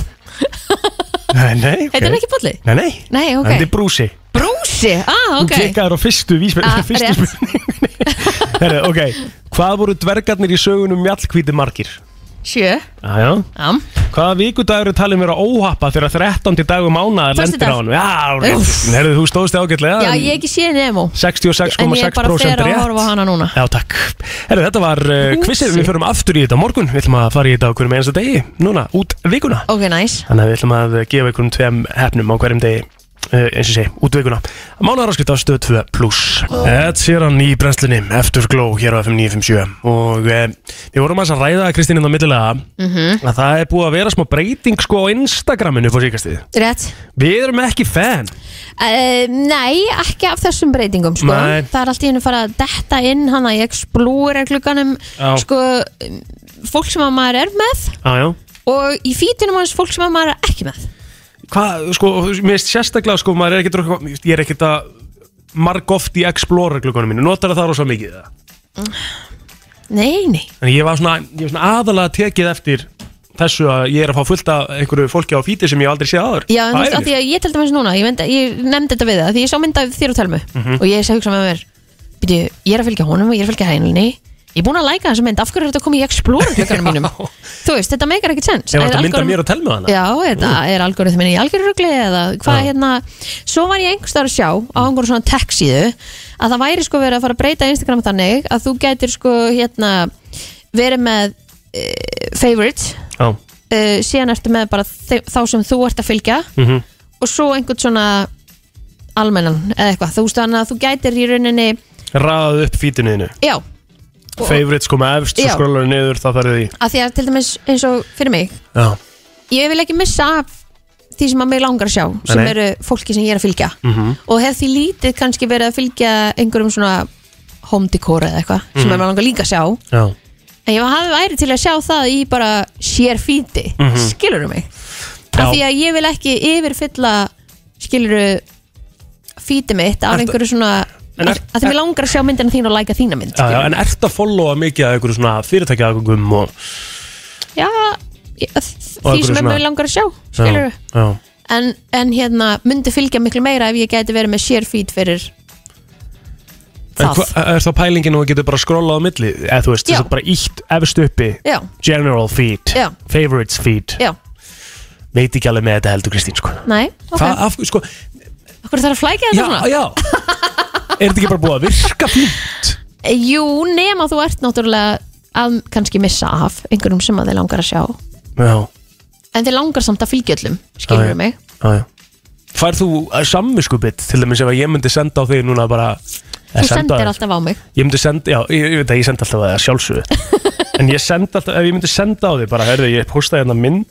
[SPEAKER 3] Nei, nei, ok
[SPEAKER 2] Heitir hann ekki Bolli?
[SPEAKER 3] Nei, nei
[SPEAKER 2] Nei, ok.
[SPEAKER 3] Þetta er brúsi
[SPEAKER 2] Brúsi, ah,
[SPEAKER 3] Þú
[SPEAKER 2] ok
[SPEAKER 3] klikkaður á fyrstu vísbyrð
[SPEAKER 2] Ah,
[SPEAKER 3] Fyrstu
[SPEAKER 2] rétt.
[SPEAKER 3] Herri, ok, hvað voru dvergarnir í sögunum mjallkvíti margir?
[SPEAKER 2] Sjö
[SPEAKER 3] Jæja
[SPEAKER 2] Am.
[SPEAKER 3] Hvaða vikudagur er talin vera óhappa þegar 13. dagum mánaðar lendir á
[SPEAKER 2] Föstudag.
[SPEAKER 3] hann? Já, rétt.
[SPEAKER 2] Úff.
[SPEAKER 3] Herðu, þú stóðst þig ágætlega
[SPEAKER 2] Já,
[SPEAKER 3] en
[SPEAKER 2] ég hef ekki séð Nemo En ég
[SPEAKER 3] 66,6%
[SPEAKER 2] er bara fer
[SPEAKER 3] rétt
[SPEAKER 2] að horfa á hana núna
[SPEAKER 3] Já, takk Herru, þetta var uh,
[SPEAKER 2] Húsi.
[SPEAKER 3] kvissir, við förum aftur í þetta á morgun Við ætlum að fara í þetta á hverjum einasta degi Núna, út vikuna
[SPEAKER 2] Ok, nice
[SPEAKER 3] Þannig að við ætlum að gefa einhverjum tveim hefnum á hverjum degi Uh, eins og ég segi, út vikuna Mánaðararskipt á stöð 2 pluss Þetta sér hann í brennslunni, eftir gló hér á FM 957 og uh, við vorum aðeins að ræða Kristín innan millilega
[SPEAKER 2] Mhm.
[SPEAKER 3] að það er búið að vera smá breyting sko á Instagraminu fór síkastíð
[SPEAKER 2] Rétt
[SPEAKER 3] Við erum ekki fan
[SPEAKER 2] uh, Nei, ekki af þessum breytingum sko.
[SPEAKER 3] Nei.
[SPEAKER 2] Það er allt í hennu farið að detta inn hana í Explorer klukkanum
[SPEAKER 3] Já.
[SPEAKER 2] sko, um, fólk sem að maður er með
[SPEAKER 3] ah, já.
[SPEAKER 2] og í fítunum hans fólk sem að maður er ekki með
[SPEAKER 3] Hvað, sko, mér finnst sérstaklega sko, maður er ekkert, eitthvað- ég er ekkert að marg oft í Explorer klukkanum mínu, notar það rosa mikið það
[SPEAKER 2] Nei, nei
[SPEAKER 3] En ég var svona, ég var svona aðalega tekið eftir þessu að ég er að fá fullt af einhverju fólki á fíti sem ég hef aldrei séð aður
[SPEAKER 2] Já, en þú veist, af því að ég teldi maður núna ég, mynd, ég nefndi þetta við það, af því ég sá mynda þér og telmu
[SPEAKER 3] Mhm.
[SPEAKER 2] og ég sé hugsa með mér byrju, ég er að fylgja honum og ég er að fylgja hænilni ég er búin að læka þessa mynd, af hverju er þetta að koma í Explorer klukkanum mínum þú veist, þetta meikar ekkert sens
[SPEAKER 3] Ef þetta mynda
[SPEAKER 2] Er algoritm-
[SPEAKER 3] mér og telmu hana
[SPEAKER 2] Já, þetta er algoritmin í algjörurugli eða hvað
[SPEAKER 3] Já.
[SPEAKER 2] hérna svo var ég einhvers þar að sjá á einhverjum svona tech síðu að það væri sko verið að fara að breyta Instagram þannig að þú gætir sko hérna verið með e, favorite
[SPEAKER 3] Já.
[SPEAKER 2] e, síðan ertu með bara þe- þá sem þú ert að fylgja
[SPEAKER 3] Mhm.
[SPEAKER 2] og svo einhvern svona almennan eða eitthvað, þú veist þannig að þú gætir í rauninni,
[SPEAKER 3] Raðaðu upp fítinu þínu
[SPEAKER 2] já Og-
[SPEAKER 3] Favorites koma efst, svo
[SPEAKER 2] Já.
[SPEAKER 3] skrólar niður, það færði því
[SPEAKER 2] að því að til dæmis eins og fyrir mig
[SPEAKER 3] Já,
[SPEAKER 2] ég vil ekki missa af því sem að mig langar að sjá sem
[SPEAKER 3] Nei.
[SPEAKER 2] eru fólki sem ég er að fylgja
[SPEAKER 3] mhm
[SPEAKER 2] og hef því lítið kannski verið að fylgja einhverjum svona home decor eða eitthvað sem
[SPEAKER 3] Mhm.
[SPEAKER 2] mm. er langar líka að sjá
[SPEAKER 3] Já
[SPEAKER 2] en ég hafi væri til að sjá það í bara sér fíti, mm
[SPEAKER 3] Mhm.
[SPEAKER 2] mig
[SPEAKER 3] Já.
[SPEAKER 2] af því að ég vil ekki yfirfylla skiluru fíti mitt af
[SPEAKER 3] Ertu-
[SPEAKER 2] einhverju svona
[SPEAKER 3] En er-
[SPEAKER 2] af af því mig langar að sjá myndina þín og læka þína mynd
[SPEAKER 3] Já, já, en ert að followa mikið að einhverju svona fyrirtækjaðgöngum og
[SPEAKER 2] já ég-
[SPEAKER 3] Og
[SPEAKER 2] því
[SPEAKER 3] einhverju
[SPEAKER 2] sem er
[SPEAKER 3] svona-
[SPEAKER 2] mig langar að sjá
[SPEAKER 3] Já,
[SPEAKER 2] skiluru
[SPEAKER 3] já.
[SPEAKER 2] en, en hérna, myndi fylgja miklu meira ef ég gæti verið með sér fít fyrir
[SPEAKER 3] En
[SPEAKER 2] Það.
[SPEAKER 3] hva, er þá pælingin og getur bara skrólað á milli eða þú veist,
[SPEAKER 2] Já.
[SPEAKER 3] þess að bara ítt efst uppi
[SPEAKER 2] Já.
[SPEAKER 3] general feed,
[SPEAKER 2] Já.
[SPEAKER 3] favorites feed
[SPEAKER 2] já,
[SPEAKER 3] veit ekki alveg með þetta heldur Kristín sko.
[SPEAKER 2] nei, ok
[SPEAKER 3] Hvað af, sko,
[SPEAKER 2] Akkur þarf að flækja þetta
[SPEAKER 3] já,
[SPEAKER 2] svona?
[SPEAKER 3] já er þetta ekki bara búið að virka fínt
[SPEAKER 2] Jú, nema þú ert náttúrulega að kannski missa af einhverjum sem að þið langar að sjá
[SPEAKER 3] já,
[SPEAKER 2] en þið langar samt að fylgja öllum, skilur
[SPEAKER 3] Já, já.
[SPEAKER 2] við mig
[SPEAKER 3] já, já Fær þú samviskubitt til dæmis ef að ég myndi senda á þig núna bara eh,
[SPEAKER 2] Þú sendir alltaf á mig
[SPEAKER 3] Ég myndi senda, já, ég, ég veit að ég senda alltaf að það sjálfsögðu En ég senda alltaf, ef ég myndi senda á þig bara, herðu, ég postaði hérna mynd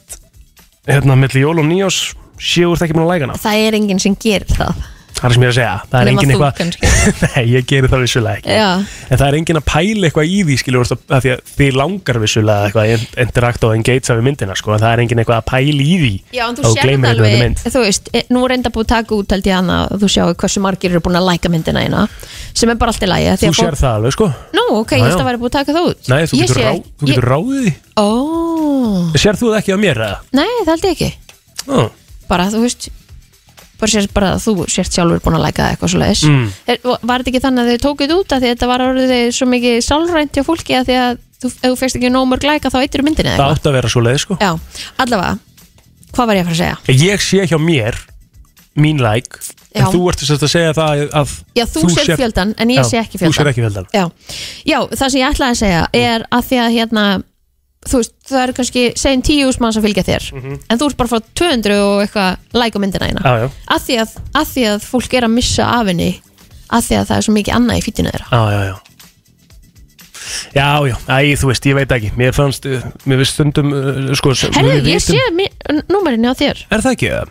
[SPEAKER 3] Hérna, milli jól og nýjós Sjögur það ekki mér að læka hana
[SPEAKER 2] Það er enginn sem gerir það
[SPEAKER 3] Það er sem ég er að segja, það er
[SPEAKER 2] Nema
[SPEAKER 3] engin
[SPEAKER 2] þú
[SPEAKER 3] eitthvað Nei, ég gerir það vissulega ekki
[SPEAKER 2] Já,
[SPEAKER 3] En það er engin að pæla eitthvað í því, skilur þú veist, að því að þið langar vissulega eitthvað að interakt og engagea við myndina, sko en Það er engin eitthvað að pæla í því
[SPEAKER 2] já en
[SPEAKER 3] að
[SPEAKER 2] þú sér
[SPEAKER 3] gleymir
[SPEAKER 2] það
[SPEAKER 3] einhverri
[SPEAKER 2] alveg
[SPEAKER 3] mynd.
[SPEAKER 2] Þú veist, e, nú er enda búið að taka út held ég hana og þú sjáu hversu margir eru búin að læka myndina eina sem er bara allt í lægi
[SPEAKER 3] Þú sér það alveg, sko
[SPEAKER 2] Nú, ok,
[SPEAKER 3] Já,
[SPEAKER 2] ég held
[SPEAKER 3] já.
[SPEAKER 2] að væri búið að taka það út
[SPEAKER 3] Nei, þú
[SPEAKER 2] Ég
[SPEAKER 3] getur,
[SPEAKER 2] sé-
[SPEAKER 3] rá, þú getur
[SPEAKER 2] ég-
[SPEAKER 3] ráðið því
[SPEAKER 2] Ó,
[SPEAKER 3] Sér þú það ekki á mér, eða?
[SPEAKER 2] nei, það held ég ekki
[SPEAKER 3] Ó,
[SPEAKER 2] bara þú veist bara sér bara að þú sért sjálfur búin að læka það eitthvað svo leiðis
[SPEAKER 3] Mm.
[SPEAKER 2] var þetta ekki þannig að þau tókuð út að því að þetta var orðið svo mikið sálrænt hjá fólki að því að þú, ef þú fyrst ekki nóg mörg læka þá eittir myndinni
[SPEAKER 3] Það
[SPEAKER 2] eða
[SPEAKER 3] átti að vera svo sko
[SPEAKER 2] eitthvað já, allavega, hvað var ég að fara að segja
[SPEAKER 3] ég sé hjá mér mín læk en
[SPEAKER 2] Já.
[SPEAKER 3] þú ert þess að segja það að
[SPEAKER 2] Já, þú, sér fjöldan, en ég
[SPEAKER 3] Já,
[SPEAKER 2] sé ekki
[SPEAKER 3] þú
[SPEAKER 2] fjöldan
[SPEAKER 3] sérð ekki fjöldan.
[SPEAKER 2] Já. Já, það sem ég ætlaði að segja er að því að hérna þú veist, það eru kannski, segjum tíu ús mann sem fylgja þér, en þú ert bara frá 200 og eitthvað læk á myndina eina
[SPEAKER 3] Mhm. Já, já.
[SPEAKER 2] Að, því að, að því að fólk er að missa af henni að því að það er svo mikið annað í fýtinu þeirra
[SPEAKER 3] Já, já, já Já, já, æ, þú veist, ég veit ekki Mér fannst, uh, mér veist stundum uh, sko, sem-
[SPEAKER 2] Herðu,
[SPEAKER 3] við
[SPEAKER 2] ég
[SPEAKER 3] vitum-
[SPEAKER 2] sé mi- númerinu á þér
[SPEAKER 3] Er það ekki það?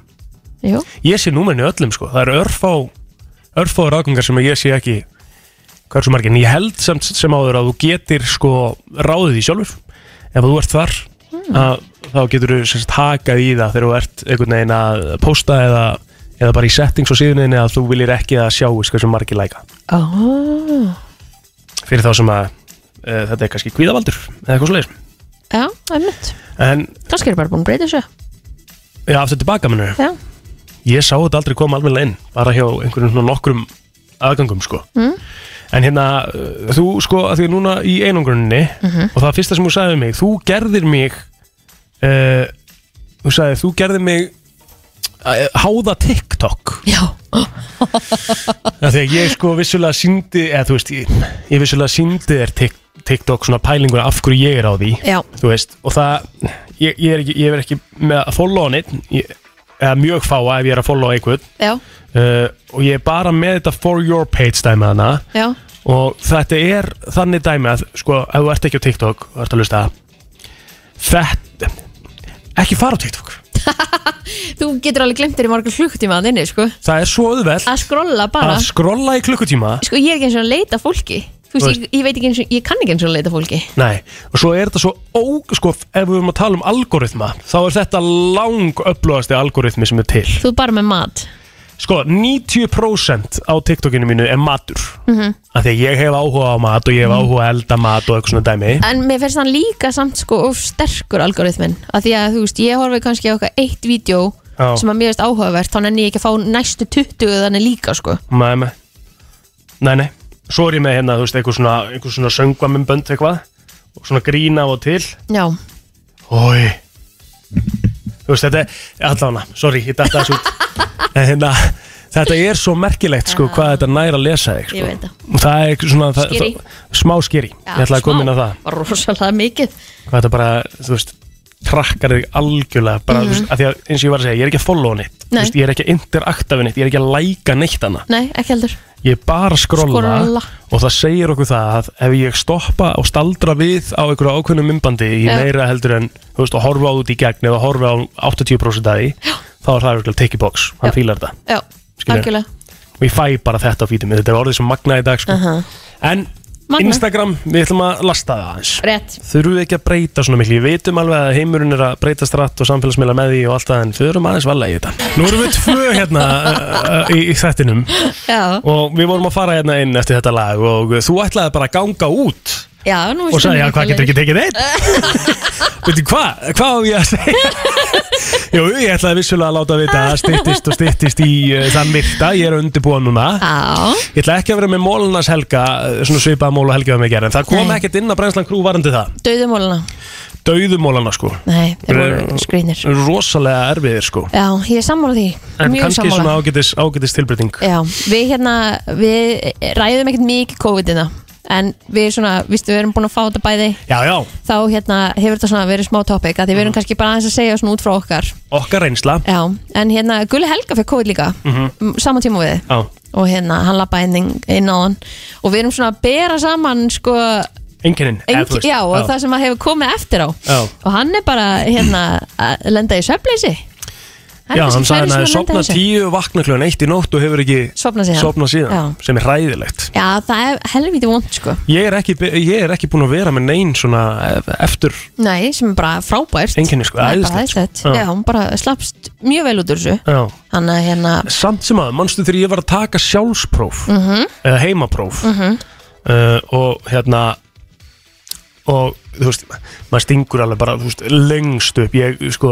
[SPEAKER 2] Jú.
[SPEAKER 3] Ég sé númerinu í öllum sko Það eru örfá, örfá ráðgangar sem ég sé ekki Hversu margir En ég held sem, sem áður að þú getir sko ráðið því sjálfur Ef þú ert þar
[SPEAKER 2] Hmm.
[SPEAKER 3] að, Þá getur þú sérst hakað í það Þegar þú ert einhvern veginn að posta Eða, eða bara í settings á síðuninni Að þú viljir ekki að sjáist hversu margir læka
[SPEAKER 2] oh.
[SPEAKER 3] Fyrir þá sem að e, þetta er kannski kvíðavaldur Eða eitthvað svo
[SPEAKER 2] Já, einmitt
[SPEAKER 3] En
[SPEAKER 2] Kannski er bara búin að breyta þessu
[SPEAKER 3] já, aftur tilbaka mennur
[SPEAKER 2] Já,
[SPEAKER 3] Ég sá þetta aldrei koma alveg inn bara hjá einhverjum svona nokkrum aðgangum sko.
[SPEAKER 2] mm.
[SPEAKER 3] En hérna, uh, þú sko, að því að núna í einangrunni
[SPEAKER 2] Mhm.
[SPEAKER 3] og það fyrsta sem þú sagði við mig, þú gerðir mig uh, þú sagði, þú gerðir mig uh, háða TikTok
[SPEAKER 2] Já
[SPEAKER 3] Því að ég sko vissulega síndi eða þú veist, ég, ég vissulega síndi þér tik- TikTok svona pælingur af hverju ég er á því
[SPEAKER 2] Já.
[SPEAKER 3] þú veist, og það ég, ég, er, ekki, ég er ekki með að followa hann einn, ég- eða mjög fáa ef ég er að followa einhvern
[SPEAKER 2] já,
[SPEAKER 3] uh, og ég er bara með þetta for your page dæmi hana
[SPEAKER 2] já
[SPEAKER 3] og þetta er þannig dæmi að sko, ef þú ert ekki á TikTok og ert að lusta þetta ekki fara á TikTok
[SPEAKER 2] Þú getur alveg glemt þér í morgun klukkutíma að þinni, sko
[SPEAKER 3] það er svo auðvelt
[SPEAKER 2] Að skrolla bara
[SPEAKER 3] að skrolla í klukkutíma
[SPEAKER 2] Sko, ég er ekki eins og að leita fólki Þú
[SPEAKER 3] Þú
[SPEAKER 2] veist, ég, ég veit ekki eins og, ég kann ekki eins og að leita fólki
[SPEAKER 3] Nei, og svo er þetta svo ó, sko, ef við erum að tala um algoritma þá er þetta lang upplóðasti algoritmi sem er til
[SPEAKER 2] Þú er bara með mat
[SPEAKER 3] sko, 90% á TikTokinu mínu er matur
[SPEAKER 2] Mhm.
[SPEAKER 3] af því að ég hef áhuga á mat og ég hef áhuga að elda mat og eitthvað svona dæmi
[SPEAKER 2] En mér finnst hann líka samt sko of sterkur algoritminn Af því að þú veist, ég horfi kannski á eitthvað eitt vídeo
[SPEAKER 3] Já.
[SPEAKER 2] sem að mér veist áhugavert þá nenni ég ekki að fá næstu 20 þannig líka sko
[SPEAKER 3] Nei, nei, nei, nei. Svo er ég með hérna, þú veist, einhver svona, einhver svona söngvamimbönd eitthvað og svona grína og til
[SPEAKER 2] Já,
[SPEAKER 3] Ói Þú veist, þetta er, allavega, sorry, ég dætti þessu út En hérna, þetta er svo merkilegt, sko, hvað þetta næra að lesa þig, sko
[SPEAKER 2] Ah. ég veit það
[SPEAKER 3] Og Það er svona, það,
[SPEAKER 2] Skyri.
[SPEAKER 3] það, smá skeri Ég ætlaði að koma inn á það
[SPEAKER 2] Var rosalega mikið
[SPEAKER 3] Hvað þetta bara, þú veist, trakkar þig algjörlega bara, þú veist, að því að, eins og ég var að segja, ég er ekki að followa neitt Þú
[SPEAKER 2] Mhm. Nei.
[SPEAKER 3] veist, ég er ekki að interakta við neitt, ég er ekki að læka neitt hana
[SPEAKER 2] Nei, ekki heldur
[SPEAKER 3] ég er bara að skrolla
[SPEAKER 2] Skrolla.
[SPEAKER 3] og það segir okkur það að ef ég stoppa og staldra við á einhverju ákveðnu mymbandi í
[SPEAKER 2] Já.
[SPEAKER 3] meira heldur en þú veist, að horfa á út í gegn eða horfa á 80% að því þá er það eitthvað take a box, hann fílar þetta
[SPEAKER 2] Já,
[SPEAKER 3] Skilur.
[SPEAKER 2] algjörlega
[SPEAKER 3] og ég fæ bara þetta á fítum, þetta er orðið sem magna í dag sko.
[SPEAKER 2] Aha.
[SPEAKER 3] en
[SPEAKER 2] Magnað.
[SPEAKER 3] Instagram, við ætlum að lasta það aðeins
[SPEAKER 2] Rétt,
[SPEAKER 3] þurfum við ekki að breyta svona miklu, við vitum alveg að heimurinn er að breyta stratt og samfélagsmiðla með því og allt það en þurfum aðeins valega í þetta nú erum við tvö hérna uh, í, í þettinum
[SPEAKER 2] já,
[SPEAKER 3] og við vorum að fara hérna inn eftir þetta lag og þú ætlaði bara að ganga út
[SPEAKER 2] já nú
[SPEAKER 3] og sagði, já,
[SPEAKER 2] stundum
[SPEAKER 3] hvað getur ekki tekið einn? Veitu, hvað? Hvað á ég að segja? Jú, ég ætlaði vissulega að láta vita að styttist og styttist í uh, þann virta, ég er undirbúin núna
[SPEAKER 2] Já,
[SPEAKER 3] Ég ætla ekki að vera með mólunas helga, uh, svona svipaða mól og helga um mig gerð, en það kom
[SPEAKER 2] Nei.
[SPEAKER 3] ekkert inn að brennslan krú varandi það,
[SPEAKER 2] döðumólana
[SPEAKER 3] dauðumólana sko
[SPEAKER 2] Nei, þeir voru skrýnir
[SPEAKER 3] Rosalega erfiðir sko
[SPEAKER 2] Já, ég er sammála því
[SPEAKER 3] En
[SPEAKER 2] Mjög
[SPEAKER 3] kannski
[SPEAKER 2] sammála
[SPEAKER 3] svona ágætis, ágætis tilbreyting
[SPEAKER 2] Já, við hérna, við ræðum ekkert mikið COVID-ina En við svona, vístu, við erum búin að fá þetta bæði
[SPEAKER 3] Já, já,
[SPEAKER 2] Þá hérna hefur þetta svona verið smá topic að Því við
[SPEAKER 3] Mhm.
[SPEAKER 2] erum kannski bara aðeins að segja svona út frá okkar
[SPEAKER 3] okkar reynsla
[SPEAKER 2] Já, en hérna, Gulli Helga fyrir COVID líka mm
[SPEAKER 3] Mhm.
[SPEAKER 2] Saman tíma og við
[SPEAKER 3] Já,
[SPEAKER 2] Og hérna, hann lappa inn, inn á hann Og við erum svona að bera saman sko
[SPEAKER 3] enginin
[SPEAKER 2] engi, Já, og það sem að hefur komið eftir á
[SPEAKER 3] Já.
[SPEAKER 2] Og hann er bara, hérna, að lenda í svefnleysi Hann er
[SPEAKER 3] Já,
[SPEAKER 2] kannski
[SPEAKER 3] hann
[SPEAKER 2] færri
[SPEAKER 3] sagði hann að
[SPEAKER 2] sem að lenda í
[SPEAKER 3] sopna
[SPEAKER 2] þessu.
[SPEAKER 3] tíu vakna kljóðan eitt í nótt og hefur ekki
[SPEAKER 2] Sofnað síðan.
[SPEAKER 3] sofnað síðan, sem er ræðilegt
[SPEAKER 2] Já, það er helvítið vond sko
[SPEAKER 3] ég er, ekki, ég er ekki búin að vera með neinn svona ef- eftir
[SPEAKER 2] Nei, sem er bara frábært
[SPEAKER 3] Einkenni, sko,
[SPEAKER 2] Það er bara
[SPEAKER 3] æðislegt, sko.
[SPEAKER 2] æðislegt
[SPEAKER 3] Já.
[SPEAKER 2] Já, hún bara slappst mjög vel út úr þessu
[SPEAKER 3] já.
[SPEAKER 2] Þannig að hérna
[SPEAKER 3] samt sem að, manstu þegar ég var að taka sjálfspróf
[SPEAKER 2] mm -hmm,
[SPEAKER 3] eða heimapróf uh, og hérna og þú veist, maður stingur alveg bara þú veist, lengst upp ég, sko,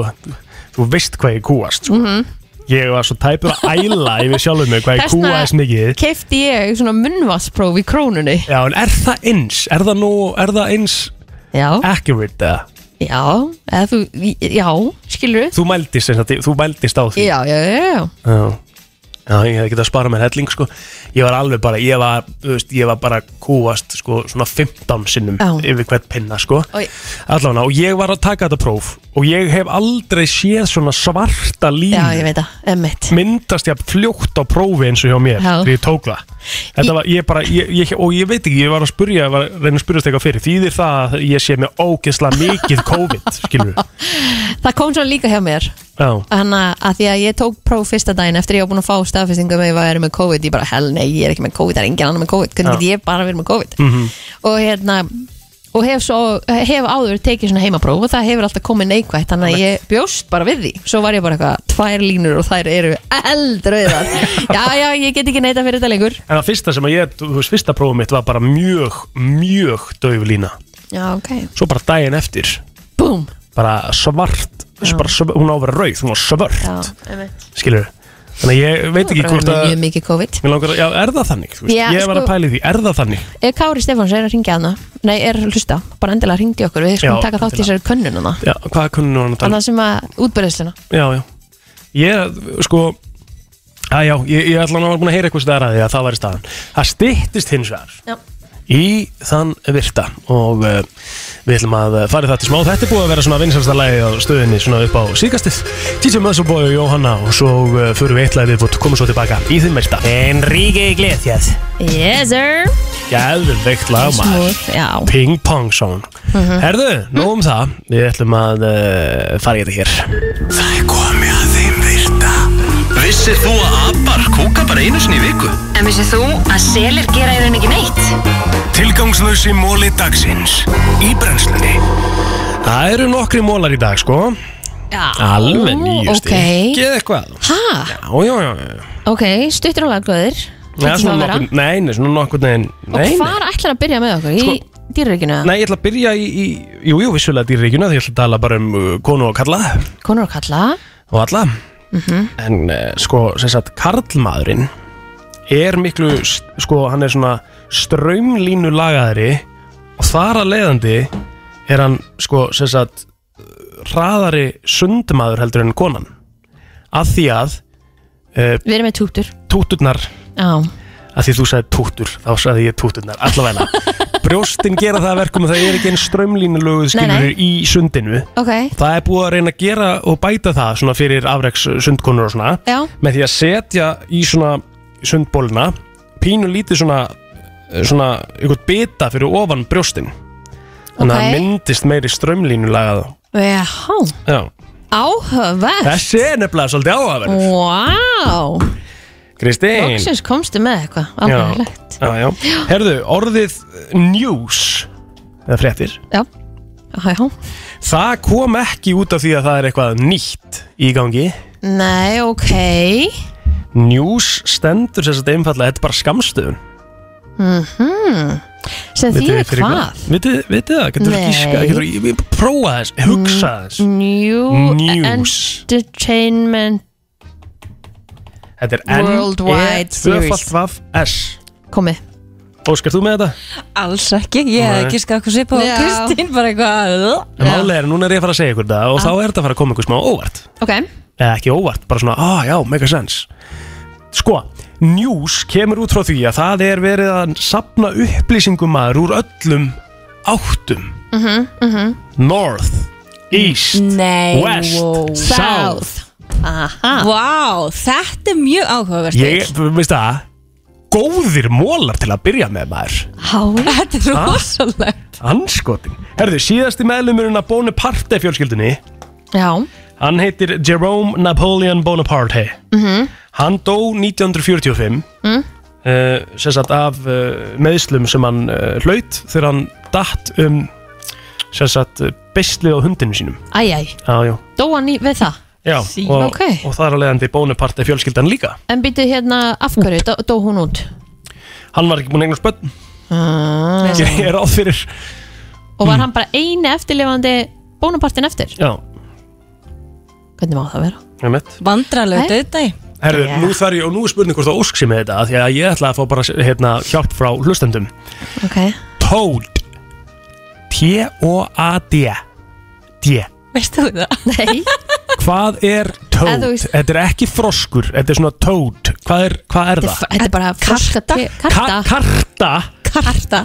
[SPEAKER 3] þú veist hvað ég kúast sko. ég var svo tæpur að æla yfir sjálfum mig hvað ég
[SPEAKER 2] Þessna-
[SPEAKER 3] kúast mikið
[SPEAKER 2] Keifti ég svona munnvaspróf í krónunni
[SPEAKER 3] Já, en er það eins? Er það nú, er það eins
[SPEAKER 2] Já,
[SPEAKER 3] accurate eða?
[SPEAKER 2] já, eða þú, já, skilur
[SPEAKER 3] Þú mældist, sem sagt, þú mældist á því
[SPEAKER 2] Já, já, já, já
[SPEAKER 3] Já, Já, ég hefði getað að spara mér helling sko Ég var alveg bara, ég var, þú veist, ég var bara kúast sko svona 15 sinnum
[SPEAKER 2] Já.
[SPEAKER 3] yfir hvert pinna sko
[SPEAKER 2] Oj.
[SPEAKER 3] Allána, og ég var að taka þetta próf og ég hef aldrei séð svona svarta línu
[SPEAKER 2] Mm. Já, ég veit það, emmitt
[SPEAKER 3] myndast ég fljótt á prófi eins og hjá mér
[SPEAKER 2] Já.
[SPEAKER 3] þegar ég tók það Þetta var, ég bara, ég, ég, og ég veit ekki, ég var að spurja, ég var að reyna að spurjast eitthvað fyrir, þýðir það að ég sé með ógeðslega mikið COVID, skilur við?
[SPEAKER 2] Það kom svona líka hjá mér
[SPEAKER 3] Já,
[SPEAKER 2] Þannig að- að því að ég tók próf fyrsta daginn eftir ég var búin að fá staðfestingu með að ég er með COVID ég bara, hell nei, ég er ekki með COVID, það er engin annar með COVID hvernig
[SPEAKER 3] Já.
[SPEAKER 2] get ég bara verið með COVID
[SPEAKER 3] Mhm.
[SPEAKER 2] og hérna og hef, svo, hef áður tekið svona heimapróf og það hefur alltaf komið neikvætt þannig að ég bjóst bara við því svo var ég bara eitthvað, tvær línur og þær eru eldröðar já, já, ég get ekki neita fyrir þetta lengur
[SPEAKER 3] en það fyrsta sem að ég, þú veist, fyrsta prófum mitt var bara mjög, mjög dauf lína.
[SPEAKER 2] já, ok,
[SPEAKER 3] Svo bara daginn eftir,
[SPEAKER 2] búm
[SPEAKER 3] bara svart, bara svart hún á að vera rauð, hún var svört,
[SPEAKER 2] já, einmitt.
[SPEAKER 3] skilur við? Þannig að ég veit
[SPEAKER 2] Það
[SPEAKER 3] ekki
[SPEAKER 2] var
[SPEAKER 3] hvort
[SPEAKER 2] bara
[SPEAKER 3] að...
[SPEAKER 2] mjög mikið COVID
[SPEAKER 3] Mér langar að, já, er það þannig? Þú veist,
[SPEAKER 2] Já,
[SPEAKER 3] ég var að
[SPEAKER 2] sko-
[SPEAKER 3] pæla í því, er það þannig?
[SPEAKER 2] Ef Kári Stefáns er að ringja hana Nei, er að hlusta, bara endilega ringi okkur Við skulum
[SPEAKER 3] Já,
[SPEAKER 2] taka þátt í
[SPEAKER 3] endilega.
[SPEAKER 2] þessari könnununa
[SPEAKER 3] Já, hvað kunnum hann að tala? um?
[SPEAKER 2] Annað sem að útbyrðisluna
[SPEAKER 3] Já, já Ég, sko að já, ég, ég ætla að var búin að heyra eitthvað stæðar að því að það var í staðan Það styttist hins vegar
[SPEAKER 2] Já.
[SPEAKER 3] í þann virta og uh, við ætlum að eh, fara í það til smá Þetta er búið að vera svona vinsalsta lagi á stöðinni svona upp á síkastið Títsjum Möðsóbói og Jóhanna og svo uh, förum við eitt lagi viðbútt, komum svo tilbaka í þinn virta Enrique Iglesias
[SPEAKER 2] Yes sir
[SPEAKER 3] Gæðveikt lag maður
[SPEAKER 2] Smooth, já
[SPEAKER 3] Ping Pong Song Herðu, nóg um það Við ætlum að uh, fara í þetta hér
[SPEAKER 1] Það er komið að þeim virta Vissir þú að abar kúka bara einu sinni í viku?
[SPEAKER 4] En vissið þú að selir gera í rauninni ekki neitt?
[SPEAKER 1] Tilgangslösi móli dagsins Í brennslunni
[SPEAKER 3] Það eru nokkri mólar í dag sko
[SPEAKER 2] Já,
[SPEAKER 3] Alveg nýju
[SPEAKER 2] ok.
[SPEAKER 3] stík Geð eitthvað
[SPEAKER 2] Ha,
[SPEAKER 3] Já, já, já já.
[SPEAKER 2] ok, stuttur og lagglöður
[SPEAKER 3] Nei, svona nokkur Nei, nei, svona nokkur Nei, nei,
[SPEAKER 2] Og
[SPEAKER 3] nei
[SPEAKER 2] hvar ætlar að byrja með okkur? Í sko, dýrreikinu?
[SPEAKER 3] Nei, ég ætla að byrja í, í Jú, jú, vissulega dýrreikjuna Því ég ætla að tala bara um uh, konu og kalla
[SPEAKER 2] Konur og kalla?
[SPEAKER 3] Og alla
[SPEAKER 2] Mhm.
[SPEAKER 3] En uh, sko, sem sagt, karlmaðurinn Er miklu, s- sko, hann er svona Strömlínu lagaðri Og þar að leiðandi Er hann, sko, sem sagt Hraðari sundmaður heldur en konan Að því að uh,
[SPEAKER 2] Við erum með tútur
[SPEAKER 3] túturnar
[SPEAKER 2] Já,
[SPEAKER 3] að því þú sagði tútur, þá sagði ég túturnar allavega, brjóstin gera það að verkum að það er ekki einn strömlínulöguð
[SPEAKER 2] Nei,
[SPEAKER 3] skilur
[SPEAKER 2] nei.
[SPEAKER 3] í sundinu
[SPEAKER 2] ok
[SPEAKER 3] það er búið að reyna að gera og bæta það svona fyrir afreks sundkonur og svona
[SPEAKER 2] Já,
[SPEAKER 3] með því að setja í svona sundbóluna pínu lítið svona svona ykkur bita fyrir ofan brjóstin þannig að
[SPEAKER 2] Ok.
[SPEAKER 3] það myndist meiri strömlínulagað
[SPEAKER 2] já,
[SPEAKER 3] Já.
[SPEAKER 2] áhugavert
[SPEAKER 3] þessi er nefnilega svolítið áhaverð
[SPEAKER 2] Vá,
[SPEAKER 3] Kristín
[SPEAKER 2] Mm. loksins komstu með eitthvað
[SPEAKER 3] Já.
[SPEAKER 2] Áhugavert
[SPEAKER 3] já, já. Herðu, orðið eh, news eða fréttir,
[SPEAKER 2] Já, já, já
[SPEAKER 3] það kom ekki út af því að það er eitthvað nýtt í gangi
[SPEAKER 2] Nei, ok
[SPEAKER 3] News stendur sem sagt einfallega, þetta er bara skamstöðun
[SPEAKER 2] Hmm. Sem þýðir
[SPEAKER 3] fyrir
[SPEAKER 2] hvað?
[SPEAKER 3] Vitið vitið það, getur þú
[SPEAKER 2] Nei. Mm,
[SPEAKER 3] gíska, getur þú prófa þess, hugsa þess
[SPEAKER 2] New
[SPEAKER 3] News.
[SPEAKER 2] Entertainment
[SPEAKER 3] Þetta er E
[SPEAKER 2] Worldwide series.
[SPEAKER 3] N-E-2-F-S
[SPEAKER 2] Komið
[SPEAKER 3] Óskar, þú með þetta?
[SPEAKER 5] Alls ekki, ég hef
[SPEAKER 3] Nei.
[SPEAKER 5] ekki skakku sér på
[SPEAKER 2] Já.
[SPEAKER 5] Kristín bara eitthvað
[SPEAKER 3] En málið er, að núna er ég að fara að segja ykkur það og þá er þetta að fara að koma ykkur smá óvart
[SPEAKER 2] Ok,
[SPEAKER 3] eða ekki óvart, bara svona, ah já, make a sense sko, news kemur út frá því að það er verið að sapna upplýsingum maður úr öllum áttum north, east
[SPEAKER 5] Nei
[SPEAKER 3] west, south
[SPEAKER 2] South Aha
[SPEAKER 5] Vá, þetta er mjög áhugavert
[SPEAKER 3] ég, veist það góðir mólar til að byrja með maður
[SPEAKER 2] Háir
[SPEAKER 5] Þetta er
[SPEAKER 3] Ah.
[SPEAKER 5] rosalegt
[SPEAKER 3] anskotin, herðu, síðasti meðlumurinn að Bonaparte fjölskyldunni
[SPEAKER 2] Já,
[SPEAKER 3] Hann heitir Jerome Napoleon Bonaparte Hann dó 1945 mm. eh, sem sagt af uh, meðslum sem hann uh, hlaut þegar hann datt um sem sagt uh, beislið á hundinu sínum
[SPEAKER 2] æj, æj
[SPEAKER 3] Já, já,
[SPEAKER 2] Dó hann í, við það
[SPEAKER 3] já og,
[SPEAKER 2] ok.
[SPEAKER 3] og það er að leiðandi Bonaparte fjölskyldan líka
[SPEAKER 2] En býtið hérna, af hverju, dó, dó hún út?
[SPEAKER 3] Hann var ekki búinn að eignast börn
[SPEAKER 2] Ah.
[SPEAKER 3] Ég er áð fyrir
[SPEAKER 2] Og var hann bara eini eftirlifandi bónapartin eftir?
[SPEAKER 3] Já,
[SPEAKER 2] Hvernig má það vera?
[SPEAKER 3] ég mitt
[SPEAKER 5] Vandralegu
[SPEAKER 2] Nei.
[SPEAKER 5] döðdæg
[SPEAKER 3] Herðu,
[SPEAKER 2] Já.
[SPEAKER 3] nú þarf ég og nú er spurning hvort það ósk sem með þetta af því að ég ætla að fá bara hérna, hjálp frá hlustendum
[SPEAKER 2] Ok
[SPEAKER 3] Toad T-O-A-D D
[SPEAKER 5] Veist þú það?
[SPEAKER 2] Nei
[SPEAKER 3] Hvað er
[SPEAKER 2] Ef
[SPEAKER 3] toad?
[SPEAKER 2] þú veist-
[SPEAKER 3] Þetta er ekki froskur, þetta er svona toad Hvað er, hvað er það?
[SPEAKER 2] Þetta er bara froska
[SPEAKER 5] Karta.
[SPEAKER 2] te-
[SPEAKER 3] Ka-
[SPEAKER 2] Karta
[SPEAKER 3] karta
[SPEAKER 5] Karta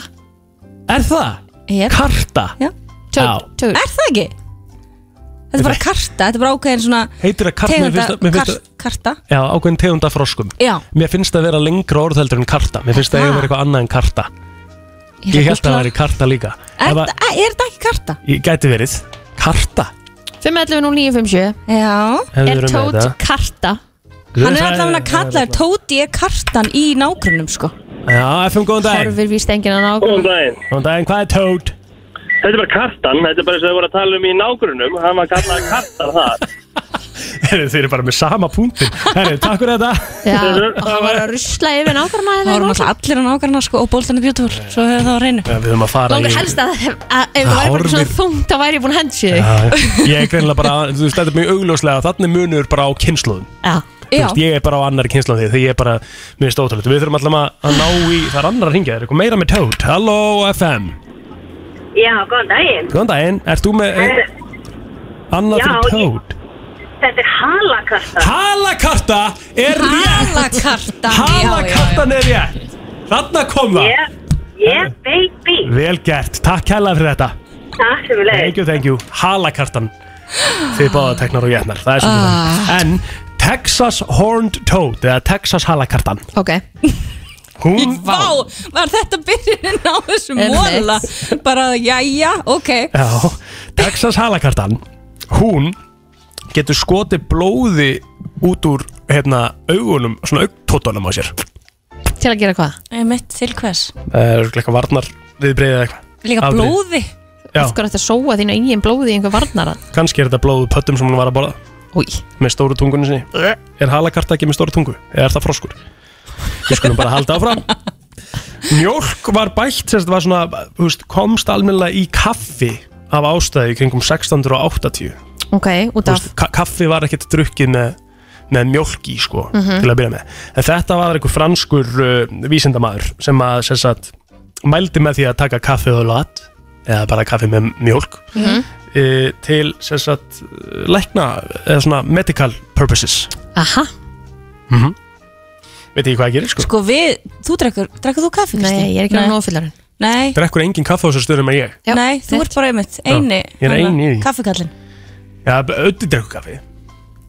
[SPEAKER 3] Er það?
[SPEAKER 2] Yep.
[SPEAKER 3] Karta
[SPEAKER 5] Já.
[SPEAKER 3] Já.
[SPEAKER 2] Tjóð
[SPEAKER 5] Er það ekki?
[SPEAKER 7] þetta er bara karta, þetta er bara ákveðin svona
[SPEAKER 3] Heitir það karta? Mér
[SPEAKER 7] tegunda
[SPEAKER 3] finnst það- mér finnst
[SPEAKER 7] kar, karta
[SPEAKER 3] Já, ákveðin tegunda froskum
[SPEAKER 7] Já.
[SPEAKER 3] Mér finnst það vera lengra orðheldur en karta Mér finnst það eiga að vera eitthvað annað en karta
[SPEAKER 7] Ég
[SPEAKER 3] Ég, held
[SPEAKER 7] ætla að
[SPEAKER 3] að
[SPEAKER 7] googla.
[SPEAKER 3] það væri karta líka
[SPEAKER 7] Er,
[SPEAKER 3] Ef að-
[SPEAKER 7] er, er þetta ekki karta?
[SPEAKER 3] Ég gæti verið Karta
[SPEAKER 2] 511 og 957
[SPEAKER 3] Ef við
[SPEAKER 2] Er
[SPEAKER 3] erum með
[SPEAKER 2] Tóti
[SPEAKER 3] þetta.
[SPEAKER 2] karta?
[SPEAKER 7] Hann er allavega að kalla þér Tóti er kartan í nágrunum sko
[SPEAKER 3] Já, FM, góðan dag
[SPEAKER 2] Horfir við stengina
[SPEAKER 11] Góðan
[SPEAKER 2] nágrunum
[SPEAKER 11] daginn.
[SPEAKER 3] Góðan daginn, hvað er Tót?
[SPEAKER 11] Þetta er bara kartan, þetta er bara eins og þau voru að tala um í nágrunum, hann var kallað kartan þar.
[SPEAKER 3] Heyrðu, Þeir eru bara með sama punktin Herri, takk fyrir þetta
[SPEAKER 2] Já, og hann var að rusla yfir nágrunna
[SPEAKER 7] Það vorum alltaf allir að nágrunna sko og bóltan er bjótúr Svo hefur það á reynu
[SPEAKER 3] Já, Við höfum að fara
[SPEAKER 2] Langar
[SPEAKER 3] í-
[SPEAKER 2] helst að ef að- ef það væri bara
[SPEAKER 3] Horfir.
[SPEAKER 2] svona þungt þá væri ég búin að hendi sig
[SPEAKER 3] Já, Ég er greinlega bara, þú veist, þetta er mjög augljóslega Þannig munur bara á kynnslóðum
[SPEAKER 2] Já,
[SPEAKER 3] Þú veist, ég er bara á annar kynnslóð því Þegar ég er bara, mér finnst ótrúlega Við þurfum alltaf að- að ná í, það er annar að ringja Það er eitthvað meira með Tót Halló, FM
[SPEAKER 12] Já, góðan daginn.
[SPEAKER 3] Góðan daginn, ert þú með
[SPEAKER 12] Herðu,
[SPEAKER 3] annað
[SPEAKER 12] Já,
[SPEAKER 3] fyrir
[SPEAKER 12] ég-
[SPEAKER 3] Tót?
[SPEAKER 12] Þetta er halakarta.
[SPEAKER 3] Halakarta er rétt
[SPEAKER 7] Halakarta
[SPEAKER 3] Halakartan er rétt Þarna kom það Eh,
[SPEAKER 12] Yeah, yeah, baby.
[SPEAKER 3] Vel gert, takk hella fyrir þetta
[SPEAKER 12] Takk sem við leiðum.
[SPEAKER 3] Thank you, thank you Halakartan Þið báða teknar og jætnar Það er svona
[SPEAKER 12] Ah.
[SPEAKER 3] ah. En Texas Horned Toad Eða Texas Halakartan
[SPEAKER 2] ok
[SPEAKER 3] Hún
[SPEAKER 7] Vá, var þetta byrjunin á þessu
[SPEAKER 3] Einmitt.
[SPEAKER 7] móla Bara, jæja, ok
[SPEAKER 3] Já, Texas halakartan hún getur skotið blóði út úr hérna, augunum, svona augtótunum á sér
[SPEAKER 2] Til að gera hvað?
[SPEAKER 7] Mitt til hvers?
[SPEAKER 3] Það er eitthvað varnar viðbreið eða eitthvað
[SPEAKER 7] Líka
[SPEAKER 3] Afbrigði.
[SPEAKER 7] blóði
[SPEAKER 3] Já,
[SPEAKER 2] Af hverju ætti að sóa þínu eigin blóði í einhver varnaran?
[SPEAKER 3] kannski er þetta blóðu pöttum sem hún var að borða
[SPEAKER 2] Új.
[SPEAKER 3] með stóru tungunni sinni Er halakarta ekki með stóru tungu? Eða er það froskur? Við skulum bara halda áfram Mjólk var bætt sérst, var svona, þú veist, komst almennilega í kaffi af ástæði í kringum 1680
[SPEAKER 2] Ok, út
[SPEAKER 3] Þú
[SPEAKER 2] af
[SPEAKER 3] veist, ka kaffi var ekkert drukkið með, með mjölk í sko,
[SPEAKER 2] Mhm.
[SPEAKER 3] til að byrja með en þetta var einhver franskur uh, vísindamaður sem að sem sagt, mældi með því að taka kaffi og lat eða bara kaffi með mjölk
[SPEAKER 2] Mhm.
[SPEAKER 3] uh, til sem sagt, uh, lækna eða svona medical purposes
[SPEAKER 2] Aha
[SPEAKER 3] mm -hmm. veit ekki hvað að gera sko,
[SPEAKER 7] Sko við, þú drekkur, drekkur þú kaffi Kristi?
[SPEAKER 2] Nei, ég er ekki orðin ofillarinn
[SPEAKER 7] Nei,
[SPEAKER 3] drekkur engin kaffi á þessu stöðum en ég
[SPEAKER 7] nei, þú ert bara einmitt, eini
[SPEAKER 3] ég er eini í því.
[SPEAKER 7] Kaffikallin
[SPEAKER 3] já, auðvitað drekkur kaffi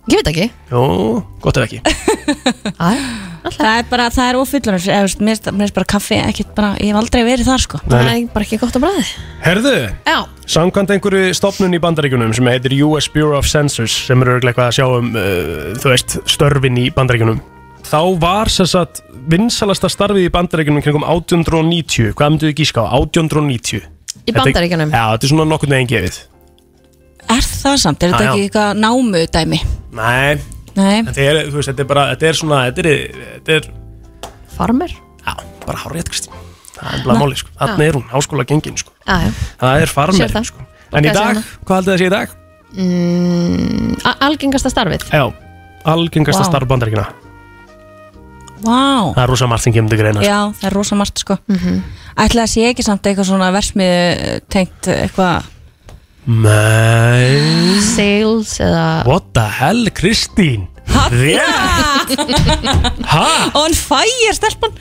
[SPEAKER 2] Ég veit ekki
[SPEAKER 3] Jó, gott ef ekki
[SPEAKER 7] Það er bara, það er ofullunar Mér finnst- mér finnst bara kaffi, ekkert bara, ég hef aldrei verið þar sko
[SPEAKER 3] Nei, nei.
[SPEAKER 2] bara ekki gott að bræði
[SPEAKER 3] Herðu,
[SPEAKER 2] Já.
[SPEAKER 3] samkvæmt einhverju stopnun í bandaríkunum sem heitir US Bureau of Censors sem eru örugglega eitthvað að sjá um uh, þú veist, störfin í bandaríkunum þá var sem sagt vinsalasta starfið í bandaríkunum kringum 1890 hvað myndu þið gíska á? 1890
[SPEAKER 7] Í Bandaríkjunum?
[SPEAKER 3] Já, þetta er svona nokkurnu einn gefið
[SPEAKER 7] Er það samt,
[SPEAKER 3] Já,
[SPEAKER 7] er þetta
[SPEAKER 3] já.
[SPEAKER 7] ekki eitthvað námu dæmi?
[SPEAKER 3] Nei,
[SPEAKER 7] Nei,
[SPEAKER 3] þetta er, þú veist, þetta er bara þetta er svona, þetta er, þetta er
[SPEAKER 2] Farmer?
[SPEAKER 3] Já, bara hárið, Kristín Það er bara máli, sko, þarna
[SPEAKER 2] Já.
[SPEAKER 3] er hún, háskóla gengin, sko
[SPEAKER 2] Já, já
[SPEAKER 3] Það er
[SPEAKER 2] Sér
[SPEAKER 3] farmer,
[SPEAKER 2] það.
[SPEAKER 3] sko En í
[SPEAKER 2] Borgaði
[SPEAKER 3] dag,
[SPEAKER 2] sig
[SPEAKER 3] hvað haldið það sé í dag?
[SPEAKER 2] Mm, a- Algengasta starfið
[SPEAKER 3] Já, algengasta
[SPEAKER 7] Vá.
[SPEAKER 3] starf bandaríkina
[SPEAKER 7] vá
[SPEAKER 3] Það er rosa margt sem kemur til greina sko.
[SPEAKER 7] Já, það er rosa margt sko Ætli það sé ekki samt eitthvað svona versmiðu tengt eitthvað
[SPEAKER 3] Nei
[SPEAKER 2] Sales eða
[SPEAKER 3] What the hell, Kristín Rétt, ha?
[SPEAKER 7] On fire, stelpan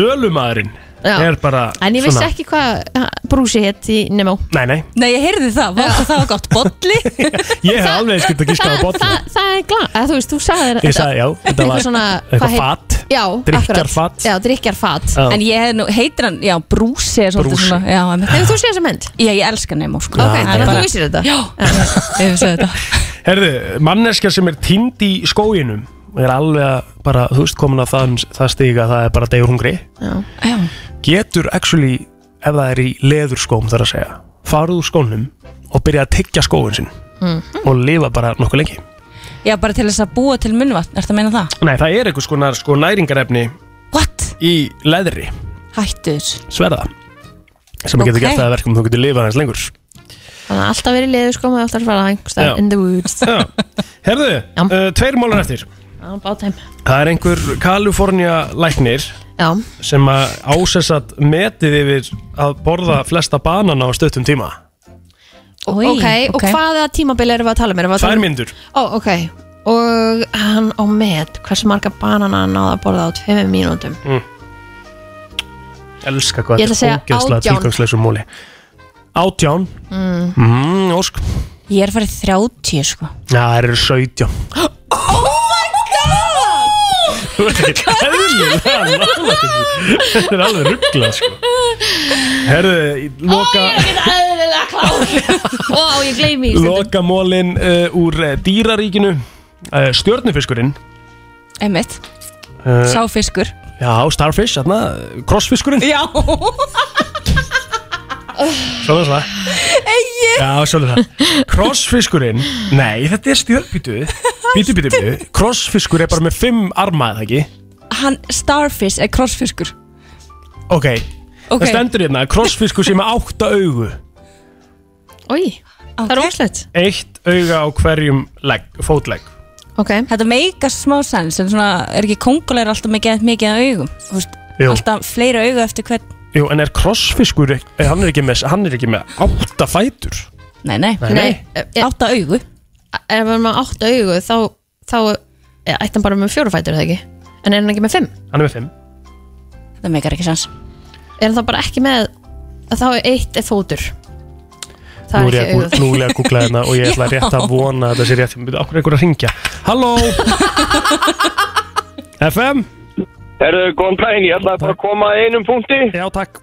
[SPEAKER 3] Sölumæðurinn
[SPEAKER 2] Já.
[SPEAKER 3] er bara
[SPEAKER 2] En ég vissi
[SPEAKER 3] svona-
[SPEAKER 2] ekki hvað ha, brúsi hétt í Nemo
[SPEAKER 3] Nei, nei,
[SPEAKER 7] Nei, ég heyrði það, vá, hvað það var gott Bolli
[SPEAKER 3] ég hef alveg skilt að gíska á botn
[SPEAKER 2] Það, það er glá, að, þú veist, þú sagðir
[SPEAKER 3] Ég sagði, já, þetta var
[SPEAKER 2] eitthvað svona
[SPEAKER 3] eitthvað
[SPEAKER 2] hvað heit-
[SPEAKER 3] fat
[SPEAKER 2] Já,
[SPEAKER 3] Drykkjarfat.
[SPEAKER 2] akkurat. Já, drikjarfat
[SPEAKER 3] Já. En
[SPEAKER 7] ég hef nú, heitir hann, já, brúsi er svolítið
[SPEAKER 3] Brúsi.
[SPEAKER 7] svona já,
[SPEAKER 2] Hefur þú séð þessa mynd?
[SPEAKER 7] Já, ég elska Nemo
[SPEAKER 2] Ok,
[SPEAKER 7] sko Það er
[SPEAKER 2] þannig að
[SPEAKER 7] bara-
[SPEAKER 2] þú vissir þetta
[SPEAKER 7] Já, ég hef segið þetta
[SPEAKER 3] Herðu, manneskja sem er tind í skóginum og er alveg að bara, þú veist, komin að það, það stiga það er bara degur hungri
[SPEAKER 2] Já.
[SPEAKER 7] Já.
[SPEAKER 3] Getur actually, ef það er í leðurskóm þar að segja, farið úr skónum og byrja að tyggja skóin sinn og lifa bara nokkuð lengi
[SPEAKER 7] Já, bara til þess að búa til munnvatn, ertu að meina það?
[SPEAKER 3] Nei, það er einhvers konar sko næringarefni
[SPEAKER 7] What?
[SPEAKER 3] Í leðri
[SPEAKER 7] Hættur
[SPEAKER 3] Sverða Sem getur
[SPEAKER 2] Ok.
[SPEAKER 3] gert það að verkum þú getur lifað hans lengur
[SPEAKER 2] Þannig að alltaf verið leður sko með alltaf að fara
[SPEAKER 3] Já.
[SPEAKER 2] einhverstað in the woods
[SPEAKER 3] Já, Herðu, uh, tveir málar eftir
[SPEAKER 2] bátæm
[SPEAKER 3] Það er einhver Kalifornia læknir
[SPEAKER 2] Já.
[SPEAKER 3] Sem að ásessat metið yfir að borða flesta banana á stöttum tíma
[SPEAKER 2] Ok, og hvaða tímabili erum við að tala um? Erum við að tala
[SPEAKER 3] Tvær
[SPEAKER 2] um-
[SPEAKER 3] myndur
[SPEAKER 2] Ó, ok Og hann á met Hversu marga banana hann náða að borða á tveimur mínútum
[SPEAKER 3] mm. Elska
[SPEAKER 2] Ég
[SPEAKER 3] hvað
[SPEAKER 2] ætla að
[SPEAKER 3] þetta
[SPEAKER 2] segja
[SPEAKER 3] er ógeðslega
[SPEAKER 2] átján.
[SPEAKER 3] tilgangsleysum múli Átján
[SPEAKER 2] mm.
[SPEAKER 3] mm, Ósk
[SPEAKER 7] Ég er farið 30 sko
[SPEAKER 3] Já, það eru 17
[SPEAKER 2] Oh
[SPEAKER 3] Þú veit, eðlilega nálægt þessu. Þetta er alveg rugglað sko Herðu, loka
[SPEAKER 2] Æðilega klár Ó, ég gleymi því stundum.
[SPEAKER 3] Loka mólin uh, úr eh, dýraríkinu uh, Stjörnufiskurinn
[SPEAKER 7] Einmitt,
[SPEAKER 3] uh,
[SPEAKER 7] sáfiskur
[SPEAKER 3] Já, starfish, þarna, eh, crossfiskurinn
[SPEAKER 7] Já
[SPEAKER 3] Svona svona
[SPEAKER 7] Egi
[SPEAKER 3] Já, svona það Crossfiskurinn, nei, þetta er stjörnbítu Bítu, bítu, bítu Crossfiskur er bara með fimm arma, eða ekki?
[SPEAKER 7] Hann starfish er krossfiskur
[SPEAKER 3] Ok,
[SPEAKER 7] Ok.
[SPEAKER 3] það stendur hérna að Crossfiskur sé með átta augu
[SPEAKER 2] Í, það er óslætt
[SPEAKER 3] Eitt auga á hverjum legg, fótlegg
[SPEAKER 2] okay.
[SPEAKER 7] Þetta meika smá sens en svona er ekki kongulegur alltaf með geðt mikið af augum Þú veist,
[SPEAKER 3] Jú.
[SPEAKER 7] Alltaf fleira augu eftir hvern
[SPEAKER 3] Jú, en er crossfiskur, ek- eh, hann er ekki með, hann er ekki með átta fætur
[SPEAKER 7] Nei, nei,
[SPEAKER 3] Nei, nei.
[SPEAKER 2] Eh,
[SPEAKER 7] Átta augu
[SPEAKER 2] Ef hann er með átta augu þá, þá eh, ætti hann bara með fjóra fætur, er það ekki En er hann ekki með fimm?
[SPEAKER 3] Hann er með fimm
[SPEAKER 7] Það meikar ekki sens
[SPEAKER 2] Er hann þá bara ekki með að þá er eitt er fótur
[SPEAKER 3] Nú
[SPEAKER 2] Það
[SPEAKER 3] er
[SPEAKER 2] er
[SPEAKER 3] ég
[SPEAKER 2] ekki
[SPEAKER 3] að gú-
[SPEAKER 2] augu
[SPEAKER 3] nú er ég að googla hérna og ég ætla
[SPEAKER 2] Já.
[SPEAKER 3] rétt að vona að það sé rétt Bíddu, Af hverju er einhver að ringja? Halló FM
[SPEAKER 13] Herðu, góðan daginn, ég ætlaði bara að koma að einum punkti.
[SPEAKER 3] Já, takk.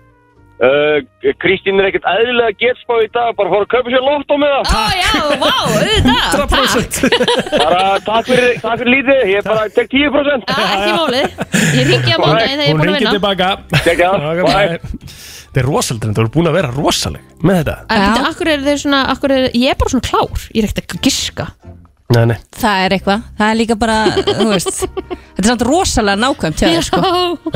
[SPEAKER 13] Uh, Kristín er ekkert eðlilega getspá í dag, bara fór að kaupa sér loft á með það.
[SPEAKER 2] Ó, já, vá, auðvitað,
[SPEAKER 3] takk.
[SPEAKER 13] Bara takk fyrir, takk fyrir lítið, ég er bara tek 10%.
[SPEAKER 2] Já, ekki málið Ég ringi á mándaginn þegar ég er búin að vinna
[SPEAKER 3] tilbaka Kekja, bye Þetta er rosalega, þú eru búin að vera rosaleg með þetta
[SPEAKER 2] En býttu, akkur er þeir svona, akkur er, ég er bara svona klár Ég er ekkert að giska
[SPEAKER 3] Nei, nei
[SPEAKER 7] Það er eitthvað, það er líka bara, þú veist Þetta er samt rosalega nákvæmt hjá þér sko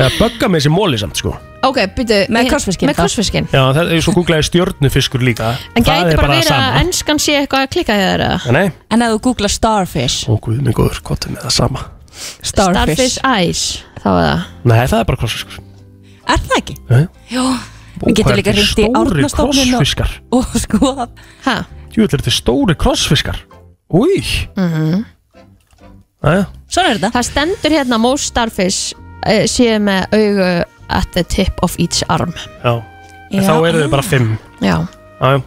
[SPEAKER 3] Það bögga með þessi móli samt sko
[SPEAKER 2] Ok, byrju
[SPEAKER 7] Með krossfiskinn
[SPEAKER 2] Með
[SPEAKER 7] þá.
[SPEAKER 2] krossfiskinn
[SPEAKER 3] Já, það er svo googlaði stjörnufiskur líka
[SPEAKER 2] En
[SPEAKER 3] Það
[SPEAKER 2] gæti
[SPEAKER 3] er
[SPEAKER 2] bara verið
[SPEAKER 3] það
[SPEAKER 2] að ennskan sé eitthvað að klikka hjá þér eða?
[SPEAKER 3] Nei, nei.
[SPEAKER 7] En að þú googla starfish
[SPEAKER 3] Ó, guð minn góður, gott er með það sama
[SPEAKER 7] Starfish.
[SPEAKER 2] Starfish Eyes Þá er það
[SPEAKER 3] Nei, það er bara krossfiskur
[SPEAKER 7] Er það ekki?
[SPEAKER 3] Nei.
[SPEAKER 7] Jó, við getum líka hringt í árnastofnun og,
[SPEAKER 3] Krossfiskar
[SPEAKER 7] og sko
[SPEAKER 2] Hæ?
[SPEAKER 3] Jú, þetta er stóri krossfiskar Új
[SPEAKER 2] Mhm.
[SPEAKER 3] Æja,
[SPEAKER 7] Svona er þetta
[SPEAKER 2] Það stendur hérna Most starfish uh, sé með augu at the tip of each arm
[SPEAKER 3] já En
[SPEAKER 2] Já.
[SPEAKER 3] Þá eru þau bara fimm
[SPEAKER 2] Já
[SPEAKER 3] Æja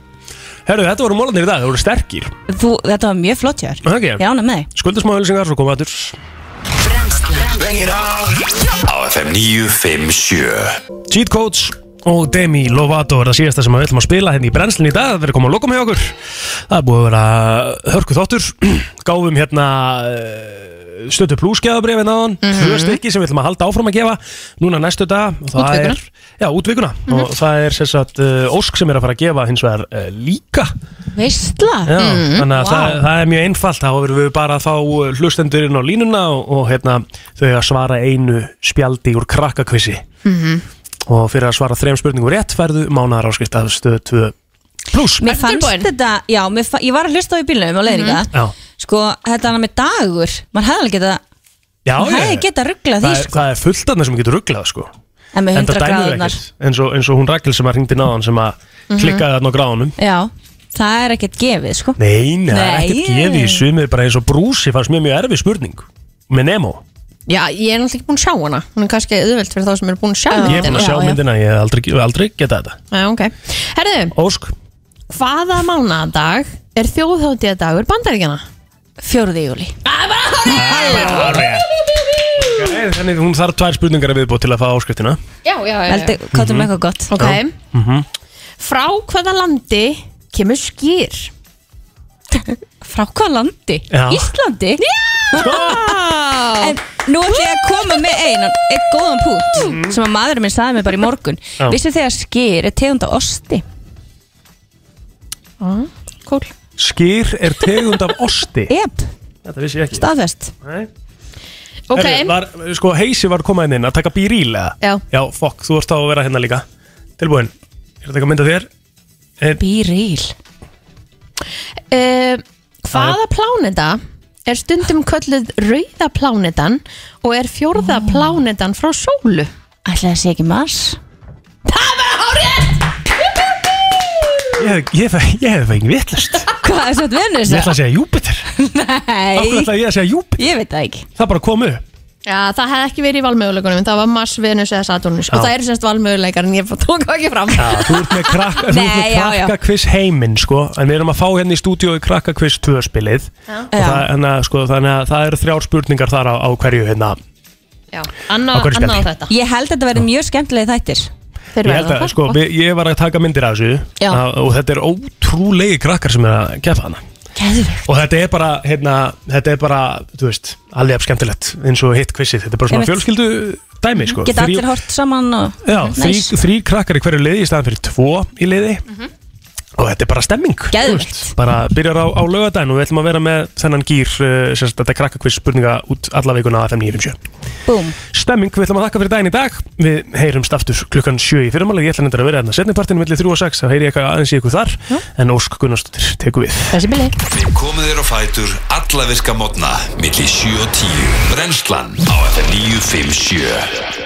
[SPEAKER 3] Herru, þetta voru mólandir í dag, það voru sterkir
[SPEAKER 7] Þú, þetta var mjög flott hjá
[SPEAKER 3] þér okay.
[SPEAKER 7] Ég ánægð með þig
[SPEAKER 3] Skuldum smá ölsingar, svo komum við aðtur
[SPEAKER 1] Á FM 957
[SPEAKER 3] Cheat Codes og Demi Lovato er það síðasta sem við ætlum að spila hérna í brennslinn í dag það verður komið að lokum hjá okkur það er búið að vera hörku þáttur gáfum hérna eh, stötu plúsgjafabrifin á hann
[SPEAKER 1] Mhm.
[SPEAKER 3] tvö stykki sem við ætlum að halda áfram að gefa núna næstu dag og það
[SPEAKER 1] Útvikuna.
[SPEAKER 3] er já, útvikuna
[SPEAKER 7] Mhm.
[SPEAKER 3] og það er sem sagt eh, Ósk sem er að fara að gefa hins vegar eh, líka
[SPEAKER 7] Veistla
[SPEAKER 3] Já, þannig að það, það er mjög einfalt þá verðum við bara að fá uh, hlustendur inn á línuna og, og hérna, þau að svara einu spjaldi úr krakkakvissi
[SPEAKER 7] Mhm.
[SPEAKER 3] og fyrir að svara þrejum spurningum rétt færðu mánar áskrift af stöð 2 Plus
[SPEAKER 7] Mér fannst þetta, já, mér fa ég var að hlusta á í bílnum og leiðinga mm
[SPEAKER 3] Já,
[SPEAKER 7] Sko, þetta hann með dagur Man hefði alveg geta,
[SPEAKER 3] já
[SPEAKER 7] Hún hefði
[SPEAKER 3] ég-
[SPEAKER 7] getað ruglað
[SPEAKER 3] það
[SPEAKER 7] því, sko.
[SPEAKER 3] er- Það er fullt af það sem getur rugglað sko
[SPEAKER 7] en með
[SPEAKER 3] En það
[SPEAKER 7] 100
[SPEAKER 3] dæmir
[SPEAKER 7] gráðunar
[SPEAKER 3] ekkert, eins og, eins og hún Rakel sem að hringdi náðan sem að
[SPEAKER 7] Mhm.
[SPEAKER 3] klikkaði þarna á gráðunum
[SPEAKER 7] Já, það er ekkert gefið, sko
[SPEAKER 3] Nei, nei, það er
[SPEAKER 7] Nei.
[SPEAKER 3] ekkert gefið í sumið bara eins og brúsi fannst mjög mjög erfið spurning með Nemo
[SPEAKER 2] Já, ég er náttúrulega ekki búin að sjá hana Hún er kannski auðvelt fyrir þá sem eru búin að sjá
[SPEAKER 3] Ég er búin að sjá
[SPEAKER 2] myndina.
[SPEAKER 3] myndina, ég hef aldrei, aldrei getað þetta
[SPEAKER 2] Já, ok Herðu
[SPEAKER 3] Ósk
[SPEAKER 2] Hvaða mánadag er þjóðháttíðadagur bandaríkjana?
[SPEAKER 7] Fjóruði júli
[SPEAKER 3] Ok, Þannig hún þarf tvær spurningar að viðbúið til að fá áskriftina
[SPEAKER 2] Já, já, já
[SPEAKER 7] Veldu, káttum
[SPEAKER 3] Mhm.
[SPEAKER 7] eitthvað gott
[SPEAKER 2] Ok
[SPEAKER 3] mm -hmm.
[SPEAKER 2] Frá hvaða landi kemur skýr?
[SPEAKER 7] Frá hvaða landi?
[SPEAKER 3] Já.
[SPEAKER 7] Íslandi? Já! En nú ætlum ég að koma með einan, einn góðan punkt sem að maðurinn minn saði mér bara í morgun
[SPEAKER 3] Já.
[SPEAKER 7] Vissu þegar skýr Mm. er tegund á osti?
[SPEAKER 2] Kúl
[SPEAKER 3] Skýr er tegund af osti
[SPEAKER 7] Jep,
[SPEAKER 3] Þetta vissi ég ekki
[SPEAKER 7] staðfest
[SPEAKER 3] Nei.
[SPEAKER 2] Ok.
[SPEAKER 3] Herri, var, Sko heisi var komað inn inn að taka bíríl eða?
[SPEAKER 2] Já.
[SPEAKER 3] Já, fokk, þú varst þá að vera hérna líka Tilbúin, er þetta ekki að mynda þér? En,
[SPEAKER 7] Bíríl
[SPEAKER 2] Uh, hvaða pláneta er stundum kölluð rauða plánetan og er fjórða plánetan frá sólu?
[SPEAKER 7] Ætlaði að sé ekki mars
[SPEAKER 3] Ég hef- ég hef ég hef fengið vittlust
[SPEAKER 7] Hvað er þetta vinnur
[SPEAKER 3] Ég ætla að segja Júpiter
[SPEAKER 7] Nei
[SPEAKER 3] Af hverju ætla ég að segja Júpiter?
[SPEAKER 7] Ég veit það ekki
[SPEAKER 3] Það bara kom upp
[SPEAKER 2] Já, það hefði ekki verið í valmöguleikunum Það var Mars, Venus eða Saturnus
[SPEAKER 3] Já.
[SPEAKER 2] Og það eru semst valmöguleikar en ég bara tók það ekki fram
[SPEAKER 3] Já, þú ert með, krak þú ert
[SPEAKER 2] Nei,
[SPEAKER 3] með
[SPEAKER 2] já, já.
[SPEAKER 3] krakkakviss heiminn sko En við erum að fá hérna í stúdíói krakkakviss 2 spilið
[SPEAKER 2] Já.
[SPEAKER 3] Og það, hana, sko, Þannig að það eru þrjár spurningar þar á, á hverju hérna
[SPEAKER 2] Anna,
[SPEAKER 3] Á hverju
[SPEAKER 2] Anna á
[SPEAKER 3] spjalli?
[SPEAKER 2] þetta
[SPEAKER 7] Ég held að þetta verði mjög skemmtilega þættir
[SPEAKER 3] Ég held að, sko, við, ég var að taka myndir af þessu
[SPEAKER 7] Já.
[SPEAKER 3] að, Og þetta er ótrúlegi krakkar sem er að gefa hana
[SPEAKER 7] Geðvegt.
[SPEAKER 3] Og þetta er bara, hérna, þetta er bara, þú veist, alveg jafn skemmtilegt eins og hitt kvissið, þetta er bara svona
[SPEAKER 7] Einmitt.
[SPEAKER 3] fjölskyldu dæmi, sko
[SPEAKER 7] Geta
[SPEAKER 3] Þrjú-
[SPEAKER 7] allir hort saman og
[SPEAKER 3] Já, þrý,
[SPEAKER 7] Nice.
[SPEAKER 3] þrý krakkar í hverju liði í staðan fyrir tvo í liði og þetta er bara stemming
[SPEAKER 7] Geðveikt.
[SPEAKER 3] þú veist. bara byrjar á, á lögadaginn og við ætlum að vera með þennan gýr uh, sérst, þetta krakkakviss spurninga út alla vikuna að 5957
[SPEAKER 7] Búm
[SPEAKER 3] Stemming, við ætlum að þakka fyrir daginn í dag við heyrumst aftur klukkan 7 í fyrirmálið ég ætla hendur að vera hérna setnipartinu millir 3 og 6 þá heyri ég eitthvað aðeins í ykkur þar en Ósk Gunnarsdóttir tekur við
[SPEAKER 2] Þessi bili
[SPEAKER 1] Við komum þér á fætur alla virka mótna milli 7 og 10 Brennslan á FM 957